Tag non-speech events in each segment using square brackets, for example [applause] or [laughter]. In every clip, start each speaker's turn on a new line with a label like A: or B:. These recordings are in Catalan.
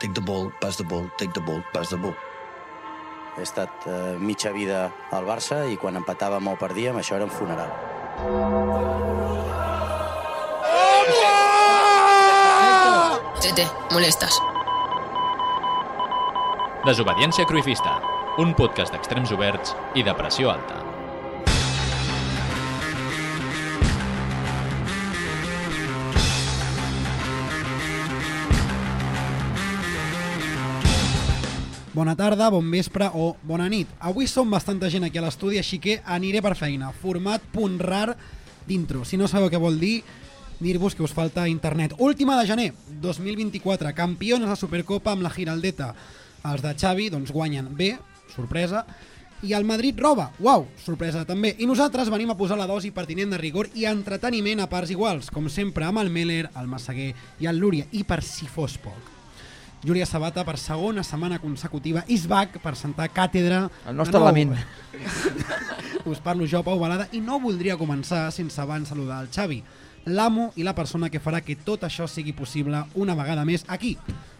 A: Take the ball, pass the ball, take the ball, pass the ball.
B: He estat eh, mitja vida al Barça i quan empatàvem o perdíem, això era un funeral.
C: Tete, molestas.
D: Desobediència Cruifista, un podcast d'extrems oberts i de pressió alta.
E: Bona tarda, bon vespre o bona nit. Avui som bastanta gent aquí a l'estudi, així que aniré per feina. Format punt rar d'intro. Si no sabeu què vol dir, dir-vos que us falta internet. Última de gener, 2024, campions de la Supercopa amb la Giraldeta. Els de Xavi doncs, guanyen bé, sorpresa, i el Madrid roba, uau, sorpresa també. I nosaltres venim a posar la dosi pertinent de rigor i entreteniment a parts iguals, com sempre amb el Meller, el Massaguer i el Lúria, i per si fos poc. Júlia Sabata per segona setmana consecutiva is back per sentar càtedra
F: El
E: de
F: nostre
E: nou.
F: lament.
E: [laughs] Us parlo jo, Pau Balada, i no voldria començar sense abans saludar el Xavi, l'amo i la persona que farà que tot això sigui possible una vegada més aquí,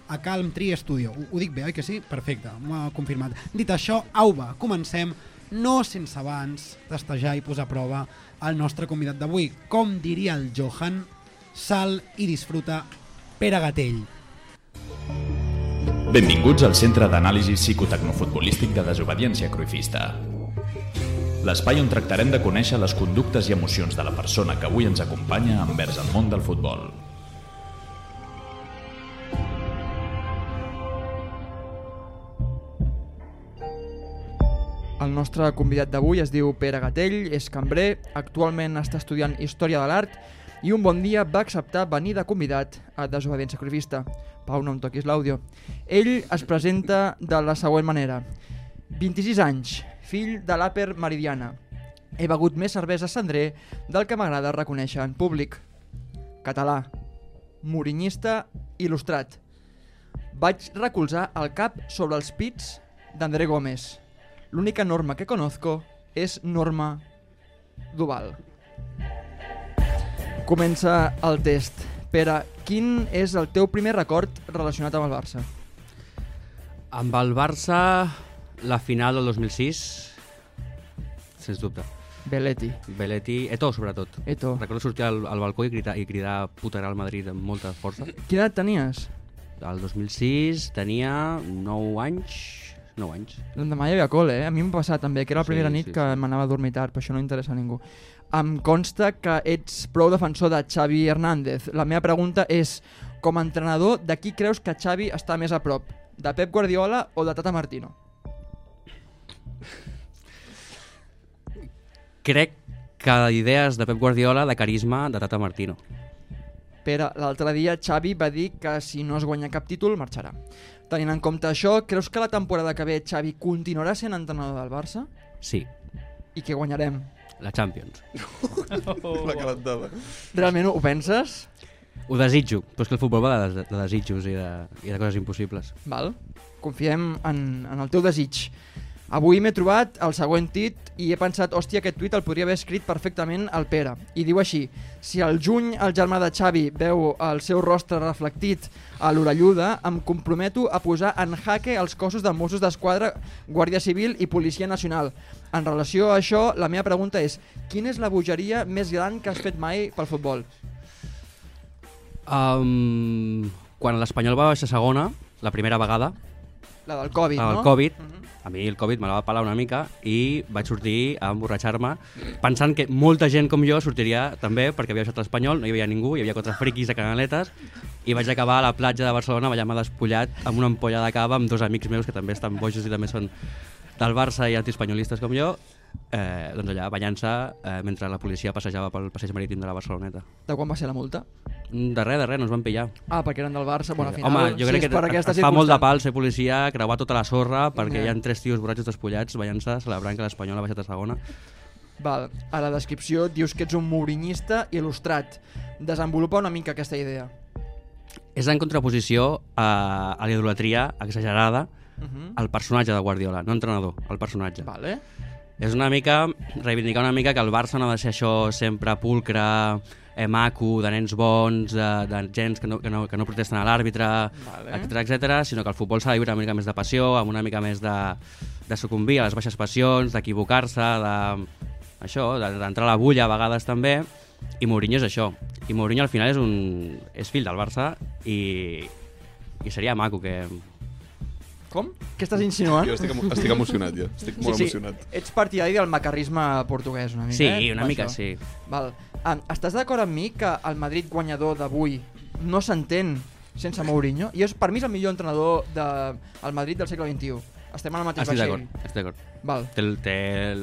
E: a Calm Tree Studio. Ho, ho dic bé, oi que sí? Perfecte, m'ho ha confirmat. Dit això, au va, comencem no sense abans testejar i posar a prova el nostre convidat d'avui. Com diria el Johan, sal i disfruta Pere Gatell.
D: Benvinguts al Centre d'Anàlisi Psicotecnofutbolístic de Desobediència Cruifista. L'espai on tractarem de conèixer les conductes i emocions de la persona que avui ens acompanya envers el món del futbol.
F: El nostre convidat d'avui es diu Pere Gatell, és cambrer, actualment està estudiant Història de l'Art i un bon dia va acceptar venir de convidat a Desobedient Sacrifista. Pau, no em toquis l'àudio. Ell es presenta de la següent manera. 26 anys, fill de l'Àper Meridiana. He begut més cervesa cendrer del que m'agrada reconèixer en públic. Català. Morinyista il·lustrat. Vaig recolzar el cap sobre els pits d'André Gómez. L'única norma que conozco és Norma Duval. Comença el test. Pere, quin és el teu primer record relacionat amb el Barça?
G: Amb el Barça, la final del 2006, sens dubte.
F: Belletti.
G: Belletti, Eto, sobretot.
F: Eto.
G: Recordo sortir al, al balcó i cridar, i cridar putarà al Madrid amb molta força.
F: Quina edat tenies?
G: El 2006 tenia 9 anys, 9 anys.
F: L'endemà hi havia col·le, eh? A mi m'ha passat també, que era la
G: Sí,
F: primera
G: sí,
F: nit
G: sí.
F: que m'anava a dormir tard, però això no interessa a ningú. Em consta que ets prou defensor de Xavi Hernández. La meva pregunta és, com a entrenador, de qui creus que Xavi està més a prop? De Pep Guardiola o de Tata Martino?
G: Crec que idees de Pep Guardiola, de carisma, de Tata Martino.
F: Pere, l'altre dia Xavi va dir que si no es guanya cap títol marxarà. Tenint en compte això, creus que la temporada que ve Xavi continuarà sent entrenador del Barça?
G: Sí,
F: I que guanyarem?
G: la Champions.
F: Realment ho penses?
G: Ho desitjo, però és que el futbol va de, de desitjos i de, i de coses impossibles.
F: Val. Confiem en, en el teu desig. Avui m'he trobat el següent tuit i he pensat, hòstia, aquest tuit el podria haver escrit perfectament el Pere. I diu així, si al juny el germà de Xavi veu el seu rostre reflectit a l'orelluda, em comprometo a posar en jaque els cossos de Mossos d'Esquadra, Guàrdia Civil i Policia Nacional. En relació a això, la meva pregunta és, quina és la bogeria més gran que has fet mai pel futbol?
G: Um, quan l'Espanyol va baixar a segona, la primera vegada,
F: La del Covid,
G: el
F: no? Mhm.
G: Covid, a mi el Covid me la va pelar una mica i vaig sortir a emborratxar-me pensant que molta gent com jo sortiria també perquè havia baixat l'Espanyol, no hi havia ningú, hi havia quatre friquis de canaletes i vaig acabar a la platja de Barcelona ballant-me despullat amb una ampolla de cava amb dos amics meus que també estan bojos i també són del Barça i antiespanyolistes com jo, eh, doncs allà ballant-se eh, mentre la policia passejava pel passeig marítim de la Barceloneta.
F: De quan va ser la multa?
G: Mm, De res, de res, no ens van pillar.
F: Ah, perquè eren del Barça. Bueno, al final,
G: Home, jo crec
F: si és
G: que
F: per aquesta
G: et fa molt de
F: circumstància- eh.
G: pal ser policia, creuar tota la sorra,
F: Ja.
G: perquè hi ha tres tios borratxos despullats ballant-se, celebrant que l'Espanyol ha baixat a segona.
F: Val, a la descripció dius que ets un mourinyista il·lustrat. Desenvolupa una mica aquesta idea.
G: És en contraposició eh, a, a l'idolatria exagerada
F: Uh -huh.
G: al personatge de Guardiola, no entrenador, el personatge.
F: Vale.
G: És una mica reivindicar una mica que el Barça no ha de ser això sempre pulcre, eh, maco, de nens bons, de, de gens que no, que no, que no protesten a l'àrbitre, vale. etc etc, sinó que el futbol s'ha de viure amb una mica més de passió, amb una mica més de, de sucumbir a les baixes passions, d'equivocar-se, de, això, de- d'entrar a la bulla a vegades també, i Mourinho és això. I Mourinho al final és, un, és fill del Barça i, i seria maco que...
F: Com? Què estàs insinuant?
H: Jo estic, emo estic emocionat, jo. Estic molt
F: sí, sí.
H: emocionat.
F: Ets partidari del macarrisme portuguès, una mica,
G: Sí,
F: eh?
G: una
F: Amb
G: mica
F: això.
G: sí.
F: Val. Um, estàs d'acord amb mi que el Madrid guanyador d'avui no s'entén sense Mourinho? I és, per mi és el millor entrenador del de, el Madrid del segle XXI. Estem en el mateix
G: Estic
F: vaixell.
G: d'acord, estic d'acord.
F: Val.
G: Té, el- té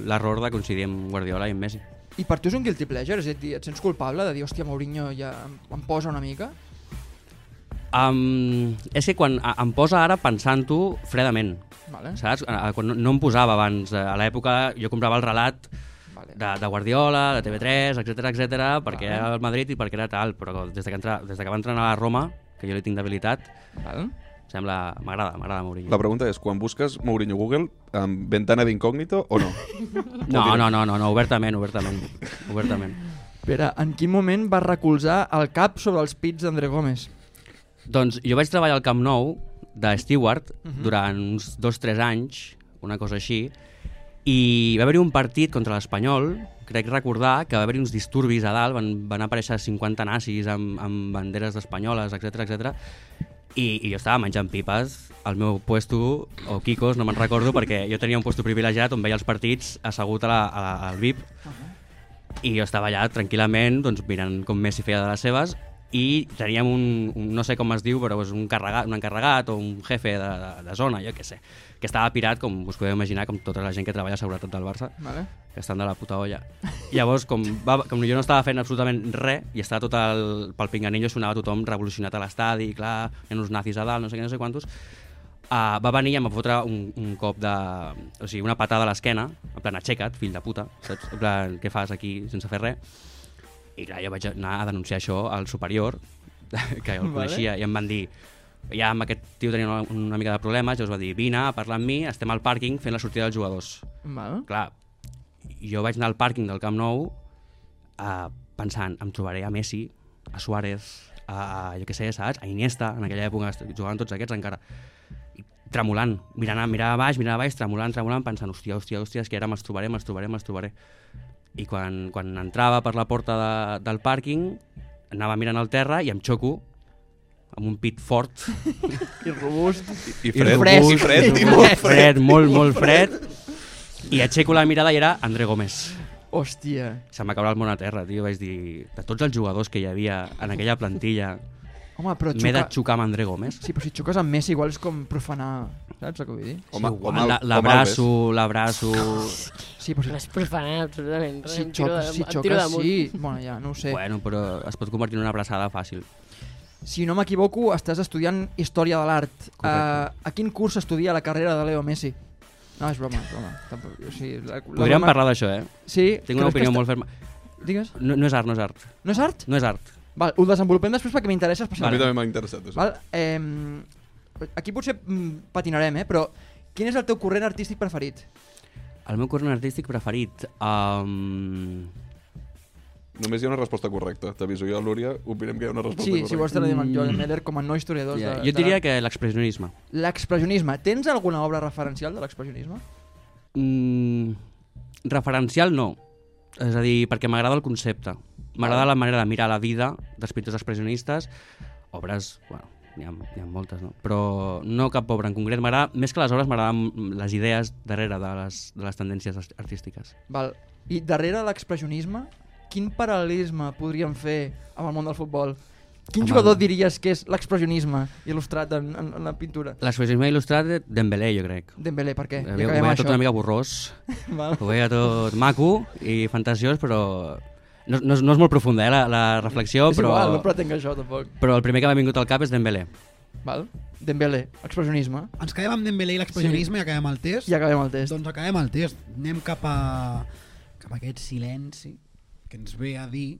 G: l'error de coincidir amb Guardiola i amb Messi.
F: I per tu és un guilty pleasure? És a dir, et sents culpable de dir, hòstia, Mourinho ja em, em posa una mica?
G: Um, és que quan a- em posa ara pensant-ho fredament,
F: Vale.
G: saps? A- a- Quan no, no em posava abans, eh, a l'època jo comprava el relat
F: Vale.
G: de, de Guardiola, de TV3, etc etc perquè
F: Vale.
G: era el Madrid i perquè era tal, però des de que, entra, des de que va entrenar a la Roma, que jo li tinc d'habilitat,
F: Val.
G: sembla... M'agrada, m'agrada Mourinho.
H: La pregunta és, quan busques Mourinho a Google, amb ventana d'incògnito o no?
G: [laughs] No, no, no, no, no, obertament, obertament. obertament.
F: Pere, en quin moment vas recolzar el cap sobre els pits d'André Gómez?
G: Doncs jo vaig treballar al Camp Nou de Stewart durant uns dos o tres anys, una cosa així, i va haver-hi un partit contra l'Espanyol, crec recordar que va haver-hi uns disturbis a dalt, van, van aparèixer 50 nazis amb, amb banderes espanyoles, etc etc. I, I jo estava menjant pipes al meu puesto, o Kikos, no me'n recordo, perquè jo tenia un puesto privilegiat on veia els partits assegut a la, a la, al VIP, i jo estava allà tranquil·lament doncs, mirant com Messi feia de les seves i teníem un, un no sé com es diu, però és un, carregat, un encarregat o un jefe de, de, de zona, jo què sé, que estava pirat, com us podeu imaginar, com tota la gent que treballa a seguretat del Barça,
F: Vale.
G: que estan de la puta olla. Llavors, com, va, com jo no estava fent absolutament res i estava tot el, pel pinganillo, sonava tothom revolucionat a l'estadi, clar, hi ha uns nazis a dalt, no sé què, no sé quantos, Uh, va venir i em va fotre un, un cop de... O sigui, una patada a l'esquena, en plan, aixeca't, fill de puta, saps? En plan, què fas aquí sense fer res? I clar, jo vaig anar a denunciar això al superior, [laughs] que el
F: Vale.
G: coneixia, i em van dir ja amb aquest tio tenia una, una mica de problemes, llavors va dir, vine a parlar amb mi, estem al pàrquing fent la sortida dels jugadors
F: Val.
G: clar, jo vaig anar al pàrquing del Camp Nou eh, pensant, em trobaré a Messi, a Suárez, a, a jo què sé, saps? A Iniesta, en aquella època est- jugaven tots aquests encara. I tremolant, mirant a, mirant a baix, mirant a baix, tremolant, tremolant, pensant, hòstia, hòstia, hòstia, és que ara me'ls trobaré, me'ls trobaré, me'ls trobaré. I quan, quan entrava per la porta de, del pàrquing, anava mirant al terra i em xoco amb un pit fort
F: I robust.
H: I fred,
F: fred.
H: i fred, i molt
G: molt fred, molt, molt fred. I aixeco la mirada i era André Gómez.
F: Hòstia.
G: se m'ha acabat el món a terra, tio. Vaig dir, de tots els jugadors que hi havia en aquella plantilla,
F: Home, però
G: m'he de
F: xoca...
G: xocar amb André Gómez.
F: Sí, però si xoques amb Messi igual és com profanar... Saps el que vull dir?
H: Home,
G: Sí,
H: home,
G: la- L'abraço, l'abraço...
F: Sí, però
C: No
F: si,
C: és profanar absolutament res.
F: si
C: em tiro
F: xoques,
C: de-
F: si
C: em tiro
F: xoques
C: damunt.
F: sí... Bueno, ja, no ho sé.
G: Bueno, però es pot convertir en una abraçada fàcil.
F: Si no m'equivoco, estàs estudiant Història de l'Art. Uh,
G: Correcte.
F: a quin curs estudia la carrera de Leo Messi? No, és broma, és broma. Tampoc, o sigui, la, la
G: Podríem
F: broma-
G: parlar d'això, eh?
F: Sí,
G: Tinc una
F: creus que
G: opinió
F: està-
G: molt ferma.
F: Digues.
G: No, no és art, no és art.
F: No és art?
G: No és art.
F: Val, ho desenvolupem després perquè
H: A
F: m'interessa
H: mi
F: especialment.
H: també m'ha interessat. Això.
F: Val, ehm, aquí potser mm, patinarem, eh? però quin és el teu corrent artístic preferit?
G: El meu corrent artístic preferit... Um...
H: Només hi ha una resposta correcta. T'aviso jo, Lúria, opinem que hi ha una resposta
F: Sí,
H: correcta.
F: si vols te la diem al Joel Meller com a no historiador.
G: Mm. Ja,
F: de,
G: jo
F: de
G: diria
F: l'art.
G: que l'expressionisme.
F: L'expressionisme. Tens alguna obra referencial de l'expressionisme?
G: Mm, referencial no. És a dir, perquè m'agrada el concepte. M'agrada la manera de mirar la vida dels pintors expressionistes. Obres, bueno, n'hi ha, n'hi ha moltes, no? Però no cap obra en concret. M'agrada, més que les obres, m'agraden les idees darrere de les, de les tendències art- artístiques.
F: Val. I darrere l'expressionisme, quin paral·lelisme podríem fer amb el món del futbol? Quin
G: Amb el-
F: jugador diries que és l'expressionisme il·lustrat en, en, en la pintura?
G: L'expressionisme il·lustrat de Dembélé, jo crec.
F: Dembélé, per què?
G: Ho veia tot una mica borrós,
F: Val.
G: ho veia tot maco i fantasiós, però... No, no, és, no és molt profunda, eh, la, la reflexió,
F: és
G: però,
F: igual, no pretenc això, tampoc.
G: però el primer que m'ha vingut al cap és Dembélé.
F: Val. Dembélé, expressionisme.
E: Ens quedem amb Dembélé i l'expressionisme i acabem el test.
F: I acabem el test.
E: Doncs acabem el test. Anem cap a, cap a aquest silenci que ens ve a dir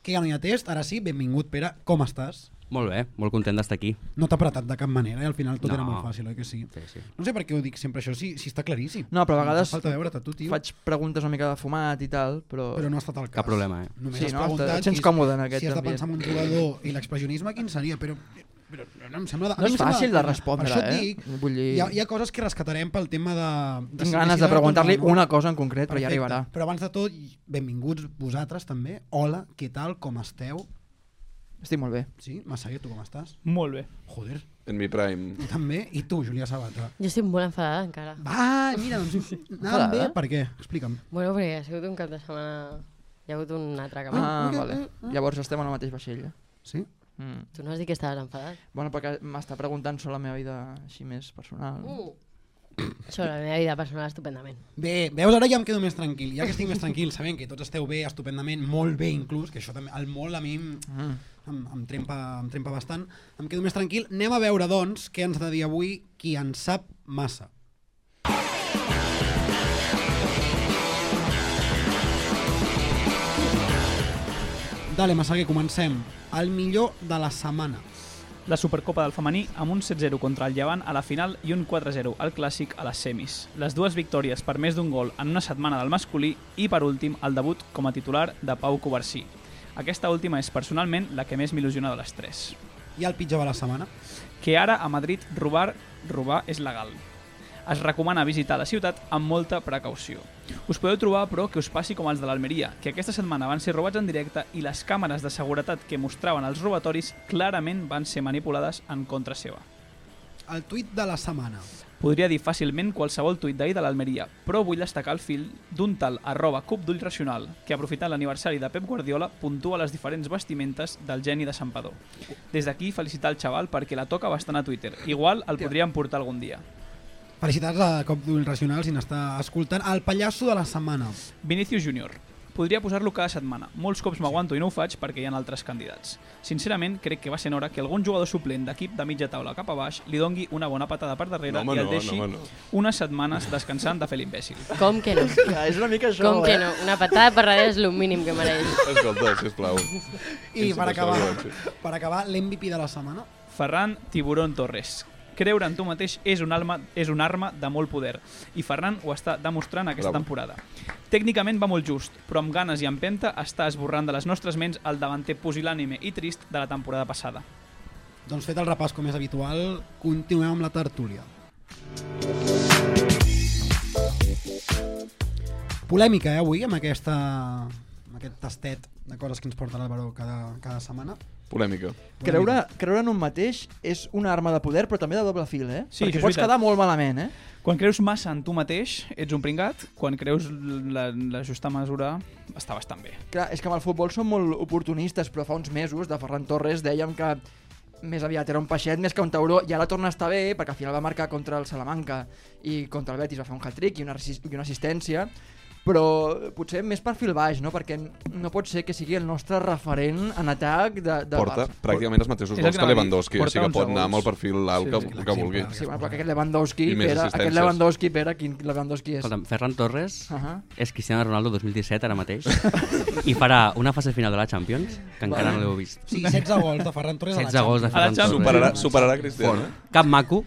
E: que ja no hi ha test. Ara sí, benvingut, Pere. Com estàs?
G: Molt bé, molt content d'estar aquí.
E: No t'ha apretat de cap manera, i al final tot
G: No.
E: era molt fàcil, oi que sí?
G: Sí, sí.
E: No sé per què ho dic sempre això, si, si està claríssim.
F: No, però a vegades
E: Em Falta veure't a tu, tio.
F: Faig preguntes una mica de fumat i tal, però...
E: Però no ha estat el cas.
G: Cap problema, eh?
E: Només
F: Sí,
E: has
F: no?
E: preguntat
F: Et sents
E: si-
F: còmode en aquest
E: Si has de
F: ambient.
E: pensar en un jugador i l'expressionisme, quin seria? Però, però no em sembla... a
F: No
E: mi
F: és
E: em sembla-
F: fàcil de respondre,
E: per això et
F: eh?
E: Dic,
F: Vull dir-
E: hi, ha, hi ha coses que rescatarem pel tema de... de
F: Tinc
E: si
F: ganes de
E: necessita-
F: preguntar-li
E: no, no.
F: una cosa en concret, però ja
E: Perfecte.
F: arribarà.
E: Però abans de tot, benvinguts vosaltres també. Hola, què tal, com esteu?
F: Estic molt bé.
E: Sí, Massaguer, tu com estàs?
I: Molt bé.
E: Joder,
H: En mi prime.
E: tu també. I tu, Julià Sabata.
J: Jo estic molt enfadada encara.
E: Va, mira,
F: [laughs]
E: doncs anàvem
F: eh?
E: bé. Per què? Explica'm.
J: Bueno, perquè ha sigut un cap de setmana... Hi ha hagut un altre cap. Ah.
F: Ah, vale. Llavors estem en el mateix vaixell. eh?
E: Sí?
F: Mm.
J: Tu no has dit que estaves enfadat?
F: Bueno, perquè m'està preguntant sobre la meva vida així més personal.
J: Uh. Sobre la meva vida personal, estupendament.
E: Bé, veus, ara ja em quedo més tranquil. Ja que estic més tranquil, sabent que tots esteu bé, estupendament, molt bé inclús, que això també, el molt a mi em,
F: Mm.
E: em, em, trempa, em trempa bastant, em quedo més tranquil. Anem a veure, doncs, què ens ha de dir avui qui en sap massa. Dale, Massaguer, comencem. El millor de la setmana.
I: La Supercopa del femení amb un 7-0 contra el Llevant a la final i un 4-0 al Clàssic a les semis. Les dues victòries per més d'un gol en una setmana del masculí i, per últim, el debut com a titular de Pau Covarsí. Aquesta última és, personalment, la que més m'il·lusiona de les tres.
E: I el pitjor de la setmana.
I: Que ara a Madrid robar, robar és legal. Es recomana visitar la ciutat amb molta precaució. Us podeu trobar, però, que us passi com els de l'Almeria, que aquesta setmana van ser robats en directe i les càmeres de seguretat que mostraven els robatoris clarament van ser manipulades en contra seva.
E: El tuit de la setmana.
I: Podria dir fàcilment qualsevol tuit d'ahir de l'Almeria, però vull destacar el fil d'un tal arroba cub d'ull racional, que aprofitant l'aniversari de Pep Guardiola puntua les diferents vestimentes del geni de Sampador. Des d'aquí felicitar el xaval perquè la toca bastant a Twitter. Igual el podríem portar algun dia.
E: Felicitats a Cop d'Ull Racional si n'està escoltant. El pallasso de la setmana.
I: Vinicius Junior. Podria posar-lo cada setmana. Molts cops m'aguanto i no ho faig perquè hi ha altres candidats. Sincerament, crec que va sent hora que algun jugador suplent d'equip de mitja taula cap a baix li dongui una bona patada per darrere
H: No, home,
I: i el
H: no,
I: deixi
H: no, home, no.
I: unes setmanes descansant de fer l'imbècil.
J: Com que no?
F: Ja, és una mica
J: Com
E: eh?
J: que no? Una patada per darrere és el mínim que mereix.
H: Escolta, sisplau.
E: I
H: Sense
E: per acabar,
H: passar-ho,
E: per acabar l'MVP de la setmana.
I: Ferran Tiburón Torres. Creure en tu mateix és un, alma, és un arma de molt poder i Ferran ho està demostrant aquesta
H: Bravo.
I: temporada. Tècnicament va molt just, però amb ganes i empenta està esborrant de les nostres ments el davanter pusil·lànime i trist de la temporada passada.
E: Doncs fet el repàs com és habitual, continuem amb la tertúlia. Polèmica, eh, avui, amb, aquesta, amb aquest tastet de coses que ens porta l'Àlvaro cada, cada setmana.
H: Polèmica.
F: Creure, creure en un mateix és una arma de poder, però també de doble fil, eh?
I: Sí, això
F: Perquè
I: és
F: pots
I: veritat.
F: quedar molt malament, eh?
I: Quan creus massa en tu mateix, ets un pringat. Quan creus la, la justa mesura, està bastant bé.
F: Clar, és que amb el futbol som molt oportunistes, però fa uns mesos de Ferran Torres dèiem que més aviat era un peixet més que un tauró i ara torna a estar bé perquè al final va marcar contra el Salamanca i contra el Betis va fer un hat-trick i, una resist- i una assistència però potser més per fil baix no? perquè no pot ser que sigui el nostre referent en atac de, de
H: Porta
F: Barça.
H: pràcticament els mateixos
I: És el
H: gols
I: que
H: que
I: anava a dir.
H: Lewandowski, o sigui que
I: Porta
H: pot
I: onze
H: anar amb el
I: gols.
H: perfil alt
I: Sí,
H: que,
I: sí,
H: que vulgui.
F: Sí, bueno, però aquest Lewandowski,
H: I més
F: Pere, aquest
H: assistències.
F: Lewandowski, Pere, quin Lewandowski és?
G: Escolta'm, Ferran Torres
F: Ahà.
G: és Cristiano Ronaldo 2017 ara mateix i farà una fase final de la Champions que encara no l'heu vist. [laughs]
E: Sí, 16 gols de Ferran Torres
G: 16 gols de
I: A
F: Ah,
I: la
G: Ferran
I: Champions.
G: Torres.
H: Superarà, superarà Cristiano. eh?
G: Cap maco,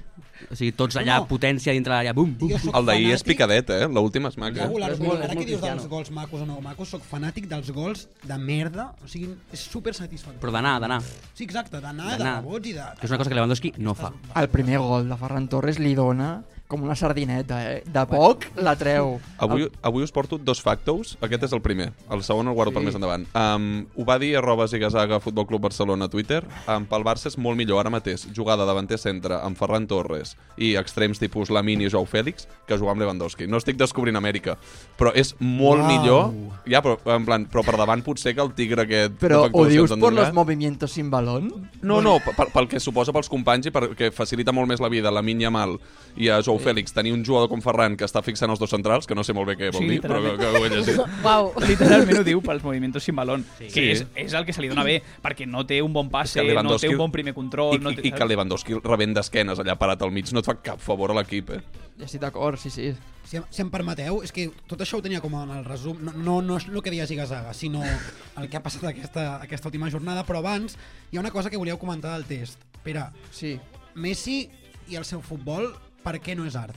G: o sigui, tots allà,
E: No, no.
G: potència dintre l'àrea, bum, bum, bum.
H: El d'ahir és picadet, eh? L'última és
E: Jo
H: maca.
E: volar,
G: És
E: mira,
G: molt-
E: ara
G: és
E: que
G: molt
E: dius dels
G: Cristiano.
E: gols macos o no macos, sóc fanàtic dels gols de merda. O sigui, és super satisfactori.
G: Però d'anar, d'anar.
E: Sí, exacte, d'anar, de
G: D'anar.
E: rebots i de...
G: Que és una cosa que Lewandowski no fa.
F: El primer gol de Ferran Torres li dona com una sardineta, eh? De poc la treu. Ah,
H: Avui, avui us porto dos factos. Aquest és el primer. El segon el guardo sí. per més endavant. Um, ho va dir arroba zigazaga Futbol Club Barcelona a Twitter. Um, pel Barça és molt millor ara mateix jugar de davanter centre amb Ferran Torres i extrems tipus Lamini i Joao Fèlix que jugar amb Lewandowski. No estic descobrint Amèrica, però és molt
E: Uau.
H: millor. Ja, però, en plan, però per davant potser que el tigre aquest... de
F: Però ho
H: factors que ens
F: dius
H: han
F: per los
H: donat.
F: movimientos sin balón?
H: No, no, pel, pel que suposa pels companys i perquè facilita molt més la vida a la Minya Mal i a Joao Pau Fèlix tenir un jugador com Ferran que està fixant els dos centrals, que no sé molt bé què vol
I: Sí,
H: dir, però que,
I: literalment.
H: que ho he llegit.
J: Uau.
I: [laughs] Literalment ho diu pels moviments sin balón, sí.
H: Sí.
I: que és, és el que se li dona bé, perquè no té un bon passe,
H: Que
I: no té
H: Lewandowski-
I: un bon primer control...
H: I,
I: no té,
H: i, i que Lewandowski rebent d'esquenes allà parat al mig no et fa cap favor a l'equip, eh?
F: Ja estic d'acord, sí, sí.
E: Si, em- si em permeteu, és que tot això ho tenia com en el resum, no, no, no és el que deia Zigazaga, sinó el que ha passat aquesta, aquesta última jornada, però abans hi ha una cosa que volíeu comentar del test. Pere,
F: Sí.
E: Messi i el seu futbol, per què no és art?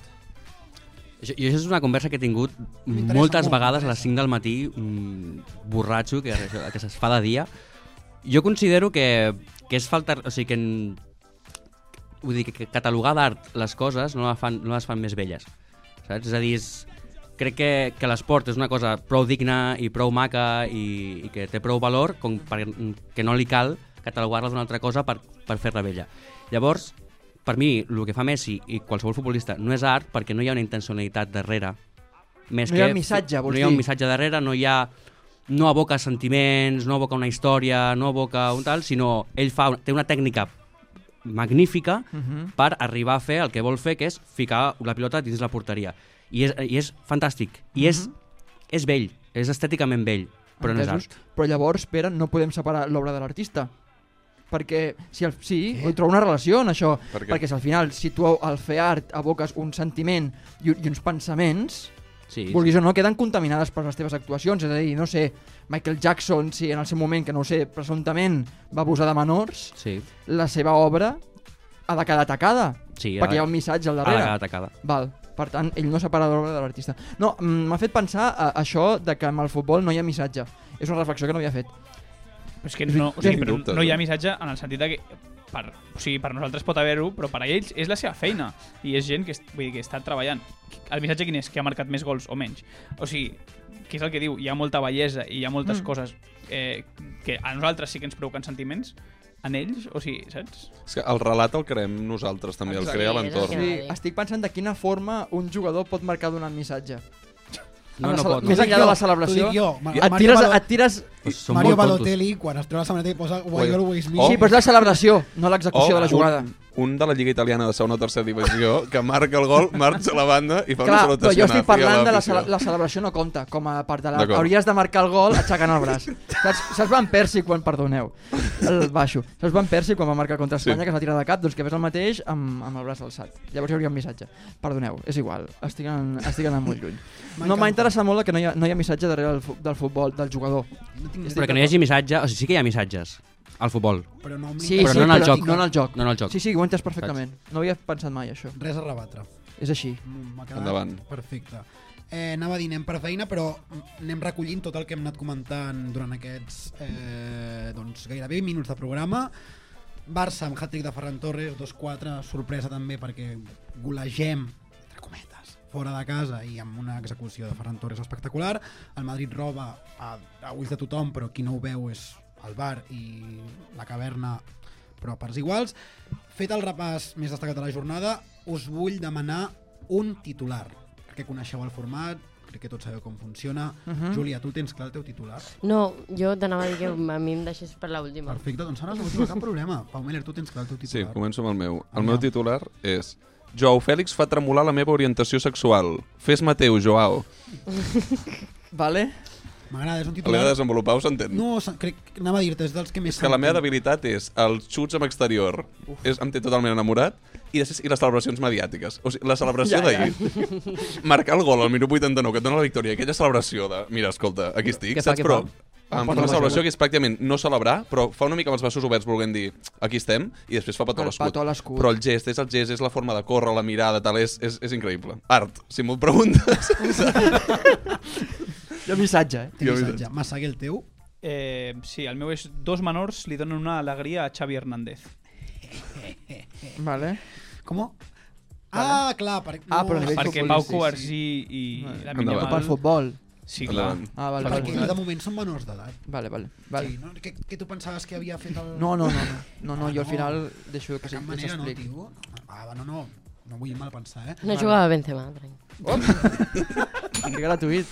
G: Jo, jo això és una conversa que he tingut
E: M'interessa
G: moltes
E: molt,
G: vegades a les
E: m'interessa.
G: 5 del matí, un borratxo que, que se'ls fa de dia. Jo considero que, que és falta... O sigui, que, en- vull dir, que- que catalogar d'art les coses no, la fan, no les fan més velles. Saps? És a dir, és, crec que, que l'esport és una cosa prou digna i prou maca i, i que té prou valor com per, que no li cal catalogar-la d'una altra cosa per, per fer-la vella. Llavors, per mi, el que fa Messi i qualsevol futbolista no és art perquè no hi ha una intencionalitat darrere. Més
F: No hi
G: que,
F: ha un missatge, vols
G: No hi ha un
F: dir?
G: missatge darrere, no hi ha no aboca sentiments, no aboca una història, no aboca un tal, sinó ell fa, té una tècnica magnífica uh -huh.
F: Mhm.
G: per arribar a fer el que vol fer, que és ficar la pilota dins la porteria. I és, i és fantàstic. I és, és vell, és estèticament vell, però no és
F: Mhm. Entesos?
G: art.
F: Però llavors, Pere, no podem separar l'obra de l'artista. Perquè, si el, sí, hi trobo una relació en això.
H: Per què?
F: perquè si al final, si tu al fer art aboques un sentiment i, i uns pensaments,
G: Sí, sí.
F: vulguis o no, queden contaminades per les teves actuacions. És a dir, no sé, Michael Jackson, si en el seu moment, que no ho sé, presumptament va abusar de menors,
G: Sí,
F: la seva obra ha de quedar atacada.
G: sí.
F: perquè hi ha un missatge al darrere.
G: Ha atacada.
F: Val, per tant, ell no separa l'obra de l'artista. No, mm, m'ha fet pensar a, això de que amb el futbol no hi ha missatge. És una reflexió que no havia fet.
I: Però és que no, o sigui,
H: Tinc
I: però
H: dubtes,
I: no hi
H: eh?
I: ha missatge en el sentit de que per, o sigui, per nosaltres pot haver-ho, però per a ells és la seva feina i és gent que, est- vull dir, que està treballant. El missatge quin és? Que ha marcat més gols o menys? O sigui, que és el que diu, hi ha molta bellesa i hi ha moltes mm. coses eh, que a nosaltres sí que ens provoquen sentiments, en ells, o sigui, saps?
H: És que el relat el creem nosaltres també, el
F: Exacte.
H: crea
J: Sí,
H: l'entorn.
J: és
F: Sí, estic pensant de quina forma un jugador pot marcar donant missatge.
G: No,
F: En la
G: no
F: cele-
G: pot.
F: Més
E: Ho dic
F: enllà de
E: jo,
F: la celebració,
E: ho dic jo. Ma-
F: et,
E: Mario
F: tires,
E: Balo-
F: et tires...
G: Pues són
E: Mario
G: molt tontos.
E: Balotelli, quan es treu la samarreta i posa Why
H: Well,
E: Always Me.
H: Oh.
F: Sí, però és la celebració, no l'execució de la jugada.
H: Un, un de la Lliga Italiana de segona o tercera divisió que marca el gol, marxa a la banda i fa
F: Clar,
H: una
F: però
H: salutació
F: jo estic
H: nazi a
F: parlant de la,
H: l'afició.
F: cele- la celebració no compta com a part de la...
H: D'acord.
F: Hauries de marcar el gol aixecant
H: [laughs]
F: el braç. Saps, saps Van Persi quan, perdoneu, el baixo. Saps Van Persi quan va marcar contra Espanya
H: Sí.
F: sí. que es va tirar de cap? Doncs que fes el mateix amb, amb el braç alçat. Llavors hi hauria un missatge. Perdoneu, és igual, estic, en, estic anant molt lluny. No m'ha interessat molt que no hi, ha, no hi ha missatge darrere del, fu- del futbol, del jugador.
E: No tinc
G: Però que no hi hagi missatge, o sigui, sí que hi ha missatges al futbol,
E: Però no
F: Sí,
G: però
F: sí,
G: no en el
F: però
G: joc.
F: no en el joc.
G: no en el joc.
F: Sí, sí, ho he entès perfectament. No havia pensat mai això.
E: Res a rebatre.
F: És així.
E: Mm, M'ha quedat
H: Endavant.
E: perfecte. Eh, anava a dir, anem per feina, però anem recollint tot el que hem anat comentant durant aquests eh, doncs, gairebé 20 minuts de programa. Barça amb hat-trick de Ferran Torres, 2-4, sorpresa també perquè golegem, entre cometes, fora de casa i amb una execució de Ferran Torres espectacular. El Madrid roba a, a ulls de tothom, però qui no ho veu és el bar i la caverna però a parts iguals. Fet el repàs més destacat de la jornada, us vull demanar un titular, perquè coneixeu el format, crec que tots sabeu com funciona. Uh -huh. Júlia, tu el tens clar el teu titular?
J: No, jo t'anava a dir que a mi em deixés per l'última.
E: Perfecte, doncs ara no tinc cap problema. Pau Miller, tu tens clar el teu
H: Sí,
E: titular.
H: començo amb el meu. El
E: Vinga.
H: meu titular és Joao Fèlix fa tremolar la meva orientació sexual. Fes Mateu, Joao.
F: Vale?
E: M'agrada, és un
H: L'he de
E: titular...
H: desenvolupar, ho s'entén?
E: No, s- crec que anava a dir-te, és dels que més...
H: És que la
E: s'entén.
H: meva debilitat és els xuts amb exterior. És, em té totalment enamorat. I, després, I les celebracions mediàtiques. O sigui, la celebració
F: Ja, ja.
H: d'ahir. Marcar el gol al minut 89 que et dona la victòria. Aquella celebració de... Mira, escolta, aquí estic,
F: Què fa,
H: saps?
F: què
H: Però
F: fa?
H: amb
F: Porta
H: una
F: la
H: celebració
F: mà.
H: que és pràcticament no celebrar, però fa una mica amb els braços oberts volent dir aquí estem, i després fa petó a
F: El
H: l'escut.
F: petó a l'escut.
H: Però el gest, és el gest, és la forma de córrer, la mirada, tal, és, és, és increïble. Art, si m'ho preguntes.
F: Hi ha missatge, eh?
E: Té missatge. Massaguer el teu.
I: Eh, sí, el meu és dos menors li donen una alegria a Xavi Hernández.
F: Vale.
E: Com? Ah, clar, per...
F: Ah, però a nivell
I: Perquè
F: futbolístic,
I: Pau
F: sí,
I: Covarsí i la Minya
H: Endavant.
F: Pel
I: Mal...
F: futbol.
I: Sí, clar.
H: Endavant.
F: Ah, vale,
E: Perquè
F: vale.
E: ells de moment són menors d'edat.
F: Vale, vale. vale.
E: Sí, no? Que, que tu pensaves que havia fet el...
F: No, no, no, no, no, no,
E: Ah,
F: jo al
E: no.
F: final deixo
E: De
F: que sí,
E: cap
F: que
E: manera, no,
F: s'expliqui.
E: tio. Va, va, no, no. No vull mal pensar, eh?
J: No jugava Benzema, tranquil.
F: Que gratuït.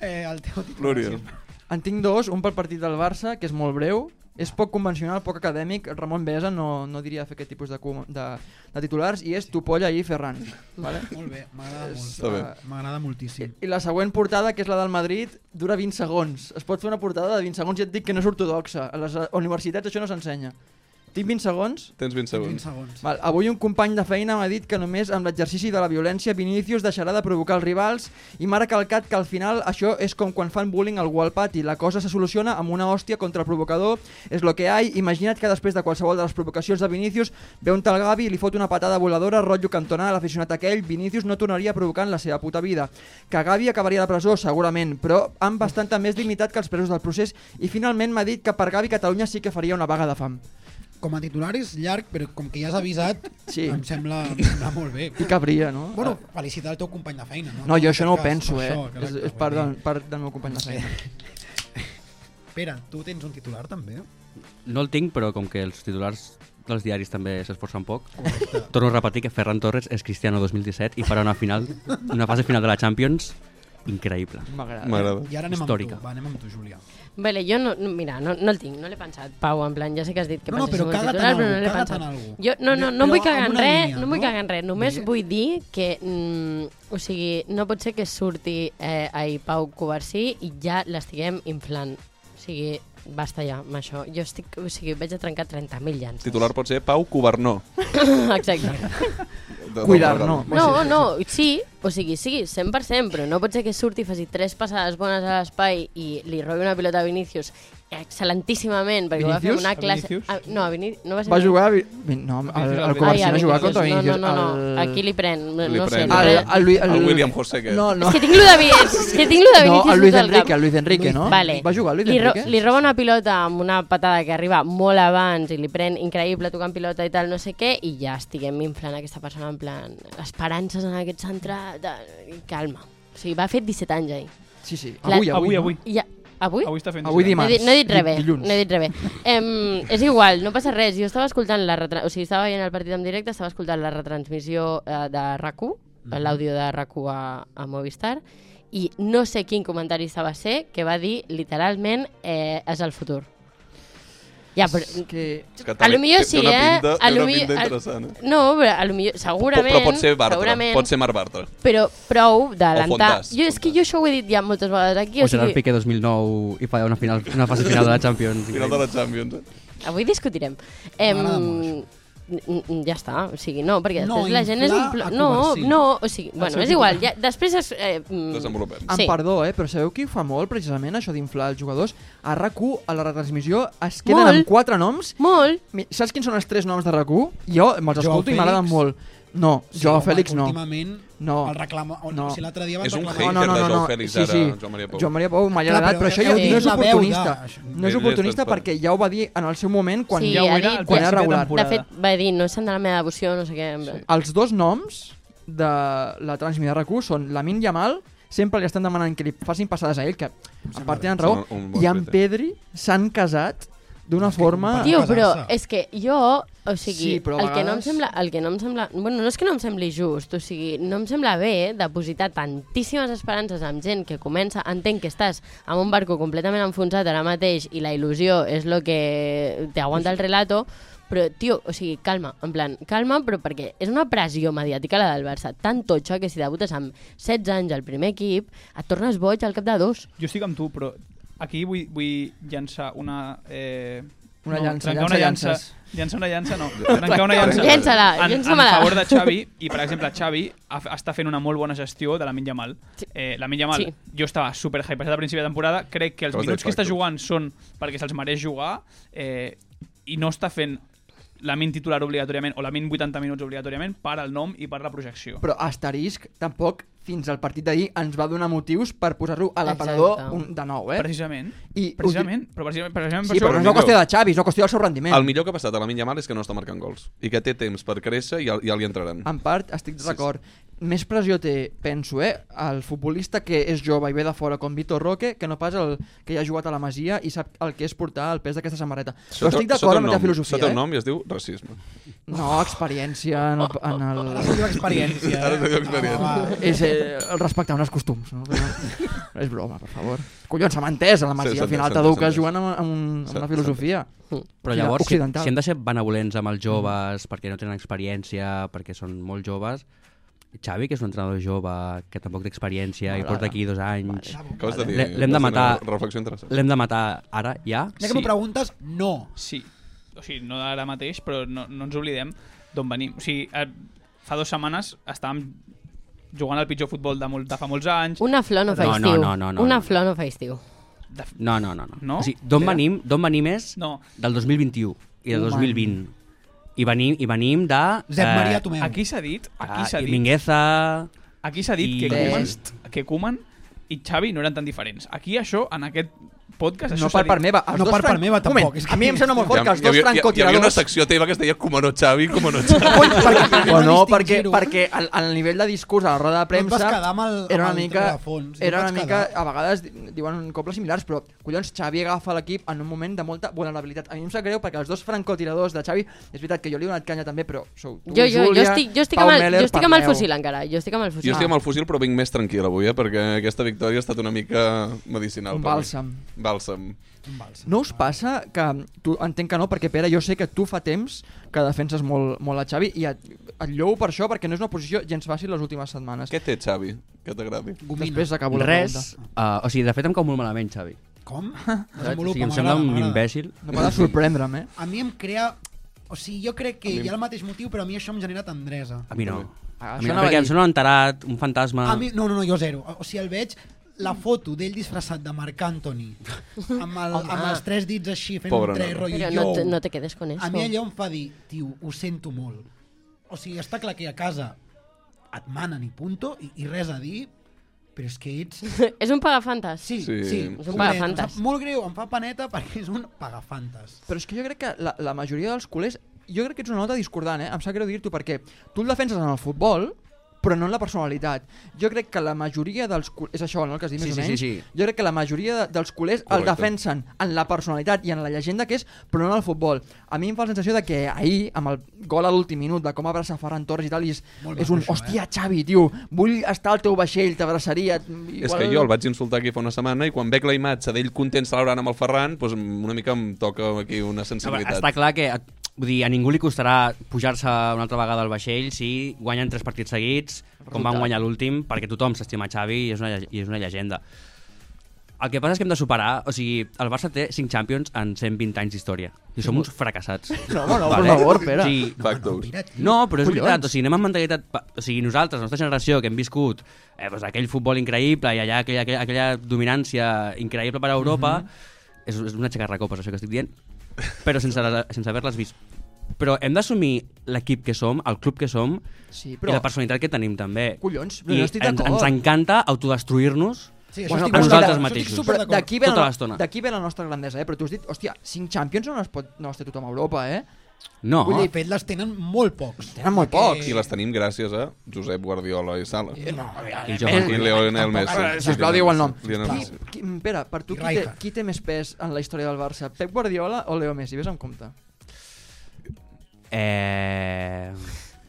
E: Eh, el teu titular.
H: Glòria.
E: sí.
F: En tinc dos, un pel partit del Barça, que és molt breu, És poc convencional, poc acadèmic, Ramon Besa no, no diria fer aquest tipus de, com- de, de titulars, i és Tupolla i Ferran. Vale? eh,
E: Molt bé, m'agrada molt.
H: Està bé.
E: M'agrada moltíssim.
F: I la següent portada, que és la del Madrid, dura 20 segons. Es pot fer una portada de 20 segons i et dic que no és ortodoxa. A les eh, universitats això no s'ensenya. Tinc 20 segons?
H: Tens 20
E: 20
H: segons.
E: segons.
F: Val, avui un company de feina m'ha dit que només amb l'exercici de la violència Vinícius deixarà de provocar els rivals i m'ha recalcat que al final això és com quan fan bullying algú al pati. La cosa se soluciona amb una hòstia contra el provocador. És lo que hi Imagina't que després de qualsevol de les provocacions de Vinícius ve un tal Gavi i li fot una patada voladora, rotllo cantonà, l'aficionat aquell, Vinícius no tornaria a provocar en la seva puta vida. Que Gavi acabaria a la presó, segurament, però amb bastanta més dignitat que els presos del procés i finalment m'ha dit que per Gavi Catalunya sí que faria una vaga de fam.
E: Com a titular és llarg, però com que ja has avisat,
F: Sí.
E: em, sembla, em sembla molt
F: [laughs]
E: bé.
F: I cabria, no?
E: Bueno, felicitar el teu company de feina. No,
F: No, jo això no ho
E: Cas,
F: penso, eh?
E: això,
F: és,
E: correcte,
F: és part,
E: vull
F: del,
E: dir.
F: part del meu company de feina.
E: Pere, tu tens un titular també?
G: No el tinc, però com que els titulars dels diaris també s'esforcen poc, torno a repetir que Ferran Torres és Cristiano 2017 i farà una final, una fase final de la Champions increïble.
F: M'agrada.
H: M'agrada.
E: I ara anem
G: Històrica.
E: amb tu, va, anem amb tu, Julià.
J: Vale, jo no, no mira, no, no el tinc, no l'he pensat, Pau, en plan, ja sé que has dit que
E: No, no, però
J: pensessis en el
E: caga't en
J: titular, però
E: algú,
J: no l'he
E: caga't
J: pensat.
E: en algú.
J: Jo, no, no,
E: Però
J: no, vull cagar
E: amb
J: en
E: una
J: res,
E: línia,
J: no vull
E: no?
J: cagar en res, només
E: Bé.
J: vull dir que, mm, o sigui, no pot ser que surti eh, ahir Pau Covarsí i ja l'estiguem inflant. O sigui, basta ja amb això. Jo estic, o sigui, vaig a trencar 30.000 llances.
H: Titular pot ser Pau Covernó.
J: [laughs] Exacte.
H: De-
F: Cuidar,
H: de-
F: no.
J: No, no, sí, o sigui, sí, 100%, però no pot ser que surti i faci tres passades bones a l'espai i li robi una pilota a Vinícius excel·lentíssimament, perquè ho va fer
F: Vinícius?
J: una classe...
I: Vinícius?
J: A, no, a Viní... no va ser...
F: Va jugar... a Vi- Vi- No, el, el Covarsí
J: Ai,
F: va jugar
J: Vinícius,
F: contra Vinícius.
J: No, no, no,
F: el-
J: no. aquí li pren, no,
H: Li
J: no sé.
H: pren.
J: li
F: El,
J: pren.
F: el, Lui-
H: El William José aquest.
F: No, no.
J: És que tinc lo de Vinícius, és que tinc lo de
F: no,
J: Vinícius
F: el Luis
J: tot al cap.
F: Enrique, el Luis Enrique, no?
J: Vale.
F: Va jugar el Luis
J: li, ro
F: Enrique?
J: li roba una pilota amb una patada que arriba molt abans i li pren increïble tocant pilota i tal, no sé què, i ja estiguem inflant aquesta persona en plan esperances en aquest centre de... i calma. O sigui, va fer 17 anys ahir.
F: Sí, sí.
J: La-
F: Avui,
I: Avui,
F: avui.
I: avui.
J: I ja, avui?
I: Avui està fent...
F: Avui
J: No he, dit, no he dit
F: Dimarts,
J: res bé,
F: dilluns.
J: no he dit res bé. Em, és igual, no passa res. Jo estava escoltant la retra... o sigui, estava veient el partit en directe, estava escoltant la retransmissió eh, de RAC1, l'àudio de RAC1 a, a Movistar, i no sé quin comentarista va ser que va dir literalment eh, és el futur. Ja, però...
F: no. Que...
H: És que
J: A
H: també
J: lo millor
H: té- té
J: sí,
H: una
J: eh?
H: pinta-
J: A
H: Té
J: lo
H: una
J: millor-
H: pinta
J: a-
H: interessant. eh?
J: No, però a lo millor, segurament...
H: Però pot ser Bartra,
J: segurament,
H: pot ser Marc Bartra.
J: Però prou d'alentar...
H: Fontàs,
J: Jo, és que
H: Fontàs.
J: jo això ho he dit ja moltes vegades aquí.
G: O Gerard Piqué 2009 i farà una, final, una fase final de la Champions.
H: Final de la Champions. eh?
J: Avui discutirem.
E: M'agrada molt
J: Em, n- n- ja està, o sigui, no, perquè
E: No
J: després la gent és...
E: inflar a
J: No,
E: Covarsí.
J: no, o sigui, bueno,
I: seu
J: és igual, ja, després... Es, eh, mm,
H: Desenvolupem.
F: Amb
J: Sí.
F: perdó, eh, però sabeu qui ho fa molt, precisament, això d'inflar els jugadors? A RAC1, a la retransmissió, es queden
J: Molt.
F: amb quatre noms.
J: molt,
F: Mi- Saps quins són els tres noms de RAC1? Jo
E: Joao
F: me'ls escolto i m'agraden
E: Fèlix.
F: molt. No,
E: Sí,
F: jo,
E: home,
F: Fèlix, no.
E: Últimament,
F: No.
E: El reclama... o
F: No.
E: No. Si l'altre dia van
H: És un
E: reclamar...
H: hater
F: no, no,
H: de
F: no,
H: Joao
F: no.
H: Fèlix,
F: sí,
H: ara,
F: sí.
H: Joan Maria Pou.
F: Joan Maria Pou m'ha agradat,
E: Clar,
F: però,
E: però
F: això
E: heu
F: ja
E: dit
F: no és
E: la veu de-
F: oportunista. No és
H: Ell és
F: oportunista
H: transparent.
F: perquè ja ho va dir en el seu moment, quan
J: sí,
F: ja ho
J: ha
F: era,
J: dit
F: quan
J: que-
F: era regular.
J: de fet, va dir, no sent de la meva devoció, no sé què... Sí.
F: Els dos noms de la transmissió de RAC1 són Lamin Yamal, sempre li estan demanant que li facin passades a ell, que en part tenen raó,
H: Sembla un bon
F: i en
H: fet, eh?
F: Pedri s'han casat d'una forma...
E: Tio,
J: Tio, però
E: casar-se.
J: és que jo, o sigui,
F: Sí,
J: sí,
F: però a
J: el, que no em
F: vegades-
J: sembla, el que no em sembla... Bueno, no és que no em sembli just, o sigui, no em sembla bé depositar tantíssimes esperances amb gent que comença... Entenc que estàs amb un barco completament enfonsat ara mateix i la il·lusió és lo que t'aguanta el relato, però, tio, o sigui, calma, en plan, calma, però perquè és una pressió mediàtica la del Barça tan totxa que si debutes amb 16 anys al primer equip et tornes boig al cap de dos.
I: Jo estic amb tu, però aquí vull, vull llançar una... Eh,
F: Una llança,
I: trencar
F: llança
I: una llança.
F: llances.
I: Llançar una llança,
H: [laughs]
I: no. Trencar una llança.
J: Llença-la,
I: en, en
J: llença-me-la.
I: favor de Xavi, i per exemple, Xavi ha, està fent una molt bona gestió de la Minya Mal. Eh, la Minya Mal,
J: Sí.
I: jo estava super hypejat al principi de temporada, crec que els
H: Però és
I: minuts que està
H: facto.
I: jugant són perquè se'ls mereix jugar, eh, i no està fent la min titular obligatòriament, o la min 80 minuts obligatòriament, per al nom i per la projecció.
F: Però Asterisc tampoc fins al partit d'ahir ens va donar motius per posar-lo a l'aparador
J: Exacte.
F: un- de nou, eh?
I: Precisament.
F: I-
I: precisament, però precisament, precisament per
F: Sí, però
I: això-
F: no és una qüestió de Xavi, és una qüestió del seu rendiment.
H: El millor que ha passat a la Minya Mal és que no està marcant gols i que té temps per créixer i ja, ja li entraran.
F: En part, estic d'acord. Més pressió té, penso, eh, el futbolista que és jove i ve de fora com Vitor Roque, que no pas el que ja ha jugat a la Masia i sap el que és portar el pes d'aquesta samarreta. Però
H: Això té-
F: estic
H: això té
F: d'acord
H: un
F: amb la teva
H: nom. Això
F: filosofia,
H: té
F: eh?
H: un nom i es diu racisme.
F: No, experiència en el... En
H: Oh,
F: el...
E: Ara se'n diu experiència, eh?
H: [laughs] Ara se'n diu experiència.
E: Home, va.
F: És eh, el respectar uns costums, no? és broma, per favor. Collons, s'ha entès, a la
H: Sí,
F: masia
H: s'ha
F: al final
H: entès, s'ha
F: t'eduques
H: entès.
F: jugant amb, amb, un, amb
H: S'ha-
F: una filosofia.
G: Però llavors, si,
F: Occidental.
G: si hem de ser benevolents amb els joves perquè no tenen experiència, perquè són molt joves, Xavi, que és un entrenador jove, que tampoc té experiència i
F: M'agrada.
G: porta aquí dos anys,
H: Acabes de dir...
G: L'hem- l'hem de
H: és una
G: matar.
H: Reflexió interessant.
G: l'hem de matar ara, ja?
E: Ja que m'ho
I: Sí.
E: preguntes, no.
I: Sí. O sigui, no ara mateix, però no, no ens oblidem d'on venim. O sigui, eh, fa dues setmanes estàvem jugant al pitjor futbol de, molt, de fa molts anys.
J: Una flor no fa
G: No, no,
J: estiu.
G: no, no, no.
J: Una flor no fa estiu.
I: De... f-
G: No, no, no. no.
I: No?
G: O sigui, d'on
I: Espera.
G: venim, d'on venim és
I: No, Oh,
G: del 2021 i del
F: Human.
G: 2020. I venim, i venim de... eh,
E: Zep Maria
G: tu...
E: Tomeu.
I: aquí s'ha dit,
H: Ah,
I: aquí s'ha dit,
G: Mingueza...
I: aquí s'ha dit
G: i-
I: que
F: Best.
I: Koeman, que Koeman i Xavi no eren tan diferents. Aquí això, en aquest podcast,
F: No
I: això
F: per
I: s'ha dit.
F: part meva. Els
E: No
F: dos
E: per part
F: fran-
E: meva,
F: Un moment,
E: tampoc, és que-
F: A mi em sembla molt fort que
H: hi,
F: els dos
H: havia, hi, hi havia una
F: francotiradors...
H: secció teva que es deia com no Xavi, com no Xavi.
F: Coi, perquè,
E: Hem de
F: o no, perquè,
E: distingir-ho.
F: perquè el, el nivell de discurs a la roda de
E: No et
F: premsa
E: vas quedar amb el-
F: era
E: amb
F: una
E: el
F: mica,
E: rerefons, no
F: era
E: et vas
F: una mica
E: quedar.
F: a vegades di- diuen cobles similars, però collons, Xavi agafa l'equip en un moment de molta vulnerabilitat. A mi em sap greu perquè els dos francotiradors de Xavi, és veritat que jo li he donat canya també, però sou tu,
J: Jo, jo, jo
F: Júlia,
J: estic, jo estic,
F: Pau
J: amb el,
F: Meller,
J: jo estic amb el
F: parleu.
J: fusil encara. Jo estic amb el fusil.
H: Jo estic amb el fusil però vinc més tranquil avui, eh? perquè aquesta victòria ha estat una mica medicinal.
F: Un
H: per mi.
F: bàlsam.
H: Bàlsam.
F: No us passa que, tu, entenc que no, perquè Pere, jo sé que tu fa temps que defenses molt, molt a Xavi i et, et llou per això, perquè no és una posició gens fàcil les últimes setmanes.
H: Què té Xavi que t'agradi?
E: Gomina.
F: Després acabo la pregunta.
G: Res. Uh, o sigui, de fet em cau molt malament, Xavi.
E: Com?
G: O
E: Desenvolupa,
G: sigui, em
E: m'agrada,
G: sembla un
E: m'agrada.
G: imbècil.
F: No m'ha de sorprendre'm, eh?
E: A mi em crea... O sigui, jo crec que hi ha el mateix motiu, però a mi això em genera tendresa.
G: A mi no.
F: Ah,
G: A
F: això
G: mi no,
F: anava a
G: perquè em
F: dir.
G: sembla un tarat, un fantasma...
E: A mi, no, no, no, jo zero. O sigui, el veig la foto d'ell disfressat de Marc Anthony amb, el, amb els tres dits així fent
H: Pobre
E: un tres
H: noi.
E: rotllo.
J: Però no,
E: yo.
J: te- no te quedes con eso.
E: A mi
J: [laughs]
E: allò em fa dir, tio, ho sento molt. O sigui, està clar que a casa et manen i punto, i, i res a dir, però és que ets...
J: És un pagafantes.
E: Sí, sí,
H: Sí.
E: sí
H: És
J: un
E: complet.
J: pagafantes.
E: Em sap Molt greu, em fa paneta perquè és un pagafantes.
F: Però és que jo crec que la, la majoria dels culers... Jo crec que ets una nota discordant, eh? Em sap greu dir-t'ho perquè tu el defenses en el futbol, però no en la personalitat. Jo crec que la majoria dels culers... És això, no, el que has dit
G: Sí,
F: més
G: sí,
F: o menys?
G: sí, sí.
F: Jo crec que la majoria de, dels culers Correcte. el
H: Correcte.
F: defensen en la personalitat i en la llegenda que és, però no en el futbol. A mi em fa la sensació de que ahir, amb el gol a l'últim minut, de com abraça Ferran Torres i tal, i és,
E: Molt
F: és
E: maco, això,
F: un...
E: eh?
F: Hòstia, Xavi, tio, vull estar al teu vaixell, t'abraçaria... Igual...
H: És que jo el vaig insultar aquí fa una setmana i quan veig la imatge d'ell content celebrant amb el Ferran, doncs una mica em toca aquí una
G: No, però
H: sensibilitat.
G: està clar que a, vull dir, a ningú li costarà pujar-se una altra vegada al vaixell si guanyen tres partits seguits, com van guanyar l'últim, perquè tothom s'estima Xavi i és, una, lle- i és una llegenda. El que passa és que hem de superar... O sigui, el Barça té 5 Champions en 120 anys d'història. I som uns fracassats.
F: No, no, no, per favor, Pere.
G: Sí,
H: Factos.
G: no, però és
F: Collons.
G: veritat, o sigui, anem amb mentalitat... pa- O sigui, nosaltres, la nostra generació, que hem viscut eh, doncs, aquell futbol increïble i allà aquella, aquella, aquella dominància increïble per a Europa, és, és una xacarracopes, això que estic dient, però sense, les- sense haver-les vist. Però hem d'assumir l'equip que som, el club que som,
F: Sí,
G: però...
F: però...
G: i la personalitat que tenim també.
F: Collons, però
G: I
F: no estic
G: ens,
F: d'acord.
G: ens encanta autodestruir-nos
E: Sí, això
F: Bueno,
E: estic
F: a
E: molt
F: nosaltres
E: d'acord, això
G: mateixos.
E: Estic
F: Però
E: superdacord.
F: d'aquí ve,
G: Tota
F: la,
G: l'estona.
F: d'aquí ve la nostra grandesa, eh? però tu has dit, hòstia, 5 Champions no les, pot, no les té tothom a Europa, eh?
G: No,
E: Vull dir, de fet, les tenen molt pocs.
F: Tenen molt pocs.
H: I les tenim gràcies a Josep Guardiola i Sala.
F: No,
G: i jo,
H: I Lionel Messi.
F: eh, sisplau, digueu el nom.
H: Lionel
F: Qui,
H: Messi.
F: qui, Pere, per
E: I
F: tu, qui té,
E: Rijkaard.
F: qui té més pes en la història del Barça? Pep Guardiola o Leo Messi? Ves amb compte.
G: eh...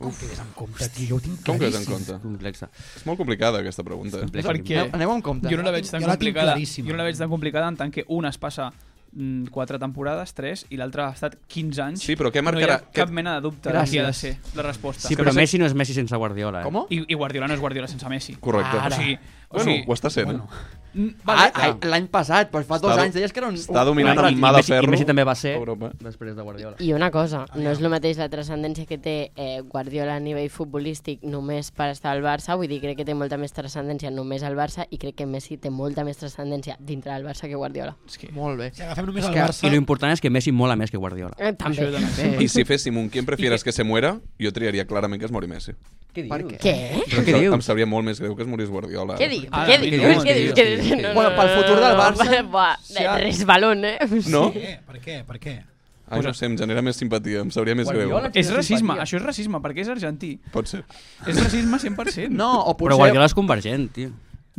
E: Com que és en compte, tio, jo ho tinc
H: Com que és en
E: claríssim.
H: compte?
G: complexa.
H: És molt complicada aquesta pregunta. Eh?
G: complexa.
I: Perquè- Què?
F: Aneu, aneu amb compte.
I: Jo no la veig tan
E: Jo la tinc
I: complicada.
E: claríssima.
I: Jo no la veig tan complicada en tant que una es passa mm, quatre temporades, tres, i l'altra ha estat 15 anys.
H: Sí, però què
I: No
H: marcarà-
I: hi ha cap
H: què-
I: mena de dubte de
F: Gràcies.
I: qui ha de ser la resposta.
G: Sí, però Messi no és Messi sense Guardiola. Eh?
F: Com?
I: I, I Guardiola no és Guardiola sense Messi.
H: Correcte.
I: O sigui, o
H: Bueno,
I: sigui,
H: ho està sent. Bueno.
I: mm,
F: Vale,
I: vale,
F: ah, ah, L'any passat, però fa dos
H: Està do-
F: anys, deies que era un...
H: Està
F: un-
H: dominant
G: I-
H: amb mà
G: i
H: de
G: Messi- i
H: ferro.
G: Messi també va ser.
H: Europa.
G: Després de Guardiola.
J: I una cosa, no és el mateix la transcendència que té eh, Guardiola a nivell futbolístic només per estar al Barça, vull dir, crec que té molta més transcendència només al Barça i crec que Messi té molta més transcendència dintre del Barça que Guardiola.
I: és que...
F: Molt bé.
E: Si agafem només
F: És
E: el
F: que-
E: Barça...
G: I lo important és que Messi mola més que Guardiola.
J: Eh, també.
I: Això també.
F: Bé.
H: I si féssim un quien prefieres que se muera, jo triaria clarament que es mori Messi.
G: Què
F: Per què?
J: Què?
G: Però
H: Em
G: què
H: sa-
G: dius?
H: Em sabria molt més greu que es morís Guardiola.
J: Què dius?
I: Ara,
J: Què
I: mi no,
J: dius? Què
I: tio.
J: dius? Què dius? No, no,
F: Bueno, pel futur del Barça-
J: [laughs] Buah,
F: Sí, ara-
J: res balon, eh?
H: No?
E: Per què? Per què? Per què?
H: Ai, no sé, em genera més simpatia, em sabria més greu.
F: Guardiola-
I: És racisme, això és racisme, perquè és argentí.
H: Pot ser.
I: És racisme 100%.
F: No, o potser...
G: Però Guardiola és convergent, tio.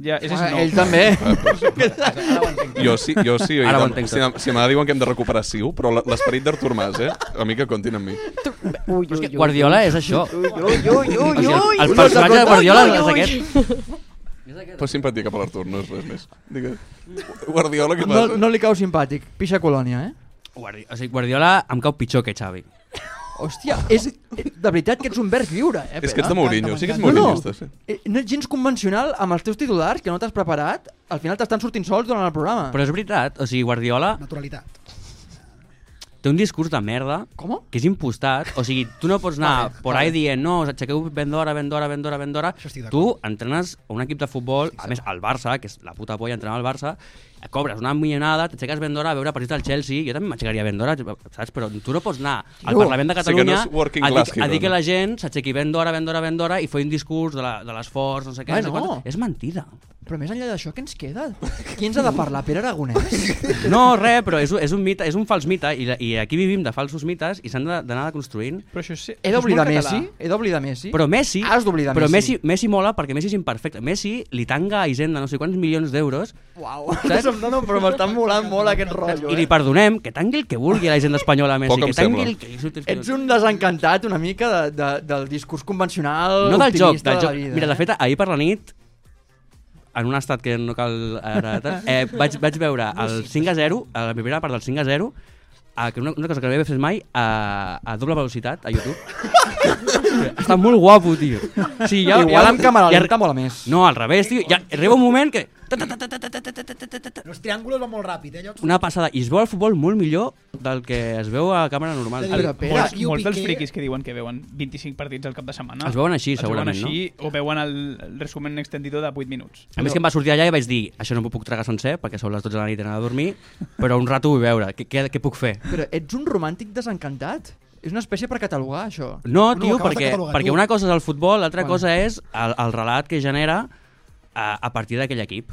I: Ja, és, és
F: Ah,
I: nou.
F: ell també. [laughs]
H: Jo sí, jo sí.
G: Ara ho
H: Ara
G: entenc
H: si,
G: tot.
H: si m'agrada diuen que hem de recuperar Siu, però la- l'esperit d'Artur Mas, eh? A mi que comptin amb mi.
J: Ui,
G: Però és que Guardiola és això.
F: Ui, ui, ui,
G: O sigui, el, el personatge de Guardiola és aquest.
H: Però simpatia cap a l'Artur, no és res més. Digue. Guardiola, què
F: No,
H: passa?
F: no li cau simpàtic. Pixa colònia, eh?
G: Guardi o sigui, Guardiola em cau pitjor que Xavi.
F: Hòstia, és... eh, De veritat que ets un verd lliure, eh,
H: és que ets de
F: Pere?
H: Mourinho, sí que ets
F: No, no,
H: Mourinho. estàs, sí.
F: eh, no ets gens convencional amb els teus titulars que no t'has preparat, al final t'estan sortint sols durant el programa.
G: Però és veritat, o sigui, Guardiola
E: Naturalitat.
G: té un discurs de merda
F: Com?
G: que és impostat, o sigui, tu no pots anar
F: Vale,
G: por ahí dient no, us aixequeu ben d'hora, ben d'hora, ben d'hora, ben d'hora.
E: Això estic
G: Tu
E: d'acord.
G: entrenes a un equip de futbol, a més al Barça, que és la puta polla entrenar al Barça, cobres una milionada, t'aixeques ben d'hora a veure partits del Chelsea, jo també m'aixecaria ben d'hora, saps? Però tu no pots anar al
F: No.
G: Parlament de
H: O sigui que no
G: Catalunya
H: és working
G: a,
H: class
G: dir, a dir
H: hero,
G: que
H: no?
G: la gent s'aixequi ben d'hora, ben d'hora, ben d'hora i faci un discurs de la- de l'esforç, no sé què,
F: Ai,
G: no sé
F: no.
G: quantos. És mentida.
F: Però més enllà d'això, què ens queda? Qui ens ha de parlar? Pere
G: [laughs]
F: Aragonès?
G: No, res, però és, un- és un mite, és un fals mite i, la- i aquí vivim de falsos mites i s'han de- d'anar construint
I: Però això sí,
F: He
I: això és molt
F: d'oblidar
I: català.
F: Messi? He d'oblidar Messi?
G: Però Messi...
F: Has d'oblidar
G: però
F: Messi.
G: Messi. Messi mola perquè Messi és imperfecte. Messi li tanga a Hisenda no sé quants milions d'euros
F: Uau,
G: Saps?
F: no, no, però m'està molant molt aquest rotllo,
G: i li [laughs]
F: eh?
G: perdonem que tangui el que vulgui a la Hisenda espanyola a Messi.
H: Poc em
G: que tangui
H: sembla.
G: el que...
F: Ets un desencantat una mica de, de, del discurs convencional
G: No del joc,
F: optimista
G: del
F: de
G: joc.
F: la vida.
G: Mira, de
F: eh?
G: fet, ahir per la nit en un estat que no cal ara,
F: [laughs]
G: tal, eh, vaig, vaig veure el 5 a 0, a la primera part del 5 a 0, a, que una, una cosa que no havia fet mai, a, a doble velocitat, a
F: [laughs]
G: YouTube. Està molt guapo, tio. Sí, ja,
F: Igual
G: ja,
F: amb càmera
G: ja-
F: lenta mola més.
G: No, al revés, tio. Ja, arriba un moment que... ta, ta, ta, ta, ta, ta, ta, ta, ta, ta, ta, ta,
E: Els triàngulos van molt ràpid, eh? Llocs...
G: Una passada. I es veu el futbol molt millor del que es veu a càmera normal.
E: Però,
G: El,
F: Pere,
I: Molts,
E: Piu
I: molts dels
E: Piqué-
I: friquis que diuen que veuen 25 partits al cap de setmana
G: es veuen així,
I: els veuen
G: segurament,
I: així, no? o veuen el, el resumen extendido de 8 minuts.
G: no? A més que em va sortir allà i vaig dir això no m'ho puc tragar sencer perquè són les 12 de la nit i anar a dormir, però un rato ho vull veure. Què, què, què puc fer?
F: Però ets un romàntic desencantat? És una espècie per catalogar, això.
G: No,
E: No,
G: tio,
E: acabes de
G: perquè,
E: catalogar
G: perquè
E: tu.
G: una cosa és el futbol, l'altra
F: Bueno.
G: cosa és el, el relat que genera a, a partir d'aquell equip,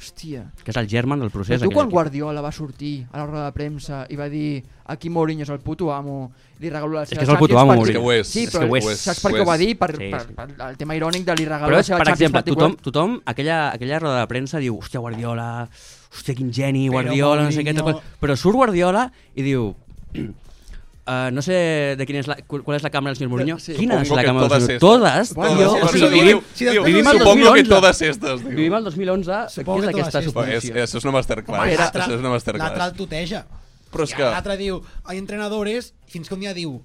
F: Hòstia.
G: que és el germen del procés.
F: Però tu
G: aquell
F: quan
G: equip.
F: Guardiola va sortir a la roda de premsa i va dir aquí Mourinho és el puto amo, li regalo la
G: És
F: seva
G: que és el puto
F: Champions
G: amo,
F: per-
G: Mourinho.
H: És que ho és,
F: Sí,
G: és
F: però
G: que ho és.
F: saps per què ho va dir? Per,
G: Sí,
F: per,
G: sí.
F: per, el tema irònic de li regalo
G: Però,
F: la seva
G: per
F: Champions
G: exemple,
F: per
G: tothom,
F: Tijuana.
G: tothom aquella, aquella roda de premsa diu hòstia, Guardiola, hòstia, quin geni,
E: Però
G: Guardiola, no sé què...
E: Mourinho-
G: tal qual". Però surt Guardiola i diu... [clears throat] Uh, no sé de quina és la, qual qual és la càmera del senyor Mourinho.
F: Sí.
G: Quina és
H: Supongo
G: la
H: que
G: càmera del
H: todas
G: senyor?
H: estas.
G: Totes,
H: Todas
G: tio.
H: estas.
G: O
H: Diu-
G: sigui, vivim,
E: si després
H: diu,
E: no surt
H: Supongo que
G: 2011.
H: todas estas, diu.
G: vivim el 2011,
E: Supongo
G: què és
E: que
G: aquesta
E: todas
H: Però és,
G: subvenció?
H: és una masterclass.
E: L'altre-
H: Això és una
E: L'altre
H: masterclass.
E: el tuteja.
H: Però és
E: I
H: que...
E: L'altre diu, hay entrenadores, fins que un dia diu,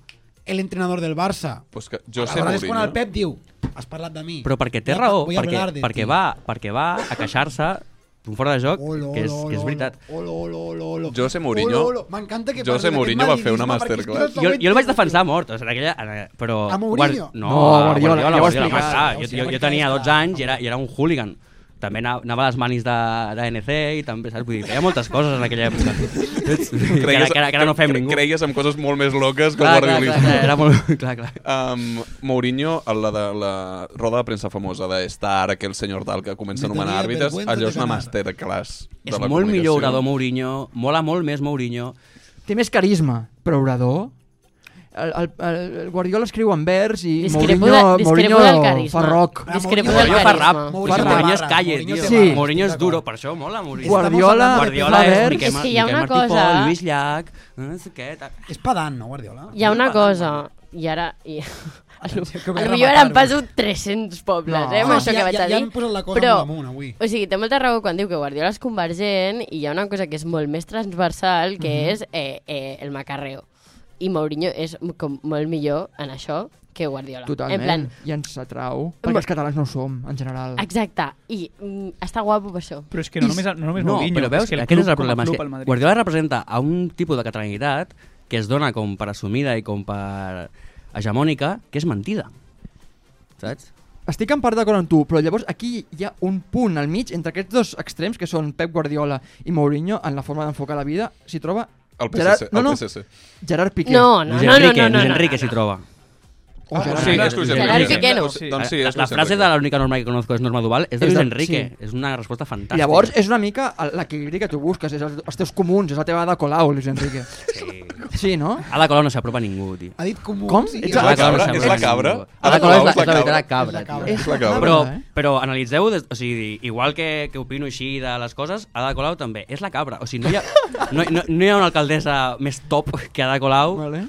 E: el entrenador del Barça.
H: Però és que José
E: Aleshores és quan
H: Mourinho...
E: el Pep diu, has parlat de mi.
G: Però perquè té
E: Voy a-
G: raó,
E: voy a
G: perquè,
E: hablar de
G: perquè,
E: ti.
G: va, perquè va a queixar-se d'un fora de joc,
E: Olo,
G: que és,
E: olo,
G: que és
E: olo,
G: veritat.
E: Olo, olo, olo, olo.
H: José Mourinho-
E: Olo, olo. M'encanta que
H: José Mourinho va fer una masterclass.
G: Jo, jo el vaig defensar a mort, o sigui, en aquella, en- però...
E: A Mourinho?
G: No,
F: No,
G: a
F: Guardiola, ja ho
G: Guardiola,
F: explicava.
G: clar,
E: O
G: jo,
E: sigui,
G: jo, jo
E: perquè
G: tenia
E: és
G: 12
E: clar.
G: anys i era, i era un hooligan. També ana- anava a les manis de, de NC i també, saps? Vull dir, feia moltes coses en aquella
H: [laughs]
G: època. Saps? que, ara, que, ara, que ara no fem
H: cre-
G: ningú.
H: Creies en coses molt més loques que el
G: clar, clar, clar, clar,
H: guardiolisme.
G: era molt... [laughs] Clar, clar.
H: Um, Mourinho, a la de la roda de premsa famosa de estar aquell senyor tal que comença a
E: Me
H: anomenar
E: tenía
H: àrbitres,
E: vergüenza
H: allò és
E: de
H: una
E: ganar.
H: masterclass de
G: És
H: la
G: molt millor
H: comunicació.
G: orador Mourinho, mola molt més Mourinho.
F: Té més carisma, però orador... El, el, el Guardiola escriu en vers i
J: Discrepo,
F: Mourinho,
J: de, discrepo del
F: Mourinho
J: carisma.
F: fa rock.
J: Discrepo
E: Mourinho
G: Mourinho
J: del
G: fa rap,
J: carisma.
E: Mourinho
G: Mourinho, Mourinho es
E: barra,
G: calle,
E: Mourinho
G: tio.
F: té barra.
G: Mourinho és
E: Estic
G: duro,
E: d'acord.
G: per això mola Mourinho.
F: Guardiola-
G: Guardiola
F: Fa
G: és
F: verd.
G: Miquel,
J: És que hi ha
G: Miquel
J: una
G: Martí Pol,
J: cosa-
G: Lluís Llach, no sé què... tal.
E: És pedant, no, Guardiola?
J: Hi ha una cosa, i ara...
E: [laughs]
J: I...
E: Atenció, que vull
J: Potser ara em
E: rematar-vos.
J: passo 300 pobles,
F: No.
J: eh, amb
E: No,
J: això
E: Ah. ja-
J: que vaig
E: ja-
J: a
E: ja
J: dir.
E: hem posat la cosa molt amunt, avui.
J: O sigui, té molta raó quan diu que Guardiola és convergent i hi ha una cosa que és molt més transversal, que
G: Mhm.
J: és eh, eh, el macarreo. I Mourinho és m- com molt millor en això que Guardiola.
F: Totalment.
J: En plan,
F: I ens atrau. Perquè els catalans no ho som, en general.
J: exacte. I mm, està guapo per això.
I: Però és que no només, no només
G: No,
I: Mourinho,
G: però veus,
I: és que el
G: aquest
I: club,
G: és el
I: com a
G: problema. És
I: club, el
G: que
I: Madrid.
G: Guardiola representa a un tipus de catalanitat que es dona com per assumida i com per hegemònica, que és mentida. Saps?
F: Estic en part d'acord amb tu, però llavors aquí hi ha un punt al mig entre aquests dos extrems que són Pep Guardiola i Mourinho en la forma d'enfocar la vida, s'hi troba
H: El PSC,
F: Gerard, no,
H: el
F: no,
H: PSC.
F: Gerard Piqué.
J: No, no,
G: Luis
J: no, no,
G: Enrique,
J: no, no,
G: Luis
J: no, [laughs]
G: Enrique
J: no,
G: s'hi troba.
F: O Gerard
H: sí,
F: Piqué.
H: és Luis
J: Gerard
H: Enrique.
J: Piqué no.
H: Doncs- Doncs sí, és
G: la, la
H: Luis
G: frase de
H: Enrique.
G: l'única norma que conozco és norma dual és de
F: És
G: Luis
F: de-
G: Enrique.
F: sí.
G: És una resposta fantàstica.
F: Llavors, és una mica el- l'equilibri que tu busques, és els, els teus comuns, és la teva de Colau, Luis Enrique.
J: [laughs]
G: Sí.
F: Sí, no?
G: Ada Colau no s'apropa a ningú, tio.
E: Ha dit comú.
F: Com?
E: Sí,
F: Ets
H: És la
F: Ada Colau
H: cabra?
F: sembla
H: És la
F: que
H: cabra?
G: ningú. Ada Colau és la, és la
E: cabra.
G: veritat
E: És la
G: cabra,
E: cabra.
G: tio.
F: És
H: la cabra.
F: Però...
G: Però,
F: Eh?
G: però analitzeu, des- o sigui, igual que, que opino així de les coses, Ada Colau també és la cabra. O sigui, no hi ha,
F: [laughs]
G: no, no, no hi ha una alcaldessa més top que Ada Colau
F: Vale.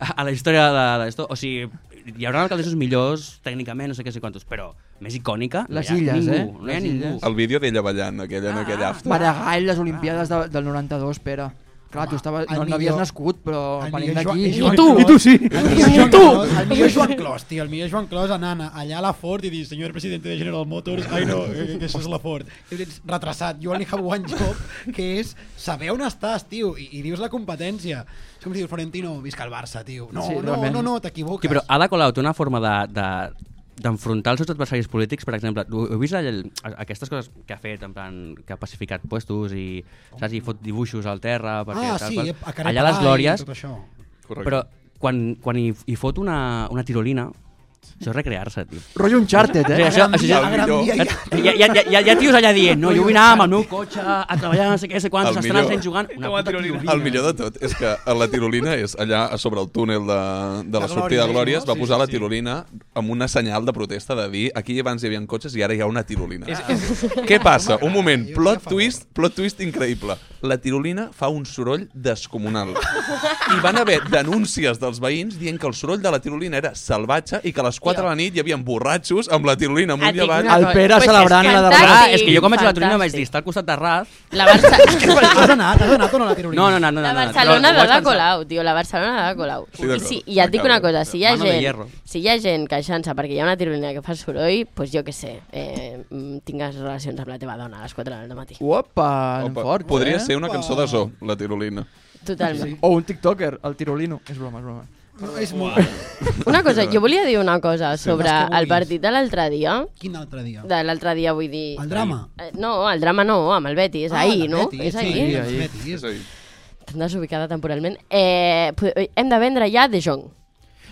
G: a, a la història de, de esto. O sigui, hi haurà alcaldesses millors tècnicament, no sé què sé quantos, però més icònica
F: Les
G: no hi ha
F: illes,
G: ningú.
F: eh?
G: No hi ha
F: Les
G: ningú.
F: illes.
H: El vídeo d'ella ballant, aquella, en aquell
G: Ah.
H: after.
F: Maragall, les Olimpiades de, del 92, Pere. Clar, tu estava,
E: el
F: no, no
E: millor-
F: havies nascut, però
E: el
F: venim
E: millor Joan-
F: d'aquí...
E: és Joan
F: tu!
E: Clos.
F: I tu sí!
E: El millor, Joan Clos, el millor Joan Clos, tio, el millor Joan Clos anant allà a la Ford i dir senyor presidente de General Motors, ai no, eh, que, que això és la Ford. I ets retrasat, you only have one job, que és saber on estàs, tio, i, i dius la competència. És com si dius, Florentino, visca el Barça, tio. No,
F: Sí,
E: sí, no,
F: realment.
E: no, no, t'equivoques.
G: Sí, però ah, Ada Colau té una forma de... de d'enfrontar els seus adversaris polítics, per exemple, ho heu vist allà, aquestes coses que ha fet, en plan, que ha pacificat puestos i, saps, i fot dibuixos al terra, perquè
E: ah,
G: tal
E: sí,
G: qual.
E: a Carapà
G: allà a les glòries,
E: I tot això.
H: Correcte.
G: però quan, quan hi, hi fot una, una tirolina, això és recrear-se, tio.
F: Rotllo Uncharted,
G: Sí, [laughs]
F: eh?
G: això-
E: Gran
G: això-
E: dia,
H: el
E: gran
H: millor.
E: dia, ja.
G: Hi ha, hi, ha, hi, ha, hi ha tios allà dient, no, jo vull anar amb el meu cotxe a treballar, no sé què, no sé quantos,
H: El
G: estan els
H: millor.
G: nens jugant, una
I: Com a
G: puta
I: tirolina.
G: tirolina.
H: El millor de tot és que a la tirolina és allà a sobre el túnel de, de la
E: Glòries,
H: sortida de Glòries,
E: no?
H: va
E: Sí,
H: posar
E: sí,
H: la
E: sí.
H: tirolina amb una senyal de protesta de dir aquí abans hi havia cotxes i ara hi ha una tirolina.
I: És, és,
H: Què passa? Un moment,
E: jo estic a
H: plot
E: favor.
H: twist, plot twist increïble. La tirolina fa un soroll descomunal. I van haver denúncies dels veïns dient que el soroll de la tirolina era salvatge i que a les 4 de la nit hi havia borratxos amb la tirolina
J: Et
H: amunt i
J: dic
H: avall.
J: una
F: El
J: cosa,
F: Pere
J: pues és
F: celebrant la derrota.
J: fantàstic,
G: Ah, és que jo quan vaig a la tirolina vaig
J: fantàstic.
G: dir, està al costat de Ras.
J: La,
G: [laughs]
J: Barça...
E: Has anat, has anat o no a la tirolina?
G: No, no, no, no.
J: la
G: no, no,
J: Barcelona
G: no, ho vaig
J: de la
G: pensar.
J: Colau, tio, la Barcelona de la Colau.
H: Sí, d'acord.
J: I, sí, I ja et dic una cosa, si hi ha
G: Mano de hierro.
J: gent, si hi ha gent queixant-se perquè hi ha una tirolina que fa soroll, doncs pues jo què sé, eh, mm, tingues relacions amb la teva dona a les 4 del matí.
F: Opa, anem
H: Opa,
F: fort,
H: podria
F: eh?
H: ser una cançó de so, la tirolina.
J: Totalment.
F: O un tiktoker, el tirolino. És broma, és broma.
E: no. És molt...
J: [laughs] Una cosa, jo volia dir una cosa sobre
E: Les que vulguis.
J: el partit de l'altre dia.
E: Quin altre dia?
J: De l'altre dia vull dir...
E: El drama?
J: Eh, No, el drama no, amb el Betis, ah, ahir,
E: el
J: no?
E: Betis,
J: és
E: sí,
J: ahir?
E: el
F: ahir.
E: Betis.
H: És a dir,
J: Tan desubicada temporalment. Eh, po- hem de vendre ja De Jong.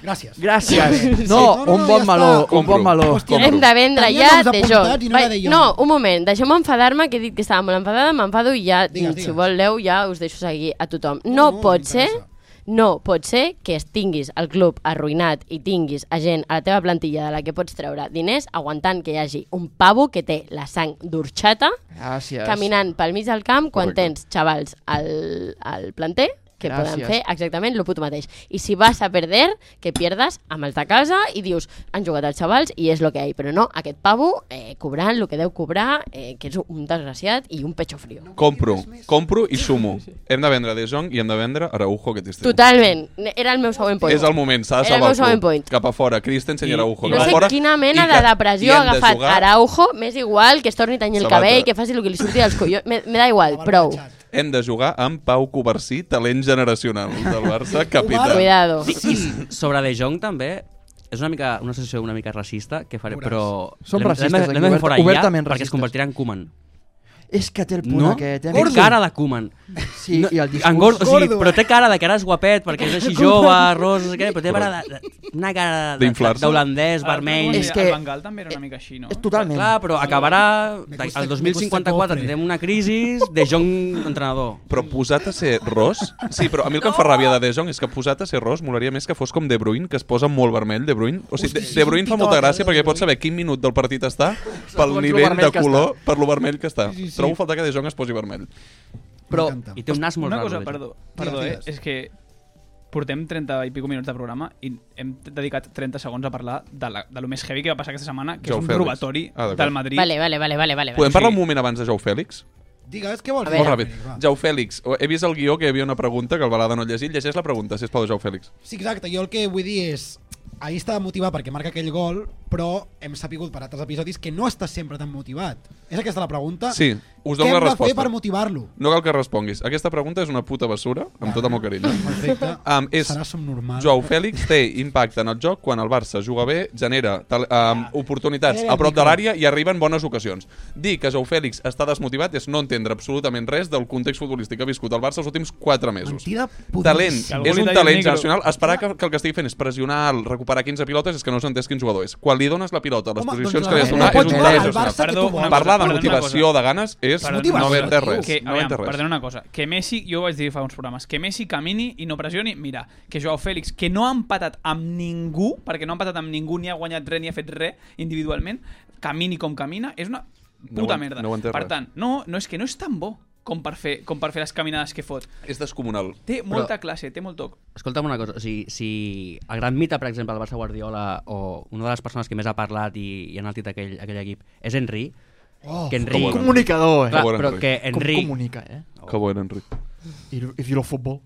E: Gràcies.
F: Gràcies.
E: No,
F: No,
E: no, no,
F: un
E: ja
F: bon meló,
E: està.
F: un bon meló.
E: Hòstia,
J: Hem de vendre
E: Tenia
J: ja
E: noms
J: De
E: apuntats
J: Jong.
E: i no era
J: Vai-
E: De Jong.
J: no, un moment, deixeu-me enfadar-me, que he dit que estava molt enfadada, m'enfado i ja,
E: Digues, digues.
J: si voleu, ja us deixo seguir a tothom. No,
E: no,
J: pot ser...
E: m'interessa.
J: No pot ser que es tinguis el club arruïnat i tinguis a gent a la teva plantilla de la que pots treure diners aguantant que hi hagi un pavo que té la sang d'orxata
F: Gràcies.
J: caminant pel mig del camp quan
H: Correcte.
J: tens xavals al, al planter que
F: Gràcies.
J: poden fer exactament el puto mateix. I si vas a perder, que pierdes amb els de casa i dius, han jugat els xavals i és el que hi ha. Però no, aquest pavo eh, cobrant el que deu cobrar, eh, que és un desgraciat i un pecho frío.
H: Compro, compro i sumo. Hem de vendre De Jong i hem de vendre Araujo aquest estiu.
J: Totalment. Era el meu següent point.
H: És el moment, s'ha de
J: Era el
H: salvar
J: meu
H: el
J: següent
H: club.
J: point.
H: Cap a fora, Christensen i
G: I-
H: Araujo.
J: No
H: cap a
J: sé
H: fora,
J: quina
H: i
J: mena
H: que-
J: de
H: i
J: depressió
H: han
J: ha
H: de
J: agafat
H: jugar-
J: Araujo, m'és igual que es torni a tenyir el
H: Sabata.
J: cabell, que faci el que li surti dels collons, me, me da igual, prou.
H: Hem de jugar amb Pau Coversí, talent generacional del Barça, capità.
J: Cuidado.
G: Sobre De Jong també, és una mica una associació una mica racista que faré,
E: Veuràs.
G: però
F: Som
G: l'hem-
F: racistes
G: l'hem de-
F: aquí,
G: l'hem de fer
F: oberta-
G: fora ja
F: obertament
G: perquè es
F: racistes.
G: convertirà en Koeman.
F: És que té el punt
G: No?
F: aquest, eh?
G: Té cara de Koeman.
F: Sí, i el discurs.
G: En gordo, o sigui,
E: Gordo, eh?
G: però té cara de que ara és guapet perquè és així jove, ros, no sé què, però té cara de, de, una cara de-
H: D'inflar-se.
G: d'holandès, vermell.
I: És
F: És
I: que...
F: que-
I: El Bengal també era una mica així, no?
F: És totalment.
G: Clar, però acabarà
E: Me
G: de-
E: gusta-
G: el
E: me
G: 2054
E: gusta
G: tindrem una crisi de Jong entrenador.
H: Però posat a ser ros... Sí, però a mi el que em fa ràbia de De Jong és que posat a ser ros molaria més que fos com De Bruyne, que es posa molt vermell, De Bruyne. O sigui, De, de Bruyne fa molta gràcia perquè pots saber quin minut del partit està pel
F: Segons lo
H: nivell
F: vermell
H: de
F: que
H: color, per lo vermell que està.
E: Sí, sí, sí.
H: Trobo falta que De Jong es posi vermell.
G: Però,
E: M'encanta.
G: i té un nas molt
I: Una
G: raro.
I: cosa,
G: De Jong.
I: perdó, perdó eh?
E: digues.
I: és que portem 30 i pico minuts de programa i hem dedicat 30 segons a parlar de, la, de lo més heavy que va passar aquesta setmana, que
H: Joe
I: és un
H: Félix.
I: robatori
H: Ah, d'acord.
I: del Madrid.
J: Vale, vale, vale, vale, vale.
H: Podem
I: Sí.
H: parlar un moment abans de Jou Fèlix?
E: Digues, què vols?
J: A
E: dir?
H: Molt
J: veure.
H: ràpid. Jou Fèlix, he vist el guió que hi havia una pregunta que el Balada no ha llegit. Llegeix la pregunta, sisplau, Jou Fèlix.
E: Sí, exacte. Jo el que vull dir és... Ahir estava motivat perquè marca aquell gol, però hem sapigut per altres episodis que no està sempre tan motivat. És aquesta la pregunta?
H: Sí, us
E: Què
H: dono
E: hem
H: la
E: de fer
H: resposta.
E: per motivar-lo?
H: No cal que responguis. Aquesta pregunta és una puta bessura, amb
E: Ah.
H: tot el meu carinyo.
E: Perfecte.
H: Um, [laughs] és,
E: Serà subnormal.
H: Joao Fèlix té impacte en el joc quan el Barça juga bé, genera tal, um, oportunitats a prop de l'àrea i arriba en bones ocasions. Dir que Joao Fèlix està desmotivat és no entendre absolutament res del context futbolístic que ha viscut el Barça els últims 4 mesos.
E: Mentida pudríssima.
H: talent,
I: Que algú
H: és
I: li
H: un
I: talli el
H: talent
I: micro.
H: generacional. Esperar que, que el que estigui fent és pressionar, el recuperar 15 pilotes, és que no s'entès quin jugador és. Quan li dones la pilota a les
E: Home,
H: posicions
E: doncs
H: que li
E: la
H: has
E: gent
H: de donar,
E: no
H: és
E: pot
H: un talent
E: jugar al
H: generacional.
E: Barça que tu vols.
H: Parlar
I: Perdona
H: de
I: una cosa.
H: motivació de ganes és
I: Perdona
H: no
I: una
H: vendre
E: cosa,
H: res.
E: tio.
I: Que,
H: No
I: aviam,
H: vendre res.
I: perdona una cosa. Que Messi, jo ho vaig dir fa uns programes, que Messi camini i no pressioni, mira, que Joao Fèlix, que no ha empatat amb ningú, perquè no ha empatat amb ningú, ni ha guanyat res, ni ha fet res individualment, camini com camina, és una
H: ho
I: puta
H: en-
I: merda.
H: no ho entenc
I: per
H: res.
I: tant, no, no, és que no és tan bo com per fer, com per fer les caminades que fot.
H: És descomunal.
I: Té molta classe, té molt toc.
G: Escolta'm una cosa, o sigui, si el gran mite, per exemple, del Barça Guardiola o una de les persones que més ha parlat i, i ha enaltit aquell, aquell equip és Henry,
E: Oh,
G: que
H: com
G: Henry...
H: ho
F: Comunicador, eh?
G: Clar,
H: Com ho era
G: però
H: Henry.
G: que
F: Com
G: Henry...
F: comunica, eh?
H: Que bo era, Enric.
F: I if you love [laughs] football.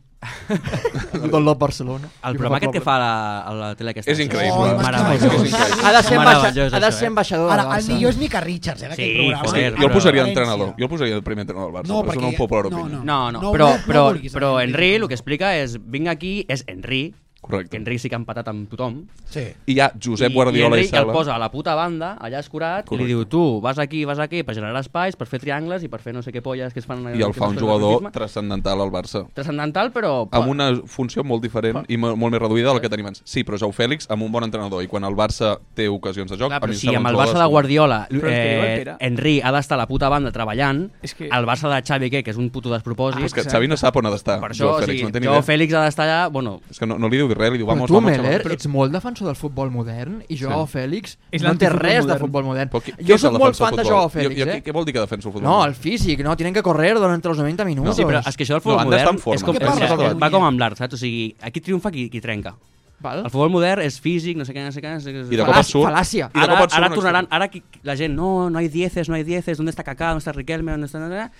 F: you don't love Barcelona.
G: El programa aquest que fa a la, a la tele aquesta...
H: És increïble.
E: Oh,
G: Meravellós.
H: és increïble.
F: Ha de ser,
G: Meravellós,
F: embaixa, ha de
G: això,
F: ser
G: eh?
E: Ara,
F: ambaixador del
E: el
F: Barça.
E: millor és Mica Richards, eh, d'aquest
G: Sí,
E: programa.
G: joder,
H: Jo el posaria
E: València.
H: d'entrenador. Jo el posaria de primer entrenador del Barça.
E: No,
H: però
E: perquè...
H: Sona un poc per l'opinió.
E: no,
G: No, no,
E: No
G: però,
E: vulguis- no
G: però,
E: vulguis eh,
G: però
E: aquest
G: Henry
E: tipus.
G: el que explica és vinc aquí, és Henry,
H: Correcte.
G: que Henry sí que ha empatat amb tothom,
E: Sí.
H: I hi ha Josep Guardiola
G: i,
H: i,
G: Enric el
H: Sala.
G: posa a la puta banda, allà escurat, Correcte. i
H: Correcte.
G: li diu tu vas aquí, vas aquí, per generar espais, per fer triangles i per fer no sé què polles que es fan...
H: I el fa un
G: aquestes coses
H: jugador
G: de franquisme.
H: transcendental al Barça.
G: transcendental, però...
H: amb una funció molt diferent i mo- molt més reduïda de la que tenim abans. Sí, però Jou Fèlix amb un bon entrenador i quan el Barça té ocasions de joc...
G: Clar,
H: a mi
G: però
H: em
G: si
H: sembla
G: amb
H: un
G: el
H: jugador
G: Barça de Guardiola
I: Però és que diu el
G: eh,
I: Pere.
G: Enri ha d'estar a la puta banda treballant,
I: És que-
G: el Barça de Xavi, què, que és un puto
H: Ah,
G: despropòsit,
H: Però És que Xavi no sap on ha d'estar.
G: per això,
H: Jou
G: o
H: Fèlix,
G: sigui,
H: no té ni
G: jo
H: idea.
G: Fèlix ha d'estar allà, bueno,
H: És que no, no li diu res, li diu
F: Però
H: vamos,
F: tu, eh?
H: vamos,
F: Meller,
H: xaval. Però-
F: ets molt defensor del futbol modern i Joao Fèlix
I: És
F: no té
I: l'antifutbol
F: res de
I: modern.
F: futbol modern.
H: Però qui- qui
F: jo
H: és el
F: sóc molt
H: defensor
F: fan de
H: del
F: Joao
H: futbol?
F: Fèlix,
H: Jo, jo,
F: eh?
H: Què vol dir que defensa el futbol?
F: No, el físic, no, tienen que correr durante los 90 minutos.
G: sí, però és que això
H: No,
G: del futbol
H: han d'estar en
G: modern
H: forma.
G: és com,
H: Què
G: és
H: parles,
G: que
H: Edu?
G: va com amb l'art, saps? O sigui, aquí triomfa qui, qui trenca.
F: Val?
G: El futbol modern és físic, no sé què, no sé què... No sé què no sé
H: I de
G: què.
H: cop
F: Fal·làcia,
H: et surt...
F: fal·làcia.
H: I de
G: Ara,
H: cop et surt
G: ara
H: un
G: tornaran,
H: extrem.
G: ara qui- la gent, no, no hay dieces, no hay dieces, ¿dónde está Kaká, ¿dónde está Riquelme, ¿dónde está... na, na, na?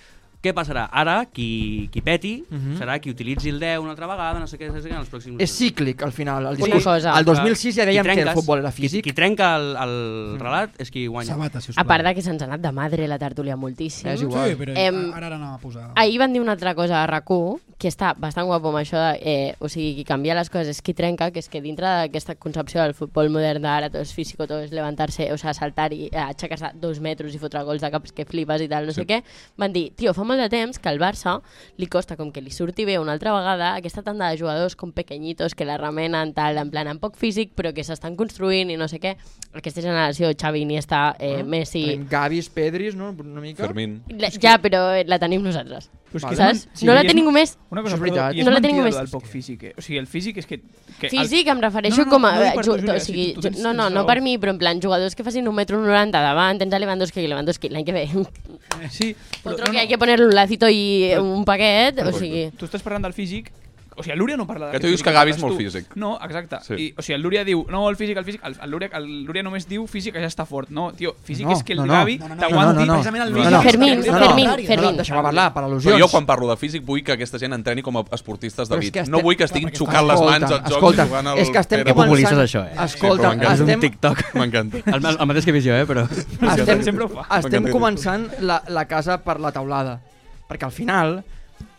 G: Què passarà? Ara, qui, qui peti, serà qui utilitzi el 10 una altra vegada, no sé què, no sé què, en els pròxims...
F: Mhm. És cíclic, al final. El,
J: Una
F: discurs.
J: cosa.
F: el 2006 ja
G: Qui
F: dèiem que el
G: trenques-
F: futbol era
G: Qui,
F: físic. Mm.
G: qui trenca el, el relat és qui guanya.
E: Sabata, si us
J: A part de que se'ns ha anat de madre la tertúlia moltíssim.
F: És
E: Sí,
F: igual.
E: però
J: Em-
E: ara anava a posar...
J: Ahir van dir una altra cosa a RAC1, que està bastant guapo amb això de, eh, o sigui, qui canvia les coses és qui trenca, que és que dintre d'aquesta concepció del futbol modern d'ara, tot és físico, tot és levantar-se, o sigui, saltar i eh, aixecar-se dos metres i fotre gols de caps que flipes i tal, no sí. sé què, van dir, tio, fa molt de temps que al Barça li costa com que li surti bé una altra vegada aquesta tanda de jugadors com pequeñitos que la remenen tal, en plan, amb poc físic, però que s'estan construint i no sé què. Aquesta generació, Xavi, Iniesta, eh, Messi...
F: Tenim Gavis, Pedris, no? Una mica.
H: Fermín.
J: La, ja, però la tenim nosaltres.
I: Però és
F: Vale.
J: Saps?
I: Sí,
J: Pues no la
I: i
J: té
I: és-
J: ningú més.
I: Una
F: Això
I: cosa,
F: és
I: perdó,
F: veritat.
I: i és
J: No la
I: mentida
J: tenim
I: lo
J: més.
I: del poc físic. eh? O sigui, el físic és que... que el-
J: Físic, em refereixo
I: No, no,
J: com a...
I: no dic per tu,
J: ju-
I: Júlia,
J: o
I: si
J: sigui,
I: tu- tu tens-
J: ju- no, no,
I: tens
J: no
I: raó.
J: per mi, però en plan jugadors que facin un metro 90 davant, tens a Lewandowski, que Lewandowski l'any que ve. [laughs]
I: Sí, però,
J: Otro
I: no,
J: que
I: no,
J: hay que ponerle un lacito i un paquet, o sigui...
I: Tu estàs parlant del físic o sigui, el Lúria no parla
H: Que tu
I: d'aquest
H: dius que
I: físic
H: Gavi és
I: parles
H: molt
I: tu.
H: físic.
I: No, exacte.
H: Sí.
I: Sí. I, o sigui, el Lúria diu, no, el físic, el físic... El, el, Lúria, el Lúria només diu físic que ja està fort. No, tio, físic
F: No,
I: és que el
F: no, no.
I: Gavi
F: No,
E: no, no,
I: t'aguanti.
F: no, no, no.
I: precisament el
H: No,
I: físic
H: no,
I: és que
J: Fermín,
I: és que-
J: no, Fermín,
I: No,
F: No, no,
J: Fermín.
F: deixa'm parlar, per al·lusions.
H: Però jo quan parlo de físic vull que aquesta gent entreni com a esportistes
F: Però és
H: d'elit.
F: que este-
H: No vull que estiguin xocant les mans al joc i
F: escolta,
H: jugant al...
F: és que estem
H: Pere
F: que pensant...
G: populista, això, eh?
F: Escolta,
H: Sí, però
F: estem,
G: TikTok.
H: M'encanta.
G: El, el, mateix que he vist jo, eh, però...
F: estem,
I: Sempre ho fa.
F: estem començant la, la casa per la teulada. Perquè al final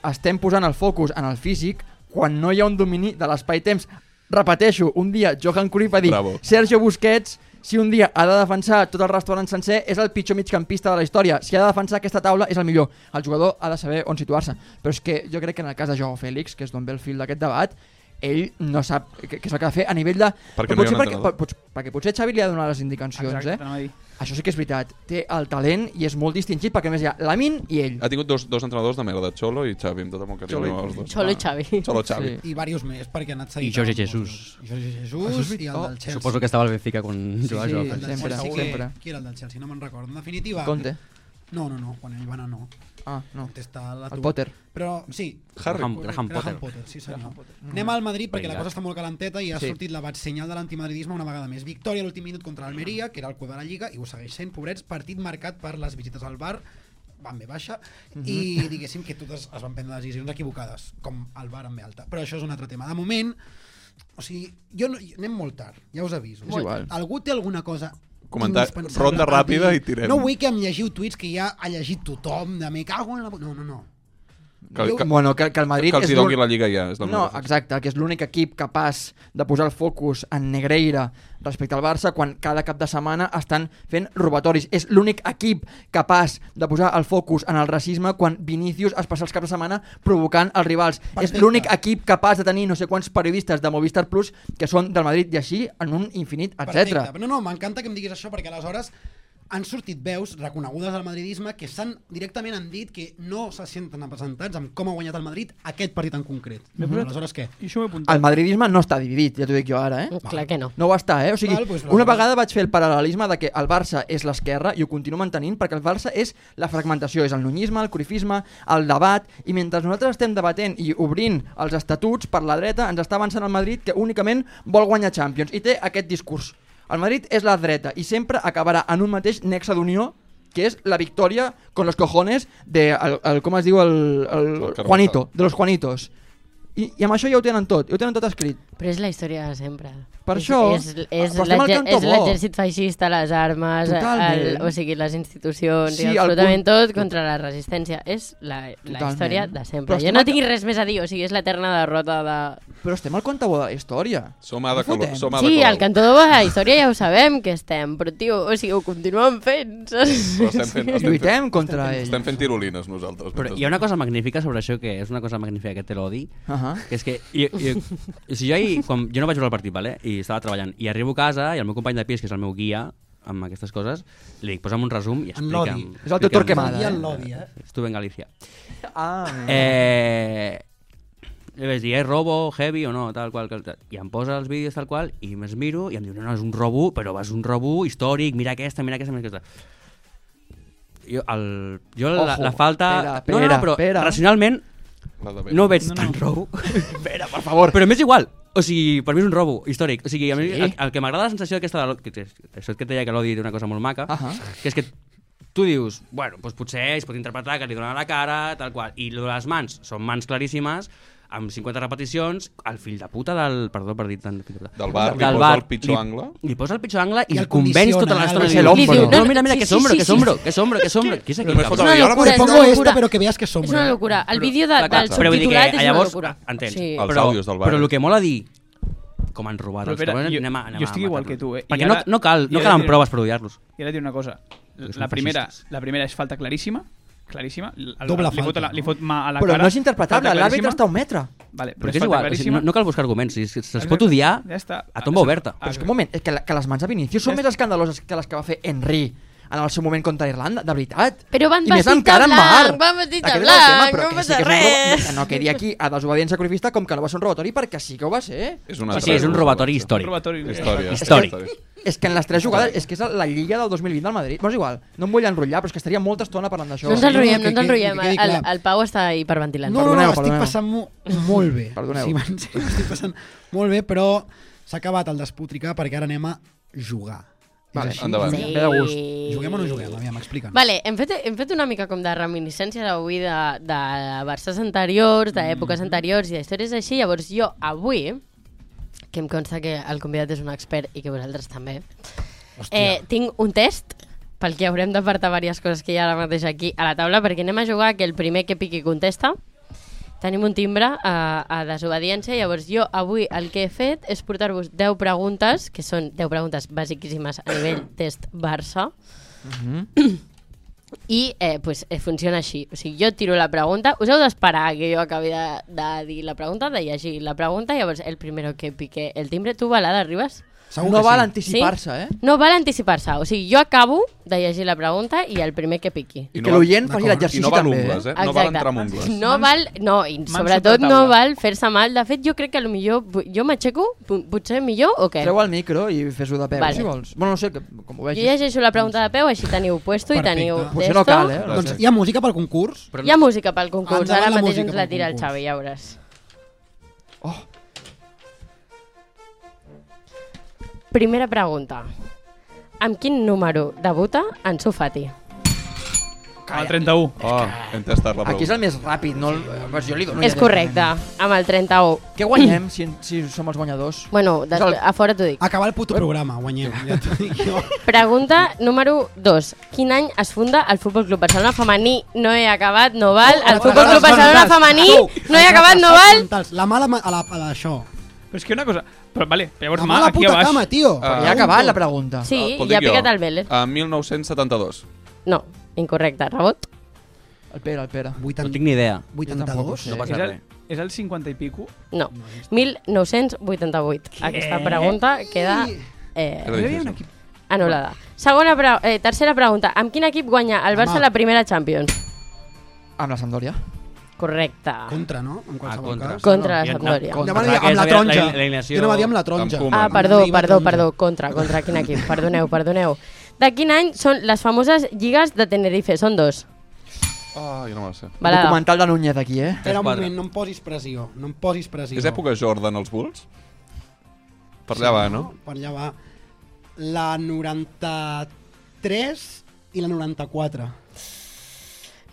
F: estem posant el focus en el físic quan no hi ha un domini de l'espai-temps. Repeteixo, un dia Johan Cruyff va dir
H: Bravo.
F: Sergio Busquets, si un dia ha de defensar tot el restaurant sencer, és el pitjor migcampista de la història. Si ha de defensar aquesta taula, és el millor. El jugador ha de saber on situar-se. Però és que jo crec que en el cas de Joao Fèlix, que és d'on ve el fil d'aquest debat, ell no sap què què és el que ha de fer a nivell de...
H: Perquè
F: Però
H: no hi ha
F: potser
H: un
F: perquè,
H: entrenador.
F: potser, perquè potser Xavi li ha donat les indicacions,
I: Exacte,
F: eh?
I: anava a dir.
F: Això sí que és veritat, té el talent i és molt distingit perquè a més hi ha Lamin i ell.
H: Ha tingut dos, dos entrenadors de merda, Xolo i Xavi, amb tot el meu carinyo. els dos.
J: Xolo i Xavi.
H: Xolo Xavi.
F: Sí.
E: I diversos més, perquè ha anat seguint.
G: I Jorge Jesús.
E: I Jorge Jesús i el del Chelsea.
G: Suposo que estava al Benfica quan
F: Sí,
G: jugava
F: sí,
G: sí,
E: El del
F: Sempre,
E: Chelsea que-
F: sempre.
E: Qui era el del Chelsea? No me'n recordo. En definitiva...
F: Conte.
E: No, no, no. Quan ell va anar, no.
F: Ah, no.
E: Conte està a la
F: El
E: tu-
F: Potter.
E: Però sí.
G: Graham, Graham Potter.
E: Graham Potter, sí senyor. Mm. Anem al Madrid perquè la
G: Vinga.
E: cosa està molt calenteta i ha
F: Sí.
E: sortit la bat senyal de l'antimadridisme una vegada més. Victòria a l'últim minut contra l'Almeria, que era el cua de la Lliga, i ho segueix sent, pobrets, partit marcat per les visites al bar, van bé baixa, i diguéssim que totes es van prendre decisions equivocades, com el bar en ve alta. Però això és un altre tema. De moment, O sigui, jo no, anem molt tard, ja us aviso.
F: És igual.
E: Algú té alguna cosa
H: Comenta-
E: indispensable
H: ronda
E: per dir?
H: ràpida i tirem.
E: No vull que em llegiu tuits que ja ha llegit tothom, de me cago en la... pu-". No, no, no.
H: Que, que,
F: Bueno, que, que el Madrid...
H: que els
F: és
H: hi doni
F: l'un-
H: la lliga ja. És la
F: No,
H: meva-
F: exacte, que és l'únic equip capaç de posar el focus en Negreira respecte al Barça quan cada cap de setmana estan fent robatoris. És l'únic equip capaç de posar el focus en el racisme quan Vinícius es passa els caps de setmana provocant els rivals.
E: Perfecte.
F: És l'únic equip capaç de tenir no sé quants periodistes de Movistar Plus que són del Madrid i així en un infinit, etc.
E: Perfecte. No, no, m'encanta que em diguis això perquè aleshores han sortit veus reconegudes al madridisme que s'han directament han dit que no se senten representats amb com ha guanyat el Madrid aquest partit en concret. Mm -hmm. Aleshores què?
I: Mm-hmm. I això m'ho he apuntat.
F: El madridisme no està dividit, ja t'ho dic jo ara, eh?
J: [laughs] Clar que no.
F: No ho està, eh? O sigui,
E: Val, doncs,
F: una
E: aleshores-
F: vegada vaig fer el paral·lelisme de que el Barça és l'esquerra i ho continuo mantenint perquè el Barça és la fragmentació, és el nunyisme, el corifisme, el debat, i mentre nosaltres estem debatent i obrint els estatuts per la dreta, ens està avançant el Madrid que únicament vol guanyar Champions i té aquest discurs. El Madrid és la dreta i sempre acabarà en un mateix nexe d'unió que és la victòria con los cojones de, el, el, com es diu, el,
H: El
F: el
H: Carvajal.
F: Juanito, de los Juanitos. I, I amb això ja ho tenen tot, ja ho tenen tot escrit.
J: Però és la història de sempre.
F: Per
J: és,
F: això,
J: És, és,
F: però estem al
J: l'ege-
F: cantó
J: és
F: bo.
J: l'exèrcit feixista, les armes,
F: Totalment.
J: el, o sigui, les institucions,
F: Sí,
J: sí, i
F: el
J: absolutament
F: punt-
J: tot contra la resistència. És la, la
F: Totalment.
J: història de
F: Però
J: sempre.
F: estem
J: Jo no
F: al-
J: tinc res més a dir, o sigui, és l'eterna derrota de...
F: Però estem al compte bo de la història.
H: Som Ada
F: Què
H: Colau.
F: fotem?
H: Som Ada
J: Sí,
H: Colau.
J: al cantó de la història ja ho sabem que estem, però tio, o sigui, ho continuem fent. saps?
H: Però estem fent, estem fent,
F: Lluitem contra ells.
H: estem fent tirolines nosaltres.
G: Però hi ha una cosa magnífica sobre això que és una cosa magnífica que té l'odi,
F: Uh -huh.
G: que és que jo, jo, o sigui, jo, ahir, quan, jo no vaig veure el partit, vale? i estava treballant, i arribo a casa, i el meu company de pis, que és el meu guia amb aquestes coses, li dic, posa'm un resum i
E: En l'odi.
G: explica'm...
F: És el teu Torquemada,
E: I el l'odi, eh?
G: Estuve en Galícia.
F: Ah,
G: Eh, li vaig dir, és robo, heavy o no, tal qual, tal, tal. I em posa els vídeos tal qual, i me'ls miro, i em diu, no, no, és un robo, però és un robo històric, mira aquesta, mira aquesta, mira aquesta. Jo, el, jo la,
F: Ojo,
G: la falta...
F: pera,
G: no, no,
F: pera,
G: però
F: pera.
G: racionalment
H: cosa...
G: no veig
I: No, no.
G: no, no. tant robo.
F: espera, per favor.
G: Però m'és igual. O sigui, per mi és un robo històric. O sigui, a mi,
F: Sí.
G: sí. el, el, que m'agrada la sensació aquesta de l'odi, que, que- això que et deia que l'odi té una cosa molt maca,
F: Ahà.
G: que és que tu dius, bueno, doncs potser es pot interpretar que li donen la cara, tal qual, i lo de les mans són mans claríssimes, amb 50 repeticions, el fill de puta del... Perdó per dir tant... Fill de puta,
H: Del bar, li posa el pitjor
G: li-
H: angle.
G: Li posa el pitjor angle
E: I
G: i,
E: el
G: el convenç
E: condiciona,
G: tota
E: el-
G: l'estona.
F: és el hombro.
G: No,
J: No, no,
G: mira, mira,
J: sí,
G: que
J: sí,
G: sombro,
J: sí,
G: que
J: sí.
G: sombro, que sombro, que sombro. Qui és
H: Però només
G: aquest?
H: falta
G: cabrón?
H: la viola, però
J: locura,
E: Te
J: és una
E: pongo
J: locura.
E: esto, però que veas que som.
J: És una locura. El vídeo de,
G: Clar,
J: del
G: clar. Però vull dir que,
J: subtitulat és una
G: llavors,
J: locura.
G: Entens?
J: Sí.
H: Els
G: Però,
H: àudios del bar.
G: Però el que mola dir com han robat
I: Però
G: els
I: espera,
G: cabrones,
I: jo-
G: anem a, anem
I: jo
G: a
I: estic igual
G: matar-los.
I: que tu, eh? I
G: Perquè
I: ara-
G: no, no, cal,
I: i
G: no
I: ara
G: calen
I: diré-
G: proves per odiar-los.
I: I ara et diré una cosa.
G: Perquè són
I: La primera,
G: feixistes.
I: la primera és falta claríssima, claríssima. El- el-
E: Doble
I: li fot,
E: falta,
I: la,
E: no?
I: li fot mà a la
F: Però
I: cara.
F: no és interpretable,
I: falta
F: l'àrbitre
I: claríssima.
F: està a un metre.
I: Vale, però,
G: Però és igual, o sigui, no, no cal buscar arguments, si se- se'ls pot odiar
I: Ja està.
G: a tomba oberta.
F: Però és que un moment, és que, la, que les mans de Vinícius són
I: Ja
F: més escandaloses que les que va fer Henry en el seu moment contra Irlanda, de veritat.
J: Però van
F: I més
J: vestit
F: amb cara
J: de
F: en mar.
J: blanc, van vestit de
F: Aquest és el
J: blanc,
F: però
J: no
F: que
J: passa
F: que és un roba-
J: res.
F: que No quedi aquí a desobediència sacrificista com que no va ser un robatori perquè sí que ho va ser.
H: És, una
G: O sigui, és un robatori
I: Un
G: històric.
I: robatori.
H: Història.
G: Històric.
F: És que en les tres jugades, és que és la Lliga del 2020 del Madrid. Bueno, és igual, no em vull enrotllar, però és que estaria molta estona parlant d'això.
J: No ens
E: el-
J: enrotllem, no
E: que-
J: ens
E: que-
J: enrotllem.
E: que quedi
J: El,
E: clar.
J: el Pau està hiperventilant.
E: No, no, no,
F: Perdoneu,
E: estic
F: perdoneu.
E: passant-mo molt bé.
F: [laughs] Perdoneu.
E: Sí, m'en- [laughs] estic passant molt bé, però s'ha acabat el despotricar perquè ara anem a jugar. És
F: Vale,
E: així?
H: endavant.
F: Em ve de gust.
E: Juguem o no juguem? Aviam, explica'm.
J: Vale, hem fet, hem fet una mica com de reminiscències avui de, de Barças anteriors, d'èpoques anteriors i d'històries així. Llavors jo avui, que em consta que el convidat és un expert i que vosaltres també, eh, tinc un test pel que haurem d'apartar diverses coses que hi ha ara mateix aquí a la taula, perquè anem a jugar que el primer que piqui contesta. Tenim un timbre a, a desobediència, llavors jo avui el que he fet és portar-vos 10 preguntes, que són 10 preguntes basiquíssimes a nivell test Barça, i eh, pues, eh, funciona així. O sigui, jo tiro la pregunta, us heu d'esperar que jo acabi de, de dir la pregunta, de llegir la pregunta, llavors el primero que pique el timbre, tu balada, arribes?
E: Segur
F: no
E: que
F: val
E: sí.
F: anticipar-se, eh?
J: No val anticipar-se, o sigui, jo acabo de llegir la pregunta i el primer que piqui.
F: I
H: I no
F: que
H: val-
F: l'oient faci
H: I
E: d'acord.
F: l'exercici
H: no val
F: també.
H: ungles, eh? No
J: Exacte.
H: val entrar amb ungles.
J: No val, no, i
I: mans
J: sobretot
I: sota
J: no
I: taula.
J: val fer-se mal. De fet, jo crec que millor, jo m'aixeco, po- potser millor o què?
F: Treu el micro i fes-ho de peu,
J: Vale.
F: si vols. Bueno, no sé, que, com ho
J: Jo
F: vegis.
J: llegeixo la pregunta de peu, així teniu puesto i
E: Perfecte.
J: teniu
F: Potser no
J: testo.
F: cal, eh?
E: Doncs hi ha música pel concurs?
G: Però
J: Hi ha música pel concurs,
E: Ah, Endavant
J: ara
E: la
J: mateix
E: música
J: ens la
E: pel
J: tira el
E: concurs.
J: Xavi, ja veuràs.
F: Oh.
J: Primera pregunta. Amb quin número debuta Ansu Fati?
I: El 31.
H: Oh, hem tastat la
F: Aquí és
H: pregunta.
F: el més ràpid, no? El... Pues jo li dono
J: És
F: ja
J: correcte, amb el 31.
F: directament. Què guanyem si, si som els guanyadors?
J: Bueno,
F: És el-
J: després, a fora t'ho dic.
E: Acabar el puto programa, guanyem. Ja t'ho dic jo.
J: Pregunta número 2. Quin any es funda el Futbol Club Barcelona femení? No he acabat, no
E: Oh,
J: val. El Futbol Club Barcelona femení? No he acabat, no val.
E: La mala... ma- A la, a la, això.
I: Però és que una cosa... Però, vale, llavors,
E: La
I: mà,
E: mala
I: aquí a
E: puta
I: baix...
E: cama, tio.
H: Ah.
F: Ja ha acabat la pregunta.
J: Sí,
H: Ah, pot
J: ja
H: dir jo.
J: pica't el Vélez.
H: A 1972.
J: No, incorrecte, rebot.
F: El Pere, el Pere.
G: No tinc ni idea.
E: 82?
G: No
I: És
G: passa
I: el,
G: res.
I: és el 50 i pico?
J: No, 1988. Aquesta pregunta queda
H: Era
J: eh,
I: Hi havia
H: difícil.
I: un equip...
J: anul·lada. Segona pre eh, tercera pregunta. Amb quin equip guanya el Barça
E: Home.
J: la primera Champions?
F: Amb la Sampdoria.
J: Correcte.
E: Eh, Contra, no? En
G: Ah,
E: qualsevol
G: contra.
E: cas.
J: Contra la
G: No,
J: Sampdoria.
E: Jo
G: contra.
E: anava a dir
G: Pensava que
E: amb la
G: és la- la-
E: taronja.
G: la alineació-
E: Jo anava a dir amb la taronja.
H: Amb Koeman.
J: Ah,
H: Home,
J: perdó,
E: Arriba
J: perdó,
E: taronja.
J: perdó. Contra, contra quin equip? Perdoneu, perdoneu. De quin any són les famoses lligues de Tenerife? Són dos.
H: Ah, jo no me la sé.
J: Balada.
F: Documental de Núñez aquí, eh?
E: Espera un
G: quatre.
E: moment, no em posis pressió. No em posis pressió.
H: És època Jordan als Bulls? Per allà va, no?
E: Per allà va. La 93 i la 94.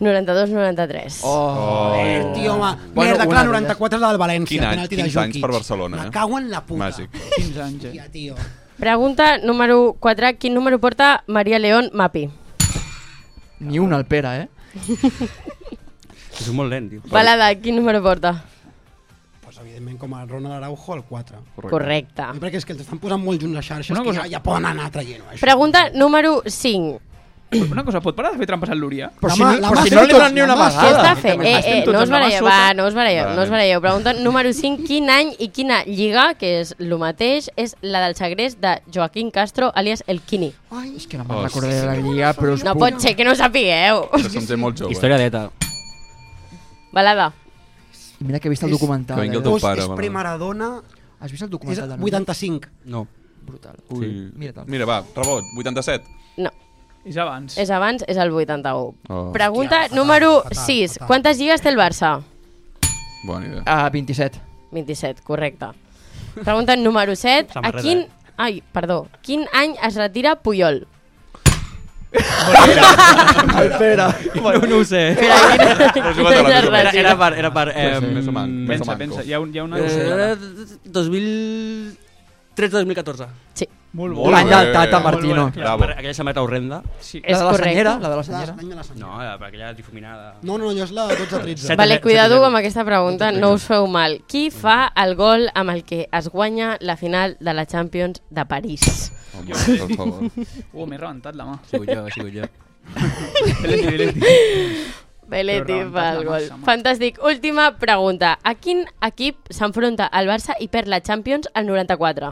J: 92-93.
F: Oh.
E: Oh. Eh, tio, home.
F: Bueno,
E: Bueno, Merda,
F: una
E: clar,
F: d'elles.
E: 94 és la del València.
H: Quin any?
E: penalti de
H: 15 anys
E: Jokic.
H: per Barcelona, eh?
E: Me cago en la puta.
H: Màgic.
I: 15 anys, eh?
E: Hòstia, tio.
J: Pregunta número 4. Quin número porta Maria León Mapi?
F: Ni un al Pere, eh?
G: És molt lent, tio.
J: Balada, quin número porta?
E: Pues, evidentment, com a Ronald Araujo, el 4.
J: Correcte.
E: Jo crec que és que els estan posant molt junts les xarxes,
I: Una
E: que
I: cosa-
E: ja, ja poden anar traient això.
J: Pregunta número 5.
I: Una cosa, pot parar de fer trampes al Lúria?
F: Però
E: La
F: si
E: mà-
F: no,
E: la
F: però
E: mà
F: si
E: s'ha fet
F: no li donen
E: tots,
F: ni
E: la
F: una
E: mà
J: Què
F: vegada.
J: està fent? Eh, eh,
I: Estem tots
J: no us
I: a la mà
J: baralleu,
I: sota.
J: va, no us baralleu, no us
H: Vale.
J: baralleu. Pregunta número 5. Quin any i quina lliga, que és el mateix, és la del segrest de Joaquín Castro, alias El Quini?
E: Ai,
F: És que no me'n
H: Hòstia.
F: recordaré de la Lliga, però us
J: No
F: puc...
J: pot ser que no ho sapigueu. [laughs]
H: Això se'm té molt jove.
G: Història d'ETA.
J: Balada.
F: I Mira que he vist el
E: És-
F: documental.
H: Que vingui el
F: eh?
H: teu
E: Dos
H: pare,
E: és
H: bueno.
E: pre-Maradona,
F: Has vist el
E: és
F: documental de Núñez?
E: 85.
G: No.
F: Brutal.
H: Sí.
F: Mira tal.
H: Mira, va, rebot, 87.
J: No,
I: És abans.
J: és abans, és el 81.
H: Oh.
J: Pregunta
E: Hòstia, fatal,
J: número
E: fatal,
J: 6.
E: fatal.
J: Quantes lligues té el Barça?
H: Bona idea.
F: Ah, 27.
J: 27, correcte. Pregunta número 7. A
G: Samarreta,
J: quin...
G: eh?
J: Ai, perdó. Quin any es retira Puyol?
F: Espera.
G: [laughs] No, no ho sé.
J: Espera,
H: Però és igual,
J: quin any
H: més
J: es
H: o menys.
G: Era,
J: retira?
G: era per... Era per eh,
H: Més o man- més o
I: Pensa,
H: manco.
I: pensa. Hi ha, un, hi ha una...
G: Eh, 2013-2014.
J: Sí,
I: Molt bo.
H: Molt
F: L'any
H: bé.
F: del Tata
H: Molt
F: Martino.
I: bé.
H: Bravo.
G: Per aquella samarreta horrenda.
I: Sí.
J: és
F: la de la senyera?
J: correcte.
F: La de la
E: La-
F: senyera?
E: L'any de la senyora.
G: No, era per aquella difuminada.
E: No, no, jo és la 12-13.
G: Set.
J: Vale,
G: Setze-
J: cuidado
G: setze-
J: amb aquesta pregunta, no us feu mal. Qui fa el gol amb el que es guanya la final de la Champions de París?
H: Home, per favor.
I: Oh, m'he rebentat la mà.
G: Sigo jo, sigo jo.
I: Beleti, beleti.
J: Belletti
I: Però
J: fa
I: rebentat
J: el
I: la
J: gol.
I: massa, home.
J: Fantàstic. Última pregunta. A quin equip s'enfronta el Barça i perd la Champions al 94?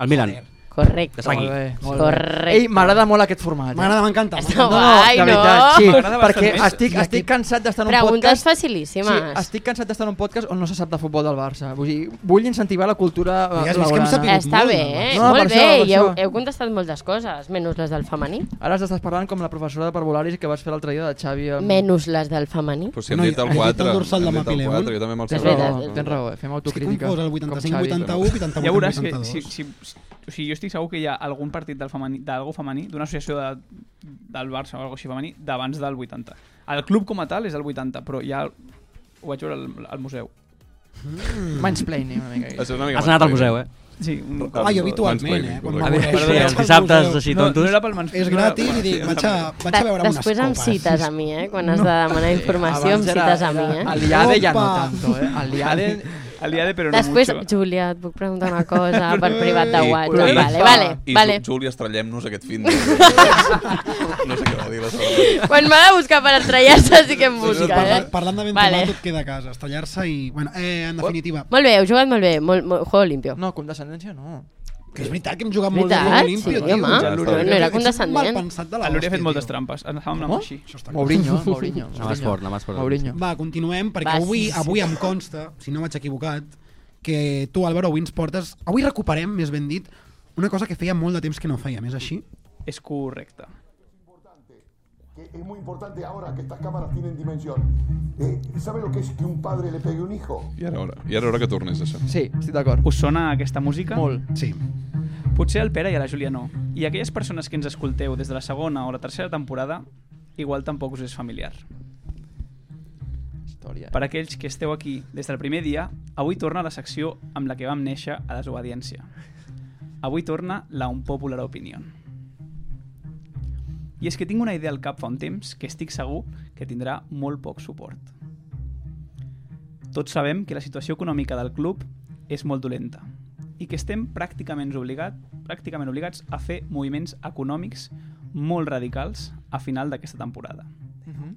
G: El Milan.
J: Correcte.
G: De sang.
F: Molt bé, molt bé.
J: Correcte.
F: Ei, m'agrada molt aquest format. eh?
E: M'agrada, m'encanta.
J: Està
F: No, no,
J: guai,
F: de
J: no?
F: veritat, sí,
I: M'agrada bastant
F: perquè
I: més.
F: estic,
E: I
F: estic
E: aquí-
F: cansat d'estar en un
J: Preguntes
F: podcast... Sí,
J: facilíssimes.
F: estic cansat d'estar en un podcast on no se sap de futbol del Barça. Vull dir, vull incentivar la cultura eh,
E: Ja has vist que hem
F: blaugrana.
E: sapigut.
J: Està
E: Molt,
J: bé,
E: no?
J: eh?
F: No, no,
J: Molt
F: per
J: bé,
F: això, per
J: i heu,
F: això.
J: heu contestat moltes coses, menys les del femení.
F: Ara has d'estar parlant com la professora de parvularis que vas fer l'altre dia de Xavi. Amb...
J: Menys les del femení.
H: Però si hem
E: No,
H: dit
E: has
H: el
E: dit el
H: 4,
E: dorsal de
H: hem dit el
E: Mapilemon.
H: 4, jo també me'l
F: Tens
J: És
F: raó,
J: veritat.
F: tens raó, eh?
E: Estic
F: fem autocrítica.
E: confós, el
F: com
E: 85,
F: Xavi.
E: 81, 88,
I: Ja veuràs que...
E: 82.
I: Si, si, o sigui, jo estic segur que hi ha algun partit del femení, d'algú femení, d'una associació de, del Barça o alguna cosa així femení, d'abans del 80. El club com a tal és el 80, però ja el- ho vaig veure al, al museu.
F: Mansplaining una
J: [laughs]
F: mica. aquí.
G: Has anat al museu, eh?
I: Sí, un...
H: Ah,
E: Ah, jo habitualment, eh? Quan
G: A
H: correcte.
G: mi,
E: m'avorreixo,
G: perdó,
E: vaig
G: els
E: al
G: dissabtes
E: museu.
G: així
I: no, no
G: tontos.
I: era pel mans...
E: És
I: no era-
E: gratis i
I: bueno,
E: dic,
I: sí,
E: vaig a, vaig a
J: De-
E: veure unes
J: Després em
E: copes.
J: cites a mi, eh? Quan has de demanar
I: Eh,
J: informació, em
F: Abans era-
J: cites a mi,
F: era
J: eh?
F: Aliade ja no
E: Opa!
F: tanto, eh? Aliade...
I: Aliade, però no
J: Després,
I: mucho.
J: Júlia, et puc preguntar una cosa
I: [laughs]
J: per privat de
H: I-
J: WhatsApp.
H: i-
J: eh, Vale, vale,
H: I
J: vale.
H: vale. Júlia, estrellem-nos aquest fin de...
J: [laughs]
H: no sé què va dir la segona.
J: Quan m'ha de buscar per estrellar-se sí que em busca, eh?
E: Parlant, parlant de ben
J: Vale.
E: vale. tot queda a casa, estallar-se i... Bueno, eh, en definitiva,
J: Molt bé, heu jugat molt bé, molt, molt juego limpio.
F: No, condescendència no.
E: que és veritat que hem jugat molt bé
J: Veritat?
E: a
J: Sí,
E: l'Olimpia.
J: home.
H: Ja
J: No, no era condescendent.
E: Mal pensat de la
I: El Luri ha fet
E: hòstia,
I: moltes
E: tio.
I: trampes. Anàvem
F: Com?
I: amb així.
E: Això està clar.
I: [laughs]
F: Mourinho, Mourinho.
G: Anava fort, anava fort.
F: Mourinho.
E: Va, continuem, perquè
J: Va, sí,
E: avui,
J: sí.
E: avui em consta, si no m'haig equivocat, que tu, Álvaro, avui ens portes... Avui recuperem, més ben dit, una cosa que feia molt de temps que no feia, més així.
I: És correcte.
K: que es muy importante ahora que estas cámaras tienen dimensión. Eh, ¿Sabe lo que es que un padre le pegue a un hijo?
H: I ara hora, i ara hora que tornis, això.
F: Sí, estic d'acord.
I: Us sona aquesta música?
F: Molt.
E: Sí.
I: Potser al Pere i a la Júlia no. I aquelles persones que ens escolteu des de la segona o la tercera temporada, igual tampoc us és familiar.
F: Història.
I: Per aquells que esteu aquí des del primer dia, avui torna la secció amb la que vam néixer a desobediència. Avui torna la Unpopular Opinion. I és que tinc una idea al cap fa un temps que estic segur que tindrà molt poc suport. Tots sabem que la situació econòmica del club és molt dolenta i que estem pràcticament, obligat, pràcticament obligats a fer moviments econòmics molt radicals a final d'aquesta temporada.
F: Mhm.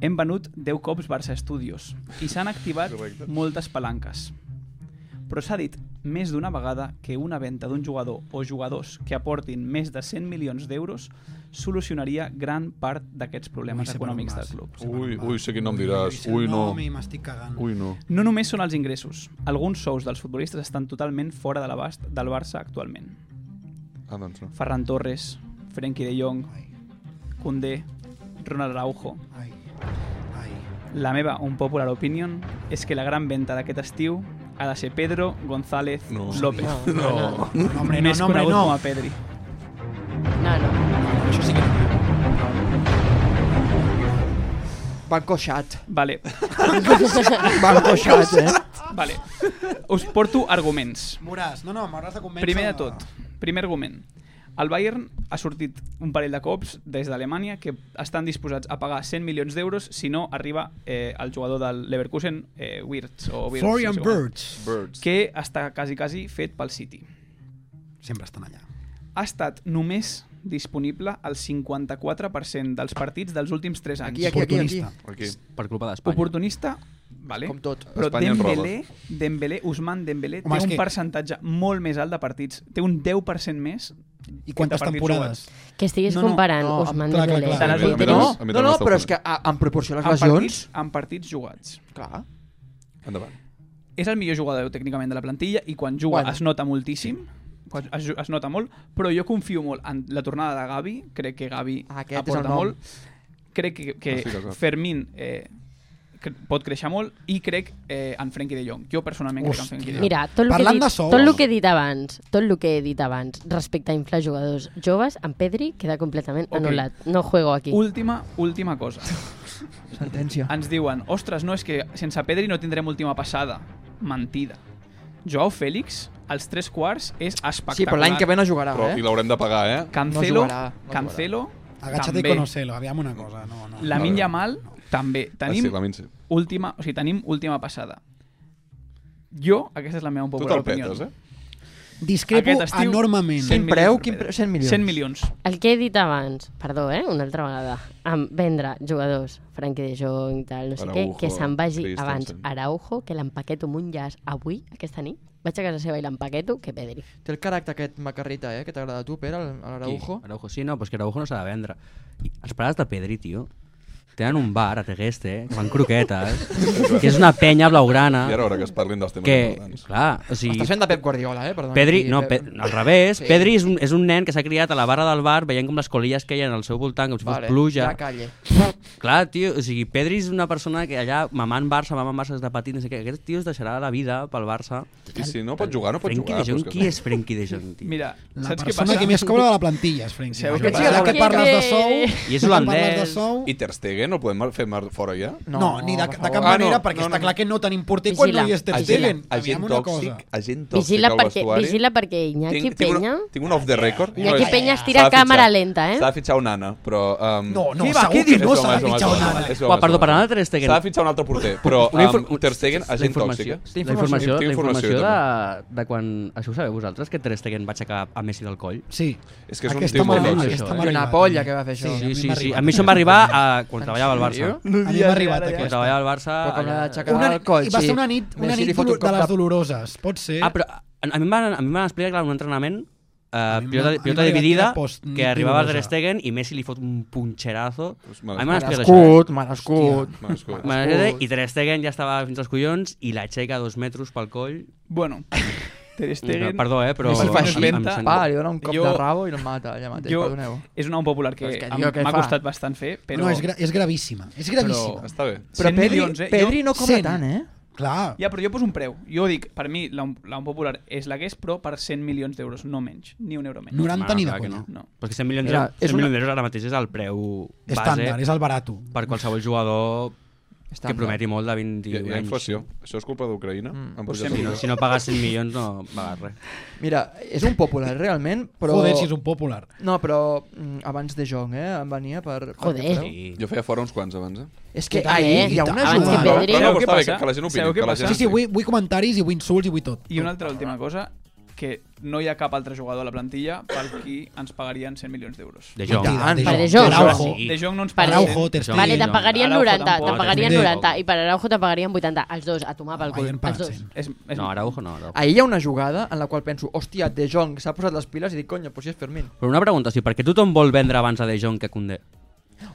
I: Hem venut 10 cops Barça Studios i s'han activat moltes palanques. Però s'ha dit més d'una vegada que una venda d'un jugador o jugadors que aportin més de 100 milions d'euros solucionaria gran part d'aquests problemes
E: Ui, se
I: econòmics
E: me'n
I: del club.
H: Ui, ui, sé quin nom diràs. Ui, no.
E: i m'estic cagant.
H: Ui, no.
I: No només són els ingressos. Alguns sous dels futbolistes estan totalment fora de l'abast del Barça actualment.
H: Ah, doncs no.
I: Ferran Torres, Frenkie de Jong, Koundé, Ronald Araujo...
E: Ai. Ai.
I: La meva unpopular opinion és que la gran venta d'aquest estiu ha de ser Pedro González
H: No.
I: López.
H: No.
E: No, hombre, no,
I: més
E: no, hombre,
I: conegut com a
E: no.
I: Pedri.
J: No, no.
E: Això sí que...
F: Banco xat.
I: Vale,
F: Banco xat, eh?
I: vale. Us porto arguments.
E: M'hauràs, no, no, m'hauràs de convèncer.
I: Primer de tot, primer argument. El Bayern ha sortit un parell de cops des d'Alemanya que estan disposats a pagar 100 milions d'euros si no arriba eh, el jugador del Leverkusen, eh, Wirtz o Wirtz, no
E: Florian
I: sé com es diu,
E: Birds.
H: Birds.
I: que està quasi, quasi fet pel City.
E: Sempre estan allà.
I: ha estat només disponible el 54% dels partits dels últims 3 anys.
F: Aquí, aquí, aquí, aquí.
E: Oportunista.
H: Aquí.
G: Per culpa d'Espanya.
I: Oportunista, vale.
F: Com tot.
I: Però
H: Espanya en
I: Dembélé, Dembélé, Usman Dembélé,
E: Home,
I: té
E: és
I: un
E: que-
I: percentatge molt més alt de partits. Té un 10% més
E: I quantes
I: de partits
E: temporades?
I: jugats.
J: Que estiguis
F: No,
J: no,
F: no,
J: comparant
F: no,
J: no, Usman
E: clar, clar,
J: Dembélé.
E: clar.
I: De les
H: A mi també
I: últimes-
H: a mi també
F: No, no,
H: m'està
F: però és que ah,
H: ofenent.
F: a, em proporciona
I: en
F: les lesions.
I: partits, en partits jugats.
F: Clar.
H: Endavant.
I: És el millor jugador tècnicament de la plantilla i quan juga
F: Bueno.
I: es nota moltíssim, quan es, es nota molt, però jo confio molt en la tornada de Gavi, crec que Gavi
F: Ah, Aquest és el
I: aporta
F: nom.
I: molt, crec que, que
H: Estic d'acord.
I: Fermín eh, cre- pot créixer molt i crec eh, en Frenkie de Jong. Jo personalment crec en Frenkie de Jong.
J: Mira, tot el, que he
E: Parlant
J: dit,
E: de sous.
J: tot el que he dit abans, tot el que he dit abans respecte a inflar jugadors joves, en Pedri queda completament
I: Ok.
J: anul·lat. No juego aquí.
I: Última, última cosa.
F: Sentència.
I: Ens diuen, ostres, no, és que sense Pedri no tindrem última passada. Mentida. Joao Félix, als tres quarts, és espectacular.
F: Sí, però l'any que ve no jugarà,
H: Però, I
F: eh?
H: l'haurem de pagar, eh?
I: Cancelo,
F: No jugarà, no
I: Cancelo,
E: Agacha't i
I: també.
E: conocelo, aviam una cosa. No, no.
I: La Minya Mal, també.
H: Tenim... Ah,
I: Tenim
H: sí, la Minci.
I: última, o sigui, tenim última passada. Jo, aquesta és la meva un
H: Tu
I: poc
H: te'l petes, eh?
E: Discrepo
I: Aquest estiu-
E: enormement.
I: Sí.
F: Quin
I: milions
F: preu?
I: per
F: Quin
I: Pedri.
F: preu? 100 milions.
I: 100 milions.
J: El que he dit abans, perdó, eh, una altra vegada, amb vendre jugadors, Frankie de Jong, tal, no sé
H: Araujo,
J: què, que se'n vagi abans
H: Christensen.
J: Araujo, que l'empaqueto amb un llaç avui, aquesta nit, vaig a casa seva i l'empaqueto, que Pedri.
F: Té el caràcter aquest macarrita, eh? Que t'agrada a tu, Pere, el- l'Araujo.
G: Qui? Araujo, sí, no, però és que Araujo no s'ha de vendre. I els pares de Pedri, tio, tenen un bar a Tegeste, que fan croquetes, que és una penya blaugrana,
H: I ara a veure que es parlin dels temes
G: que,
H: importants.
G: clar, o sigui,
F: Estàs fent de Pep Guardiola, eh? Perdona.
G: Pedri,
F: Aquí,
G: no,
F: Pep.
G: pe al revés,
F: Sí.
G: Pedri és un, és un nen que s'ha criat a la barra del bar veient com les colilles queien al seu voltant, com si fos
F: Vale,
G: pluja.
F: Ja calle.
G: Clar, tio, o sigui, Pedri és una persona que allà, mamant Barça, mamant Barça des de petit, no sé què, aquest tio es deixarà la vida pel Barça.
H: I si no pot jugar, no pot
G: Frenkie
H: jugar.
G: de
H: però
G: Jong,
H: que
G: qui és Frenkie de Jong, tio?
I: Mira,
E: La
I: saps què
E: persona
I: passa?
E: que més cobra de la plantilla és Frenkie.
I: Sabeu
E: de
I: que
E: Jong.
I: sí,
E: Ara que
J: que-
E: parles de sou...
G: I és
E: que parles
G: holandès.
E: de sou,
H: I Ter Stegen el podem fer mar- fora ja?
E: No, no, ni de,
F: per
E: de cap
F: favor.
H: Ah, no,
E: manera, perquè
H: no,
E: està
H: no.
E: clar que no tenim porter quan
J: Vigila,
E: no hi és Ter
J: vigila.
E: Stegen. Aviam
H: agent
E: una cosa.
H: tòxic, agent tòxic
J: Vigila
H: al
J: perquè,
H: vestuari.
J: vigila perquè Iñaki
H: Tinc- tinc una-
J: Penya...
H: Tinc un off the record.
J: Iñaki
H: No, és-
J: Peña es tira
H: s'ha de fitxar.
J: càmera lenta, eh?
H: S'ha de fitxar un Anna, però...
G: Mm.
H: Um,
E: No, no,
I: Què va,
E: segur
I: què
E: que
I: dius?
E: no
H: és
E: s'ha
H: home,
E: de
H: és home,
E: fitxar
H: és
E: un
H: home,
E: ara.
H: és home,
G: Uah,
H: és
G: perdó,
H: home.
G: per anar de Ter Stegen.
H: S'ha de fitxar un altre porter, però
G: La
H: um,
G: infor-
H: Ter Stegen,
G: la
H: agent
G: informació-
H: tòxic.
F: Té
G: La informació,
H: informació,
G: la
H: té
G: informació
H: informació,
G: de, de quan... Això ho sabeu vosaltres, que Ter Stegen va aixecar a Messi del coll?
E: Sí.
H: És que és un
E: Aquesta
H: tio molt
E: m'ha-
G: lògic,
E: aquesta
G: això, eh?
E: m'ha
F: I una
E: arribat,
F: polla
E: a mi.
F: que va fer això.
E: a mi
G: Sí,
E: m'ha
G: sí, sí.
E: arribat.
G: A mi això m'ha arribat a... quan treballava al Barça.
F: sèrio?
E: A mi m'ha arribat
G: Quan
E: aquesta.
G: treballava al Barça...
F: Però com l'ha d'aixecar
E: Una,
F: el coll,
E: I va
F: sí.
E: ser una nit, una
F: Messi li
E: nit
F: fot un
E: dolo- de
F: cop
E: les
F: de-
E: doloroses. Pot ser...
G: Ah, però a, a, mi em van, a mi em van explicar que en un entrenament eh,
E: mi m'ha- a
G: pilota,
E: mi m'ha
G: pilota
E: arribat
G: dividida,
E: aquella post-
G: que arribava
E: dolorosa.
G: Ter Stegen i Messi li fot un punxerazo.
H: Pues
G: A
H: me
G: mi
H: l'has-
G: m'han explicat això. eh.
F: Merescut, merescut.
H: Bueno, escolta.
G: M'han explicat, I Ter Stegen ja estava fins als collons i l'aixeca a dos metres pel coll.
I: Bueno, Ter Stegen...
G: Perdó, eh, però...
I: Messi
F: Si
I: Oh,
F: fa
I: em-
F: així,
I: em
G: sento-
F: pa, li dona un cop
I: Jo-
F: de rabo i no em mata allà mateix,
I: jo,
F: perdoneu.
I: [laughs] és una un popular que
F: Però és que,
I: em-
F: tio, què
I: m'ha
F: fa?
I: costat bastant fer, però...
E: No, és, gra és gravíssima. És gravíssima.
H: Està bé.
F: Però
I: 100
F: Pedri,
I: milions, eh?
F: Pedri
I: Jo-
F: no cobra
E: cent.
F: tant, eh?
E: Clar.
I: Ja, però jo poso un preu. Jo dic, per mi, la, la popular és la que és, però per 100 milions d'euros, no menys, ni un euro menys.
E: 90 ni de
G: clar que
E: conya.
I: No.
G: Però és que 100 milions
F: Era-
G: d'euros
F: és
G: 100
F: una-
G: milions d'euros ara mateix és el preu base
E: Estàndard, és el barato.
G: per qualsevol jugador que
F: Estàndard.
G: prometi molt de 21
H: Hi ha, hi ha
G: anys.
H: inflació. Això és culpa d'Ucraïna?
F: Mm.
H: Han
I: Pues
H: pujat
I: sí,
H: els
G: No,
H: preus?
G: si no pagues 100 milions no pagues res.
F: Mira, és un popular realment, però...
E: Joder, si és un popular.
F: No, però mm, abans de Jong, eh? Em venia per... per
J: Joder.
F: aquest preu.
G: Sí.
H: Jo feia fora uns quants abans, eh?
F: És que
J: Jo també,
F: ahir hi ha
E: i
F: una
E: tant.
J: Abans que
F: jugada...
J: Pedri.
H: Però no,
I: Sabeu
H: però
I: què
H: està bé,
I: passa?
H: que- que la gent opini,
I: Sabeu què
H: que la
I: passa?
H: gent-
E: Sí, sí, vull, vull comentaris i vull insults i vull tot.
I: I una altra última cosa, que no hi ha cap altre jugador a la plantilla per qui ens pagarien 100 milions d'euros.
G: De
E: I
G: Jong.
E: tant,
J: Per
E: De
J: De
E: Jong.
J: Jong.
E: Araujo.
G: Sí.
I: De Jong no ens
J: Per
I: paguen.
E: Araujo, Ter Stegen.
J: Vale, te
G: no.
J: pagarien
I: Araujo
J: 90,
I: tampoc.
J: te pagarien
E: Tampoc.
J: 90 i per Araujo te pagarien 80, els dos, a tomar pel cul,
E: Bayern
J: els
E: paga
J: dos.
E: 100.
I: És, és,
G: No, Araujo no,
J: Ah.
G: Araujo.
F: Ahir hi ha una jugada en la qual penso, hòstia, De Jong s'ha posat les piles i dic, conya, però si és Fermín.
G: Però una pregunta, sí, per què tothom vol vendre abans a De Jong que Koundé?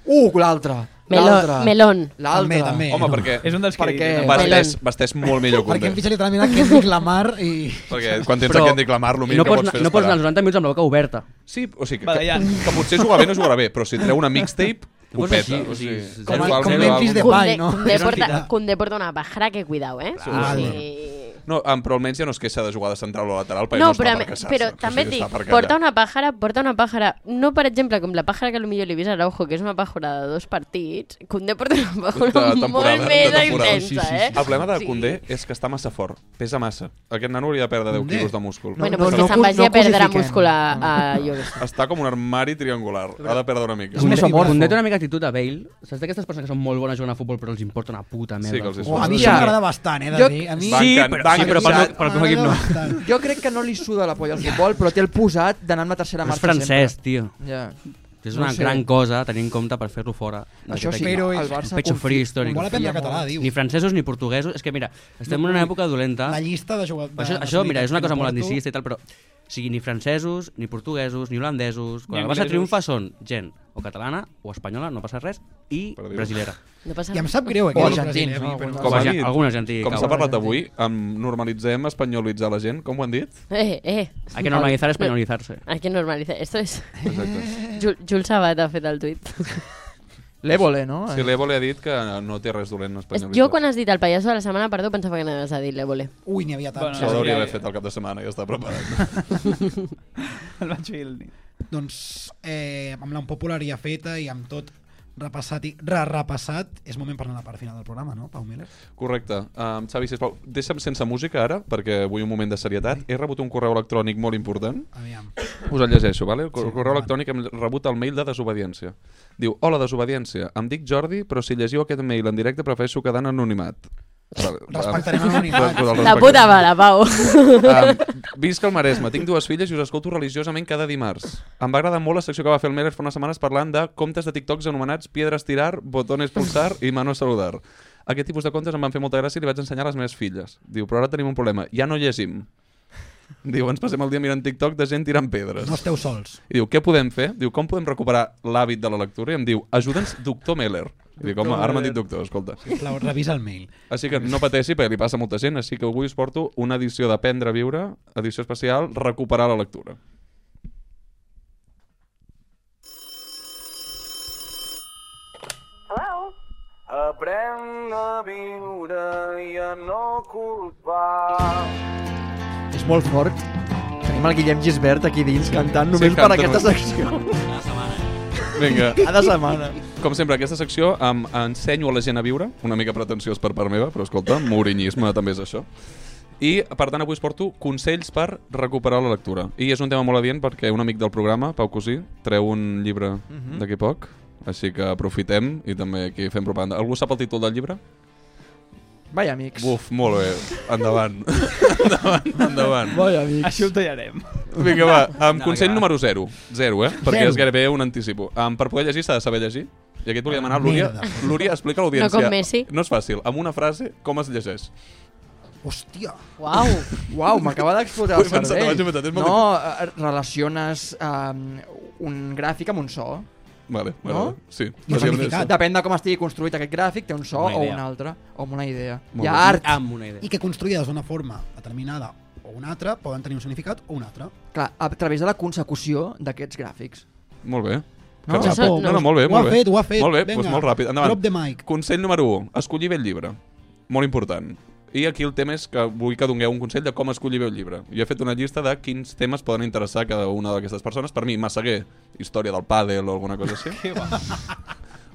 F: Uh, l'altra!
J: Meló-
F: l'altra,
J: melón.
E: També,
F: L'altra.
E: també.
H: Home,
E: no.
H: perquè
I: és un dels que...
F: Per què?
I: diuen,
H: vesteix, vesteix molt millor
G: [laughs]
H: que un
E: Perquè hem
H: Perquè,
E: fitxat literalment a Kendrick Lamar i...
H: quan tens
G: Però-
H: però... aquest clamar, el
G: I
H: millor
G: no
H: que
G: pots,
H: pots
G: anar-
H: fer
G: no
H: és
G: pots anar
H: parar.
G: els 90 minuts amb la boca oberta.
H: Sí, o sigui, que,
I: Badallant.
H: que, que potser jugar bé no jugarà bé, però si treu una
G: [laughs]
H: mixtape, ho
G: Llavors,
H: peta.
G: així,
H: O sigui,
G: o sigui,
H: com,
G: zero-
H: com
G: zero
E: Memphis de-
G: algun-
E: Depay, no?
J: Koundé
E: És una
J: porta,
E: tira.
J: Koundé porta una pajara que cuidao, eh?
E: Clar.
J: O sigui-
H: No, em- però almenys ja no es queixa de jugar de central o lateral perquè
J: No,
H: Pues no,
J: però,
H: està
J: a
H: per
J: mi-
H: casar-se.
J: però
H: O sigui,
J: també et
H: està
J: dic,
H: per
J: porta
H: callar.
J: una pàjara, porta una pàjara, no per exemple com la pàjara que potser li he vist a Araujo, que és una pàjara de dos partits, Koundé porta una pàjara
H: De temporada,
J: molt
H: de
J: més
H: temporada.
J: intensa,
G: Sí, sí, sí.
J: eh?
H: El problema de
J: Sí.
H: Condé és que està massa fort, pesa massa. Aquest nano hauria de perdre 10
E: Koundé?
H: quilos de múscul.
J: Bueno,
F: no,
J: pues
F: no
J: que se'n
F: cu-
J: vagi
F: no
J: a perdre
F: cosifiquem.
J: múscul a,
F: Ah.
J: a jo què sé.
H: Està com un armari triangular, ha de perdre una mica.
F: És un mesomorfo.
G: Koundé té una mica actitud de Bale. Saps d'aquestes persones que són molt bones jugant a futbol però els importa una puta merda?
H: Sí, que els
G: el
H: és-
G: futbol?
E: Oh, a mi
F: Hòstia.
E: això m'agrada bastant, eh, de
F: Jo-
E: dir. A mi...
H: Banquen,
G: Sí, però, sí,
H: banquen.
G: però pel, meu- pel teu equip no.
E: M'agrada bastant.
F: Jo crec que no li suda la polla al futbol, però té el posat d'anar amb la tercera
G: És
F: marxa
G: francès, tio.
F: sempre. Ja.
G: És
F: No
G: una
F: sé.
G: gran cosa tenir en compte per fer-lo fora.
F: Això
G: d'aquest
F: sí,
G: equip.
E: Però
F: el
E: és-
F: Barça...
G: Pecho
F: confi-
G: frí històric.
E: Vol aprendre català, diu.
G: Ni francesos ni portuguesos. És que mira, estem en una època dolenta.
E: La llista de jugadors...
G: Això, Ah. això mira, és una cosa molt anticista i tal, però... O sigui, ni francesos, ni portuguesos, ni holandesos... Quan
I: Ni
G: el Barça
I: anglesos.
G: triomfa són gent o catalana o espanyola, no passa res, i
H: Perdiu.
G: brasilera.
J: No passa
E: I em
J: res.
E: sap greu, eh,
F: O
E: aquest.
F: argentins, no?
H: Com
G: Com
H: ha
G: Argen,
H: dit.
G: algun argentí.
H: Com s'ha parlat avui, em normalitzem espanyolitzar la gent, com ho han dit?
J: [laughs] Eh, eh.
G: Hay que normalitzar espanyolitzar-se.
J: Hay que normalizar. Esto es...
H: Exacte.
J: Jul, Jul Sabat ha fet el tuit.
F: L'Evole, no?
H: Si l'Evo li ha dit que Pues no té res dolent espanyolitzar.
J: Jo quan has dit el pallasso de la setmana, perdó, pensava que anaves a dir l'Evole.
E: Ui, n'hi havia tants.
H: Això
I: Bueno,
H: hauria
I: Sí.
H: d'haver fet el cap de setmana, ja està preparat.
I: El vaig fer el nit.
E: Doncs eh, amb l'empopular ja feta i amb tot repassat i re-repassat, és moment per anar a la part final del programa, no, Pau Miller?
H: Correcte. Um, Xavi, sisplau, deixa'm sense música ara, perquè vull un moment de serietat. He rebut un correu electrònic molt important.
E: Aviam.
H: Us el llegeixo, vale? El cor-
E: Sí,
H: correu
E: endavant.
H: electrònic hem rebut el mail de desobediència. Diu, hola desobediència, em dic Jordi, però si llegiu aquest mail en directe prefereixo quedar en anonimat. Vale,
E: Respectarem
H: em-
E: l'anonimat.
H: Doncs el
J: La puta mare, Pau.
H: respectem. Em, visc al Maresme, tinc dues filles i us escolto religiosament cada dimarts. Em va agradar molt la secció que va fer el Meller fa unes setmanes parlant de comptes de TikToks anomenats Piedras tirar, botones pulsar i manos saludar. Aquest tipus de comptes em van fer molta gràcia i li vaig ensenyar a les meves filles. Diu, però ara tenim un problema, ja no llegim. Diu, ens passem el dia mirant TikTok de gent tirant pedres.
E: No esteu sols.
H: I diu, què podem fer? Diu, com podem recuperar l'hàbit de la lectura? I em diu, ajuda'ns, doctor Meller. I dic, home, ara m'ha dit doctor, escolta.
E: Sisplau, revisa el mail.
H: Així que no pateixi, perquè li passa a molta gent, així que avui us porto una edició d'Aprendre a Viure, edició especial, recuperar la lectura.
L: Aprem a viure i a no culpar.
F: És molt fort. Tenim el Guillem Gisbert aquí dins cantant
H: Sí,
F: només per
H: canta
F: aquesta
H: només.
F: secció.
H: Vinga,
F: Cada setmana.
H: com sempre, aquesta secció em ensenyo a la gent a viure, una mica pretensiós per part meva, però escolta, mourinyisme també és això. I, per tant, avui us porto consells per recuperar la lectura. I és un tema molt adient perquè un amic del programa, Pau Cosí, treu un llibre
J: Mhm.
H: d'aquí poc, així que aprofitem i també aquí fem propaganda. Algú sap el títol del llibre?
F: Vai, amics.
H: Buf, molt bé. Endavant. [laughs] endavant, endavant.
F: Vai, amics.
I: Així ho tallarem.
H: Vinga, va. Amb consell
G: vinga, va.
H: número 0. 0, eh? Perquè
E: Zero.
H: és gairebé un anticipo. Um, per poder llegir s'ha de saber llegir. I aquí et volia demanar, Lúria,
E: Merda.
H: Lúria, explica a l'audiència.
J: No com Messi.
H: No és fàcil. Amb una frase, com es llegeix?
E: Hòstia,
J: Uau.
F: Uau, m'acaba d'explotar
H: Ho
F: el
H: he pensat,
F: cervell.
H: ho vaig inventar, és molt
F: No, eh, relaciones eh, un gràfic amb un so.
H: Vale, vale.
F: No?
H: Sí.
E: I el
H: Bàsicament
E: significat.
H: això.
F: Depèn de com estigui construït aquest gràfic, té un so
G: Una
F: o
G: idea. Ah,
F: un altre, o amb una idea.
H: Molt
F: Hi ha
H: bé.
F: art.
G: Amb una idea.
E: i que construïdes d'una forma determinada o una altra poden tenir un significat o un altre.
F: Clar, a través de la consecució d'aquests gràfics.
H: Molt bé.
F: No?
H: Que
J: Això
H: ràpid.
J: no-
H: no, no, [laughs] molt bé,
E: ho
H: molt
E: ha
H: bé.
E: fet, ho ha fet.
H: Molt bé,
E: Vinga,
H: doncs molt ràpid. Endavant.
E: Drop the mic.
H: Consell número 1. Escollir bé el llibre. Molt important. I aquí el tema és que vull que dongueu un consell de com escollir bé un llibre. Jo he fet una llista de quins temes poden interessar a cada una d'aquestes persones. Per mi, Massaguer, història del pàdel o alguna cosa així.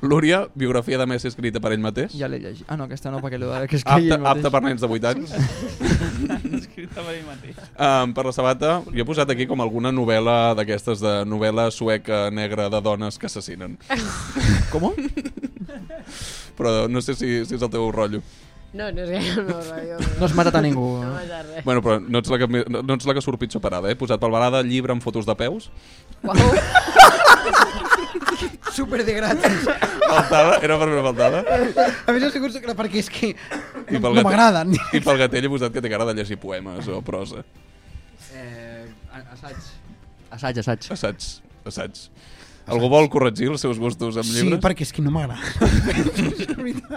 H: Lúria, biografia de Messi escrita per ell mateix.
F: Ja l'he llegit. Ah, no, aquesta no, perquè l'he de... Que és que ell
H: Apte,
F: mateix.
H: apte per nens de 8 anys.
I: Escrita per ell mateix.
H: Um, per la sabata, jo he posat aquí com alguna novel·la d'aquestes de novel·la sueca negra de dones que assassinen.
F: Com?
H: Però no sé si, si és el teu rotllo.
J: No, no és gaire no, rotllo.
F: No has matat a ningú.
J: No passa res.
H: Bueno, però no ets la que, me- no, no ets la que surt pitjor parada, eh? He posat pel balada llibre amb fotos de peus.
E: [laughs] Super de gratis.
H: Faltada, era per mi faltada.
E: A més, ha sigut perquè és que
H: I
E: no
H: gatell-
E: m'agraden.
H: I pel gatell he posat que té cara de llegir poemes o prosa.
F: Eh, assaig.
G: Assaig,
H: [laughs]
G: assaig.
H: Assaig, assaig. Algú vol corregir els seus gustos amb
E: Sí,
H: llibres?
E: perquè és que no m'agrada.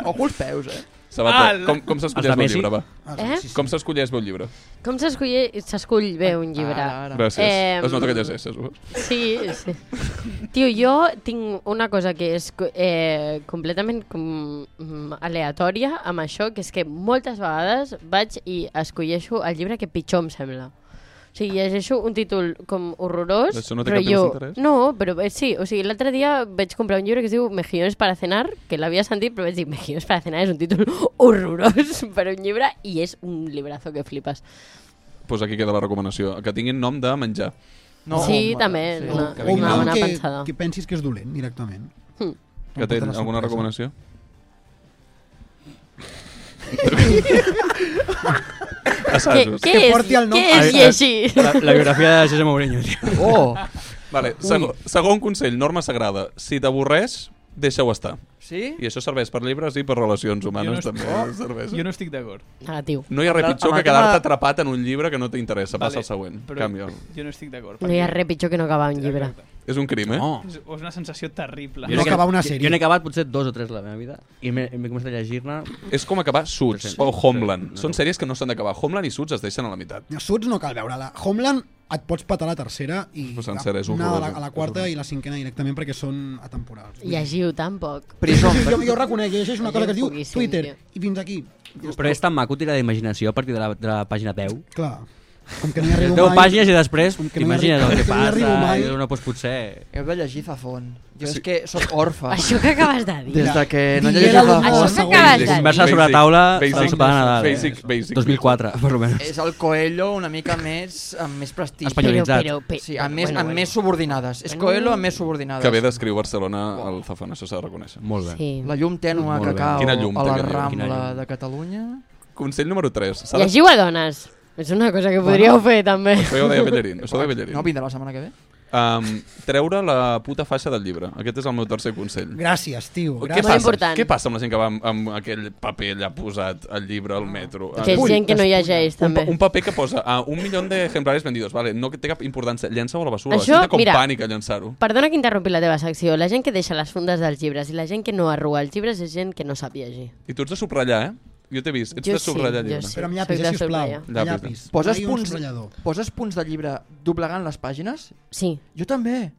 F: Ojo els peus, eh?
H: Sabata,
J: Ah, la-
H: com, com s'escolleix bé
G: Els de
H: un
G: Messi?
H: llibre, va?
J: Eh? sí, sí.
H: Com s'escolleix bé un llibre?
J: Com s'escull- s'escull bé un llibre?
F: Ah,
H: ara. Gràcies. Es nota que llegeixes, ho veus?
J: Sí, sí. Tio, jo tinc una cosa que és co- eh, completament com, mm, aleatòria amb això, que és que moltes vegades vaig i escolleixo el llibre que pitjor em sembla. O sigui, llegeixo un títol com horrorós,
H: Això no té
J: però
H: cap tipus
J: jo...
H: d'interès?
J: No, però eh, sí, o sigui, l'altre dia vaig comprar un llibre que es diu Mejillones para cenar, que l'havia sentit, però vaig dir Mejillones para cenar és un títol [laughs] horrorós per a un llibre i és un librazo que flipes.
H: Doncs aquí queda la recomanació. Que tinguin nom de menjar.
J: No, sí, també, sí. [laughs] una,
H: Que
E: O un
H: vinguin
J: una
H: amb-
J: bona
E: que,
J: pensada.
E: que pensis que és dolent, directament.
J: Hm.
H: Que té alguna recomanació? Assajos.
J: Què- què és- Porti el nom. què és llegir?
G: La, la biografia de José Mourinho, tio.
F: Oh!
H: Vale, segon, segon consell, norma sagrada. Si t'avorreix, deixa-ho estar.
F: Sí?
H: I això serveix per llibres i per relacions humanes
I: Jo no
H: també.
I: estic-
H: Serveix.
I: Jo no estic d'acord.
J: Negatiu.
H: No hi ha res
I: Amb el-
H: pitjor
I: amb
H: que
I: el tema-
H: quedar-te atrapat en un llibre que no t'interessa. Passa
I: Vale,
H: al següent.
I: però
H: Canvia.
I: Jo no estic d'acord.
J: No hi ha res pitjor que no acabar un llibre.
H: És un crim, eh?
G: No.
I: És és una sensació terrible.
G: Jo n'he
E: acabar una
G: jo-
E: sèrie.
G: Jo n'he acabat potser dos o tres de la meva vida i m'he m'he començat a llegir-ne.
H: És com acabar Suits o Homeland. Són sèries que no s'han d'acabar. Homeland i Suits es deixen a la meitat.
E: Suits no cal veure-la. Homeland et pots patar la tercera i
H: Però sencera, és
E: una a la,
H: horrorosa.
E: a la quarta i la cinquena directament perquè són atemporals.
J: Llegiu tampoc.
E: Prison. Jo, jo ho reconec, llegeix una cosa que es diu
J: Poquíssim,
E: Twitter
J: tio.
E: i fins aquí. Ja
G: Però és tan maco tirar d'imaginació a partir de la, de la pàgina 10.
E: Clar. Com que no hi arribo
G: 10
E: mai...
G: pàgines i després
E: Com que no hi
G: t'imagines
E: arribo-
G: el que
E: com que no hi
G: passa.
E: arribo mai.
G: i dius, No, doncs potser...
F: Heu de llegir Zafón. Jo és que sóc orfe.
J: Això que acabes de dir.
H: [laughs]
F: Des de que no
E: Digué
F: llegeixo
E: la
F: Zafón...
J: Això que acabes de dir.
G: Conversa sobre la
H: Basic,
G: taula
H: basic,
G: basic, sopar de Nadal. eh?
H: basic, basic.
G: 2004, [laughs] per almenys.
F: És el Coelho una mica més amb més prestigi.
G: Espanyolitzat.
F: Sí, amb més, amb més subordinades. És Coelho amb més subordinades.
H: Que bé descriu Barcelona al Zafón, això s'ha de reconèixer.
G: Molt bé.
J: Sí.
F: La llum tènua
G: Molt
F: que
G: bé.
F: cau
H: Quina llum,
F: a la
H: també, llum.
G: Quina
F: Rambla
G: llum.
F: de Catalunya.
H: Consell número 3.
J: Llegiu a dones. És una cosa que podríeu fer, també.
H: Això ja ho deia Bellerín. Això ho deia
F: No
H: Bellerín.
F: vindrà la setmana que ve?
H: Um, treure la puta faixa del llibre. Aquest és el meu tercer consell.
E: Gràcies, tio.
H: Què
E: Gràcies.
H: passa?
J: important.
H: Què passa amb la gent que va amb, amb aquell paper allà posat al llibre,
I: Ah.
H: al metro?
J: Que és
H: Vull-
J: gent que no llegeix,
H: un, pa-
J: també.
H: un paper que posa a un milió d'exemplaris vendidos, vale, no que té cap importància, llença-ho a la basura,
J: Això,
H: Això, com
J: mira.
H: mira. pànic a llançar-ho.
J: Perdona que interrompi la teva secció. La gent que deixa les fundes dels llibres i la gent que no arruga els llibres és gent que no sap llegir.
H: I tu ets de subratllar, eh? Jo t'he vist, ets
J: Jo
H: de subratllar
J: sí,
H: llibre.
J: jo sí.
E: Però amb
J: Soc
E: llapis,
J: de
E: eh, sisplau.
J: subratllar.
H: Llapis,
E: Llapis.
F: Poses
E: Ai, un
F: punts,
E: subratllador.
F: poses punts de llibre doblegant les pàgines?
J: Sí.
F: Jo també.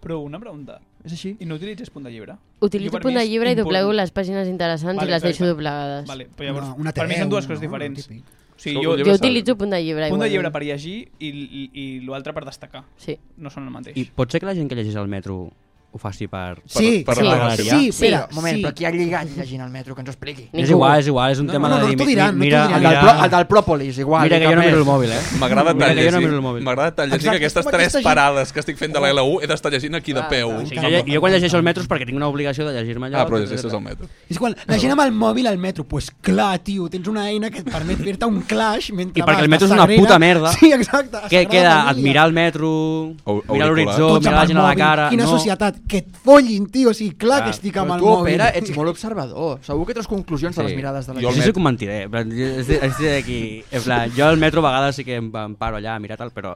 I: Però una pregunta.
F: És així.
I: I no utilitzes punt de llibre? Jo
J: Utilitzo
I: per
J: punt
I: mi
J: de
I: és
J: llibre i
I: important.
J: doblego les pàgines interessants
I: Vale,
J: i les deixo
I: exacte.
J: doblegades.
I: Vale, però llavors,
E: Una- una
I: per mi
E: tele,
I: són dues
E: una-
I: coses diferents.
E: típic.
I: O sigui,
H: Sóc
I: jo,
H: un
J: Jo
H: Llibre
J: utilitzo punt de llibre.
I: punt de
J: igualment.
I: llibre per llegir i, i, i l'altre per destacar.
J: Sí.
I: No són el mateix.
G: I pot ser que la gent que llegeix al metro ho faci per...
E: Sí,
H: per
J: sí.
H: regalar.
E: Sí,
J: Sí.
E: espera,
F: Un moment,
E: sí.
F: però qui ha lligat llegint al metro? Que ens ho expliqui.
J: Ningú.
G: És igual, és igual, és un
E: No,
G: tema
E: no, no,
G: de dir...
E: t'ho
G: mi-
E: diran, no t'ho
G: mira,
E: diran.
F: El
G: mira,
F: del, pro, el del Pròpolis, igual.
G: mira
F: i
G: que jo no
F: cap
G: miro el
F: més.
G: mòbil, eh?
H: M'agrada
G: Mira
H: tant
G: que jo no
H: llegir,
G: miro el mòbil.
H: m'agrada tant llegir
E: Exacte,
H: que aquestes
E: com
H: tres
E: aquesta gent-
H: parades que estic fent de la L1 he d'estar llegint aquí
J: Ah,
H: de peu.
G: O sigui, jo, jo quan llegeixo el metro és perquè tinc una obligació de llegir-me allò.
H: Ah, però
G: etcètera.
H: llegeixes al metro.
E: És quan la gent amb el mòbil al metro, pues clar, tio, tens una eina que et permet fer-te un clash mentre
G: I perquè
E: vas
G: el metro
E: a
G: és una
E: Sagrera.
G: puta merda.
E: Sí, exacte. a
G: Què
E: Sagrada
G: queda?
E: Família.
G: Admirar el metro,
H: Au-
G: mirar l'horitzó,
H: auriculars.
E: Tots
G: mirar
E: amb
G: la
E: el
G: gent a la
E: mòbil.
G: cara...
E: Quina
G: no.
E: societat, que et follin, tio, sí, clar
G: Clar,
E: que estic
F: Però
E: amb el
F: tu, eh,
E: mòbil.
F: Pere, ets molt observador. Segur que treus conclusions de les
G: Sí.
F: mirades de la
H: Jo el
G: Jo
F: gent.
H: met-
G: soc un mentider, en plan, jo estic estic aquí, en plan, jo al metro a vegades sí que em, em paro allà a mirar tal, però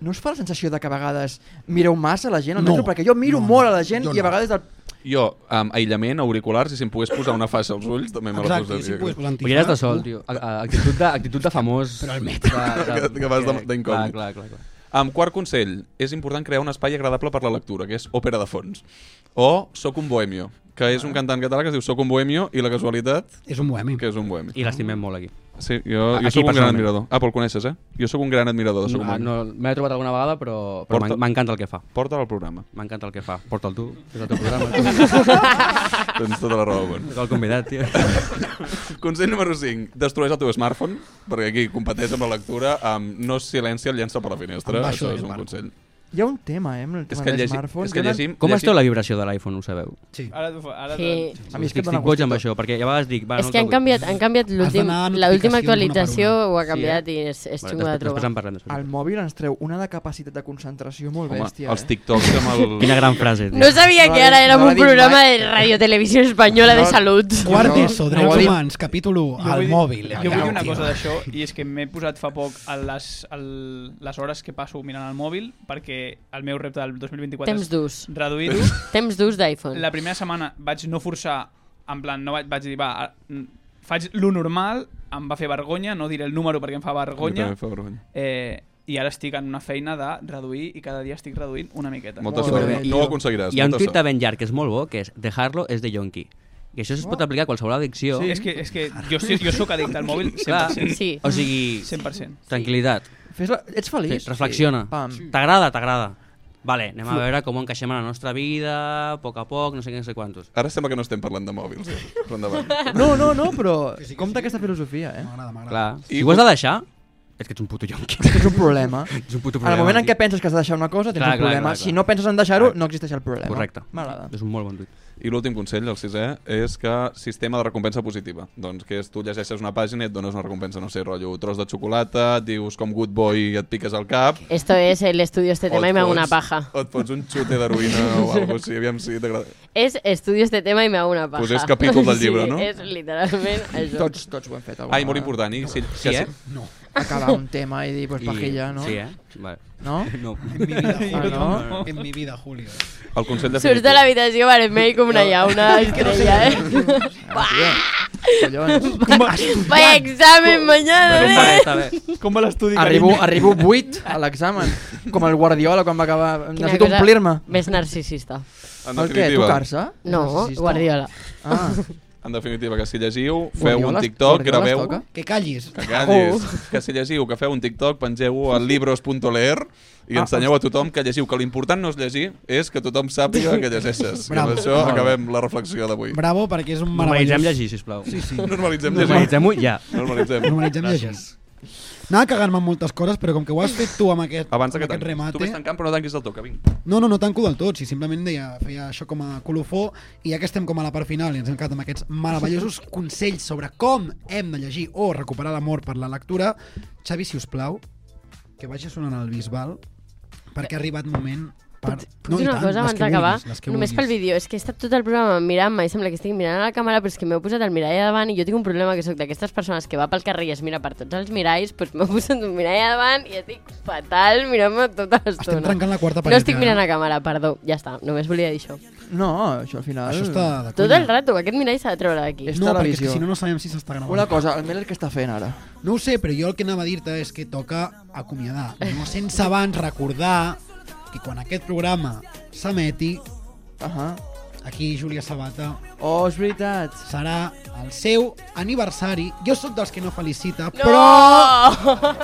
F: No us fa la sensació de que a vegades mireu massa la gent al
E: No.
F: metro? Perquè jo
E: No,
F: miro
E: no,
F: molt a la gent
E: jo
F: i a
E: no.
F: vegades... Del...
H: Jo, amb aïllament, auriculars, i si em pogués posar una faixa als ulls, també me la
E: Exacte, i si
H: posaria.
E: em pogués posar antifa,
G: ulleres de sol,
E: tu-
G: tio, A- a- actitud de, actitud de famós. Però al metro.
H: Que- que vas de- d'incògnit.
G: Clar, clar, clar, clar.
H: Amb quart consell, és important crear un espai agradable per la lectura, que és òpera de fons. O Soc un bohemio, que és un cantant català que es diu Soc un bohemio i la casualitat
E: És un bohemi.
H: que és un bohemi.
G: I l'estimem molt aquí.
H: Sí, jo, jo
G: Aquí,
H: sóc un gran
G: personalment.
H: admirador. Ah, però el coneixes, eh? Jo sóc un gran admirador de
G: No,
H: Saruman.
G: no, M'he trobat alguna vegada, però, però
H: Porta-
G: m'en- m'encanta el que fa.
H: Porta'l al programa.
G: M'encanta el que fa. Porta'l tu, és el teu
H: [laughs]
G: programa.
H: Tens tota la raó, bon. [laughs]
G: És el convidat, tio.
H: Consell número 5. Destrueix el teu smartphone, perquè aquí competeix amb la lectura. amb no silencia el llença per la finestra.
F: Em baixo
H: Això
F: del
H: és un
F: smartphone.
H: consell.
F: Hi ha un tema, eh, amb el tema
G: que
F: de
G: llegi-
F: smartphone.
G: és que
F: Donen-
G: llegim- Com llegim- es treu la vibració de l'iPhone, ho sabeu?
E: Sí.
I: Ara, t'ho fa- ara
J: Sí.
I: t'ho-
G: A mi estic, estic boig amb això, perquè a vegades dic... Va,
J: Eh, és que han canviat, han canviat l'últim-
E: d'anar a
J: l'última
E: notificacions una per
J: actualització,
E: una.
J: ho ha canviat i és, és xungo de trobar.
F: El mòbil ens treu una de capacitat de concentració molt
H: Home,
F: bèstia. eh.
H: els TikToks amb el...
G: Quina gran frase,
J: No sabia
F: No
J: que
F: l'ha
J: ara
F: dit-
J: érem
F: no l'ha
J: un
F: dit
J: programa
F: mai.
J: de Radio Televisió Espanyola de Salut.
E: Quart
F: Jo-
E: d'ESO,
F: no
E: drets
F: ho ha dit.
E: humans, capítol
I: Jo
E: 1, al
I: vull dir-
E: mòbil.
I: Jo vull dir
E: allà,
I: una
E: tio.
I: cosa d'això, i és que m'he posat fa poc a les, a les hores que passo mirant el mòbil, perquè el meu repte del 2024
J: Temps durs.
I: és reduir-ho.
J: Temps durs d'iPhone.
I: La primera setmana vaig no forçar, en plan, no vaig, vaig dir, va, a- mm, faig lo normal, em va fer vergonya, no diré el número perquè em fa vergonya,
H: També fa vergonya.
I: eh, i ara estic en una feina de reduir i cada dia estic reduint una miqueta.
H: Molta
F: Molt
H: sort.
F: bé,
H: No,
F: tio.
H: no ho aconseguiràs.
G: Hi ha un
H: molta
G: tuit de
H: sort.
G: Ben llarg que és molt bo, que és dejarlo és de yonqui. I això es pot aplicar a qualsevol addicció.
I: És que, és que jo, estic- jo sóc addicte al mòbil
G: Clar,
I: 100%.
J: Sí.
G: o sigui,
I: 100%.
G: tranquil·litat.
F: Fes la... Ets feliç?
G: Sí, reflexiona.
F: Pam.
G: T'agrada, t'agrada. Vale, anem a veure com ho encaixem a la nostra vida, a poc a poc, no sé què, no sé quantos.
H: Ara sembla que no estem parlant de mòbils. eh? Però endavant.
F: No, no, no, però compta aquesta filosofia, eh?
E: M'agrada, m'agrada.
G: Clar.
H: I
G: Si ho has de deixar, és que ets un puto yonqui.
F: És un problema.
G: Ets un puto
F: En
G: problema.
F: el moment en
G: tio.
F: què penses que has de deixar una cosa, tens
G: Clar,
F: un
G: clar,
F: problema.
G: clar, clar.
F: Si no penses en deixar-ho, no existeix el problema.
G: Correcte.
F: M'agrada.
G: És un molt bon tuit.
H: I l'últim consell, el sisè, és que sistema de recompensa positiva. Doncs que és tu llegeixes una pàgina i et dones una recompensa, no sé, rotllo, tros de xocolata, et dius com good boy i et piques al cap.
J: Esto es el estudio este
H: o
J: tema
H: et
J: y me hago
H: fots-
J: una paja.
H: O et fots un xute d'heroïna o alguna cosa així, aviam si t'agrada.
J: És estudio este tema y me hago una paja.
H: Pues és capítol del llibre, no?
J: Sí, és literalment
H: [laughs]
J: això.
F: Tots, tots ho hem fet. alguna
H: Ai, molt
F: vegada.
H: important. I si,
G: Sí, eh?
F: Acabar un tema i dir, pues, pajilla, no?
G: Sí, eh? Vale. [laughs]
F: No?
G: No.
E: En mi vida, Julio.
F: Ah,
E: no? [laughs] En mi vida, Julio.
H: El consell de
J: Surts de l'habitació vermell com una llauna estrella, eh? [laughs]
G: [laughs]
F: Collons.
J: Vaya examen
G: Està bé,
J: mañana, eh?
G: està bé.
I: Com va l'estudi?
F: Arribo,
I: carinyo?
F: arribo 8 a l'examen, com el Guardiola quan va acabar.
J: Quina
F: Necessito
J: cosa
F: omplir-me.
J: Més narcisista.
H: En
F: El què?
H: definitiva,
F: Tocar-se?
J: No,
F: Narcisista?
J: Guardiola.
F: Ah,
H: en definitiva, que si llegiu, feu
F: Guardiola
H: un
F: es-
H: TikTok,
F: Guardiola es
H: graveu...
F: toca? Oh.
E: Que callis.
H: Que callis. Que si llegiu, que feu un TikTok, pengeu-ho a libros.leer i
F: Ah,
H: ensenyeu a tothom que llegiu, que l'important no és llegir, és que tothom sàpiga que llegeixes. I amb
E: Bravo.
H: això acabem la reflexió d'avui.
E: Bravo, perquè és un
G: Normalitzem
E: meravellós...
G: llegir, sisplau.
E: Sí, sí.
H: Normalitzem llegir.
G: Normalitzem-ho ja.
H: Normalitzem.
E: Normalitzem llegir. Anava cagant-me en moltes coses, però com que ho has fet tu amb aquest,
H: Abans de
E: amb
H: que
E: aquest
H: tanquis. Tu
E: remate...
H: vés tancant, però no tanquis el toca, vinc.
E: No, no, no tanco del tot, si simplement deia, feia això com a colofó i ja que estem com a la part final i ens hem quedat amb aquests
H: [laughs]
E: meravellosos consells sobre com hem de llegir o recuperar l'amor per la lectura, Xavi, si us plau, que vagi sonant el Bisbal perquè ha arribat moment per...
J: Puc
E: i
J: dir una
E: tant,
J: cosa
E: les
J: abans
E: que
J: d'acabar?
E: vulguis, les que
J: Només pel
E: vulguis.
J: vídeo. És que he estat tot el programa mirant-me i sembla que estic mirant a la càmera, però és que m'he posat el mirall davant i jo tinc un problema que sóc d'aquestes persones que va pel carrer i es mira per tots els miralls, doncs m'he posat un mirall davant i estic fatal mirant-me tota
E: Estem
J: l'estona.
E: trencant la quarta paret.
J: No estic
E: ja.
J: mirant a càmera, perdó. Ja està, només volia dir això.
F: No, això al final...
E: Això està de
J: Tot
E: conya.
J: el rato, aquest mirall s'ha de treure d'aquí.
F: És
E: No, perquè és que
F: televisió.
E: si no, no sabem si s'està gravant.
F: Una cosa, el Meller què està fent ara?
E: No ho sé, però jo el que anava a dir-te és que toca acomiadar. No sense abans recordar que quan aquest programa s'emeti,
F: Ahà.
E: aquí Júlia Sabata
F: Oh, és veritat.
E: serà el seu aniversari. Jo sóc dels que no felicita,
J: No!
E: però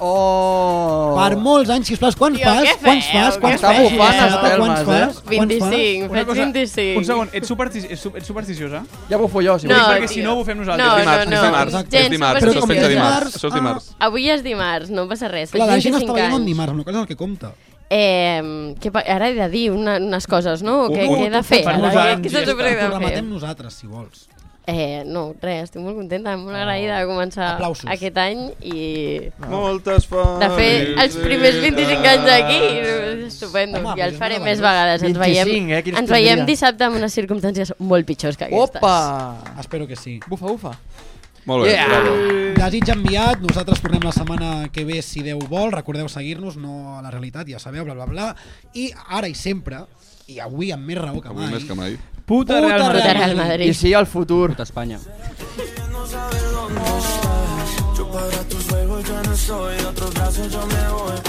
F: Oh!
E: per molts anys, sisplau, quants
J: Tio,
E: fas?
J: què
E: Quants
J: feu?
E: fas?
J: Què
E: Quants
F: feu?
E: fas?
F: Està bufant els
E: quants
F: termes,
E: fas?
F: eh?
E: Quants fas?
J: 25,
I: Una
J: faig
I: cosa,
J: 25.
I: un segon, ets, superstis ets, su- ets supersticiosa?
F: Ja bufo jo, si
J: No,
F: vols.
I: perquè si
J: tio.
I: no ho fem nosaltres.
J: No,
H: és dimarts,
J: no,
H: és
J: no.
H: dimarts,
J: Gens
H: és
E: Ah,
H: dimarts,
J: supersticiosos.
H: però pensa
J: Però
H: dimarts,
E: dimarts, ah,
H: això és dimarts.
J: Avui és dimarts, no passa res. Faig
E: Clar, la gent
J: 25
E: està veient un
J: anys.
E: dimarts, no cal el que compta.
J: Eh, que pa- ara he de dir una, unes coses, no?
H: Un-
J: Què,
H: un-
J: què he de fer?
I: per
J: Ara,
I: molts
J: Què,
I: anys,
J: què se'ns
I: ja
J: ocorre
E: El
J: de fer?
E: programatem nosaltres, si vols.
J: Eh, no, res, estic molt contenta, molt agraïda de començar
E: Aplausos.
J: aquest any i
H: Moltes felices.
J: de fer els primers 25 anys aquí. És estupendo,
E: Home,
J: i els
E: però
J: faré
E: és meravellós.
J: més vegades. Ens
F: 25,
J: veiem,
F: eh, quin
J: ens veiem
F: esplendor.
J: dissabte amb unes circumstàncies molt pitjors que aquestes.
F: Opa!
E: Espero que sí.
F: Bufa, bufa.
H: Molt bé, bravo.
E: Desig enviat, nosaltres tornem la setmana que ve si Déu vol, recordeu seguir-nos, no a la realitat, ja sabeu, bla bla bla, i ara i sempre, i avui amb més raó que
H: Avui
E: mai,
H: més que mai.
I: Puta, Real Madrid.
J: Puta Real Madrid.
F: I sí, al futur.
G: Puta Espanya.
L: Yo para tus juegos ya no soy, de otros brazos yo me voy.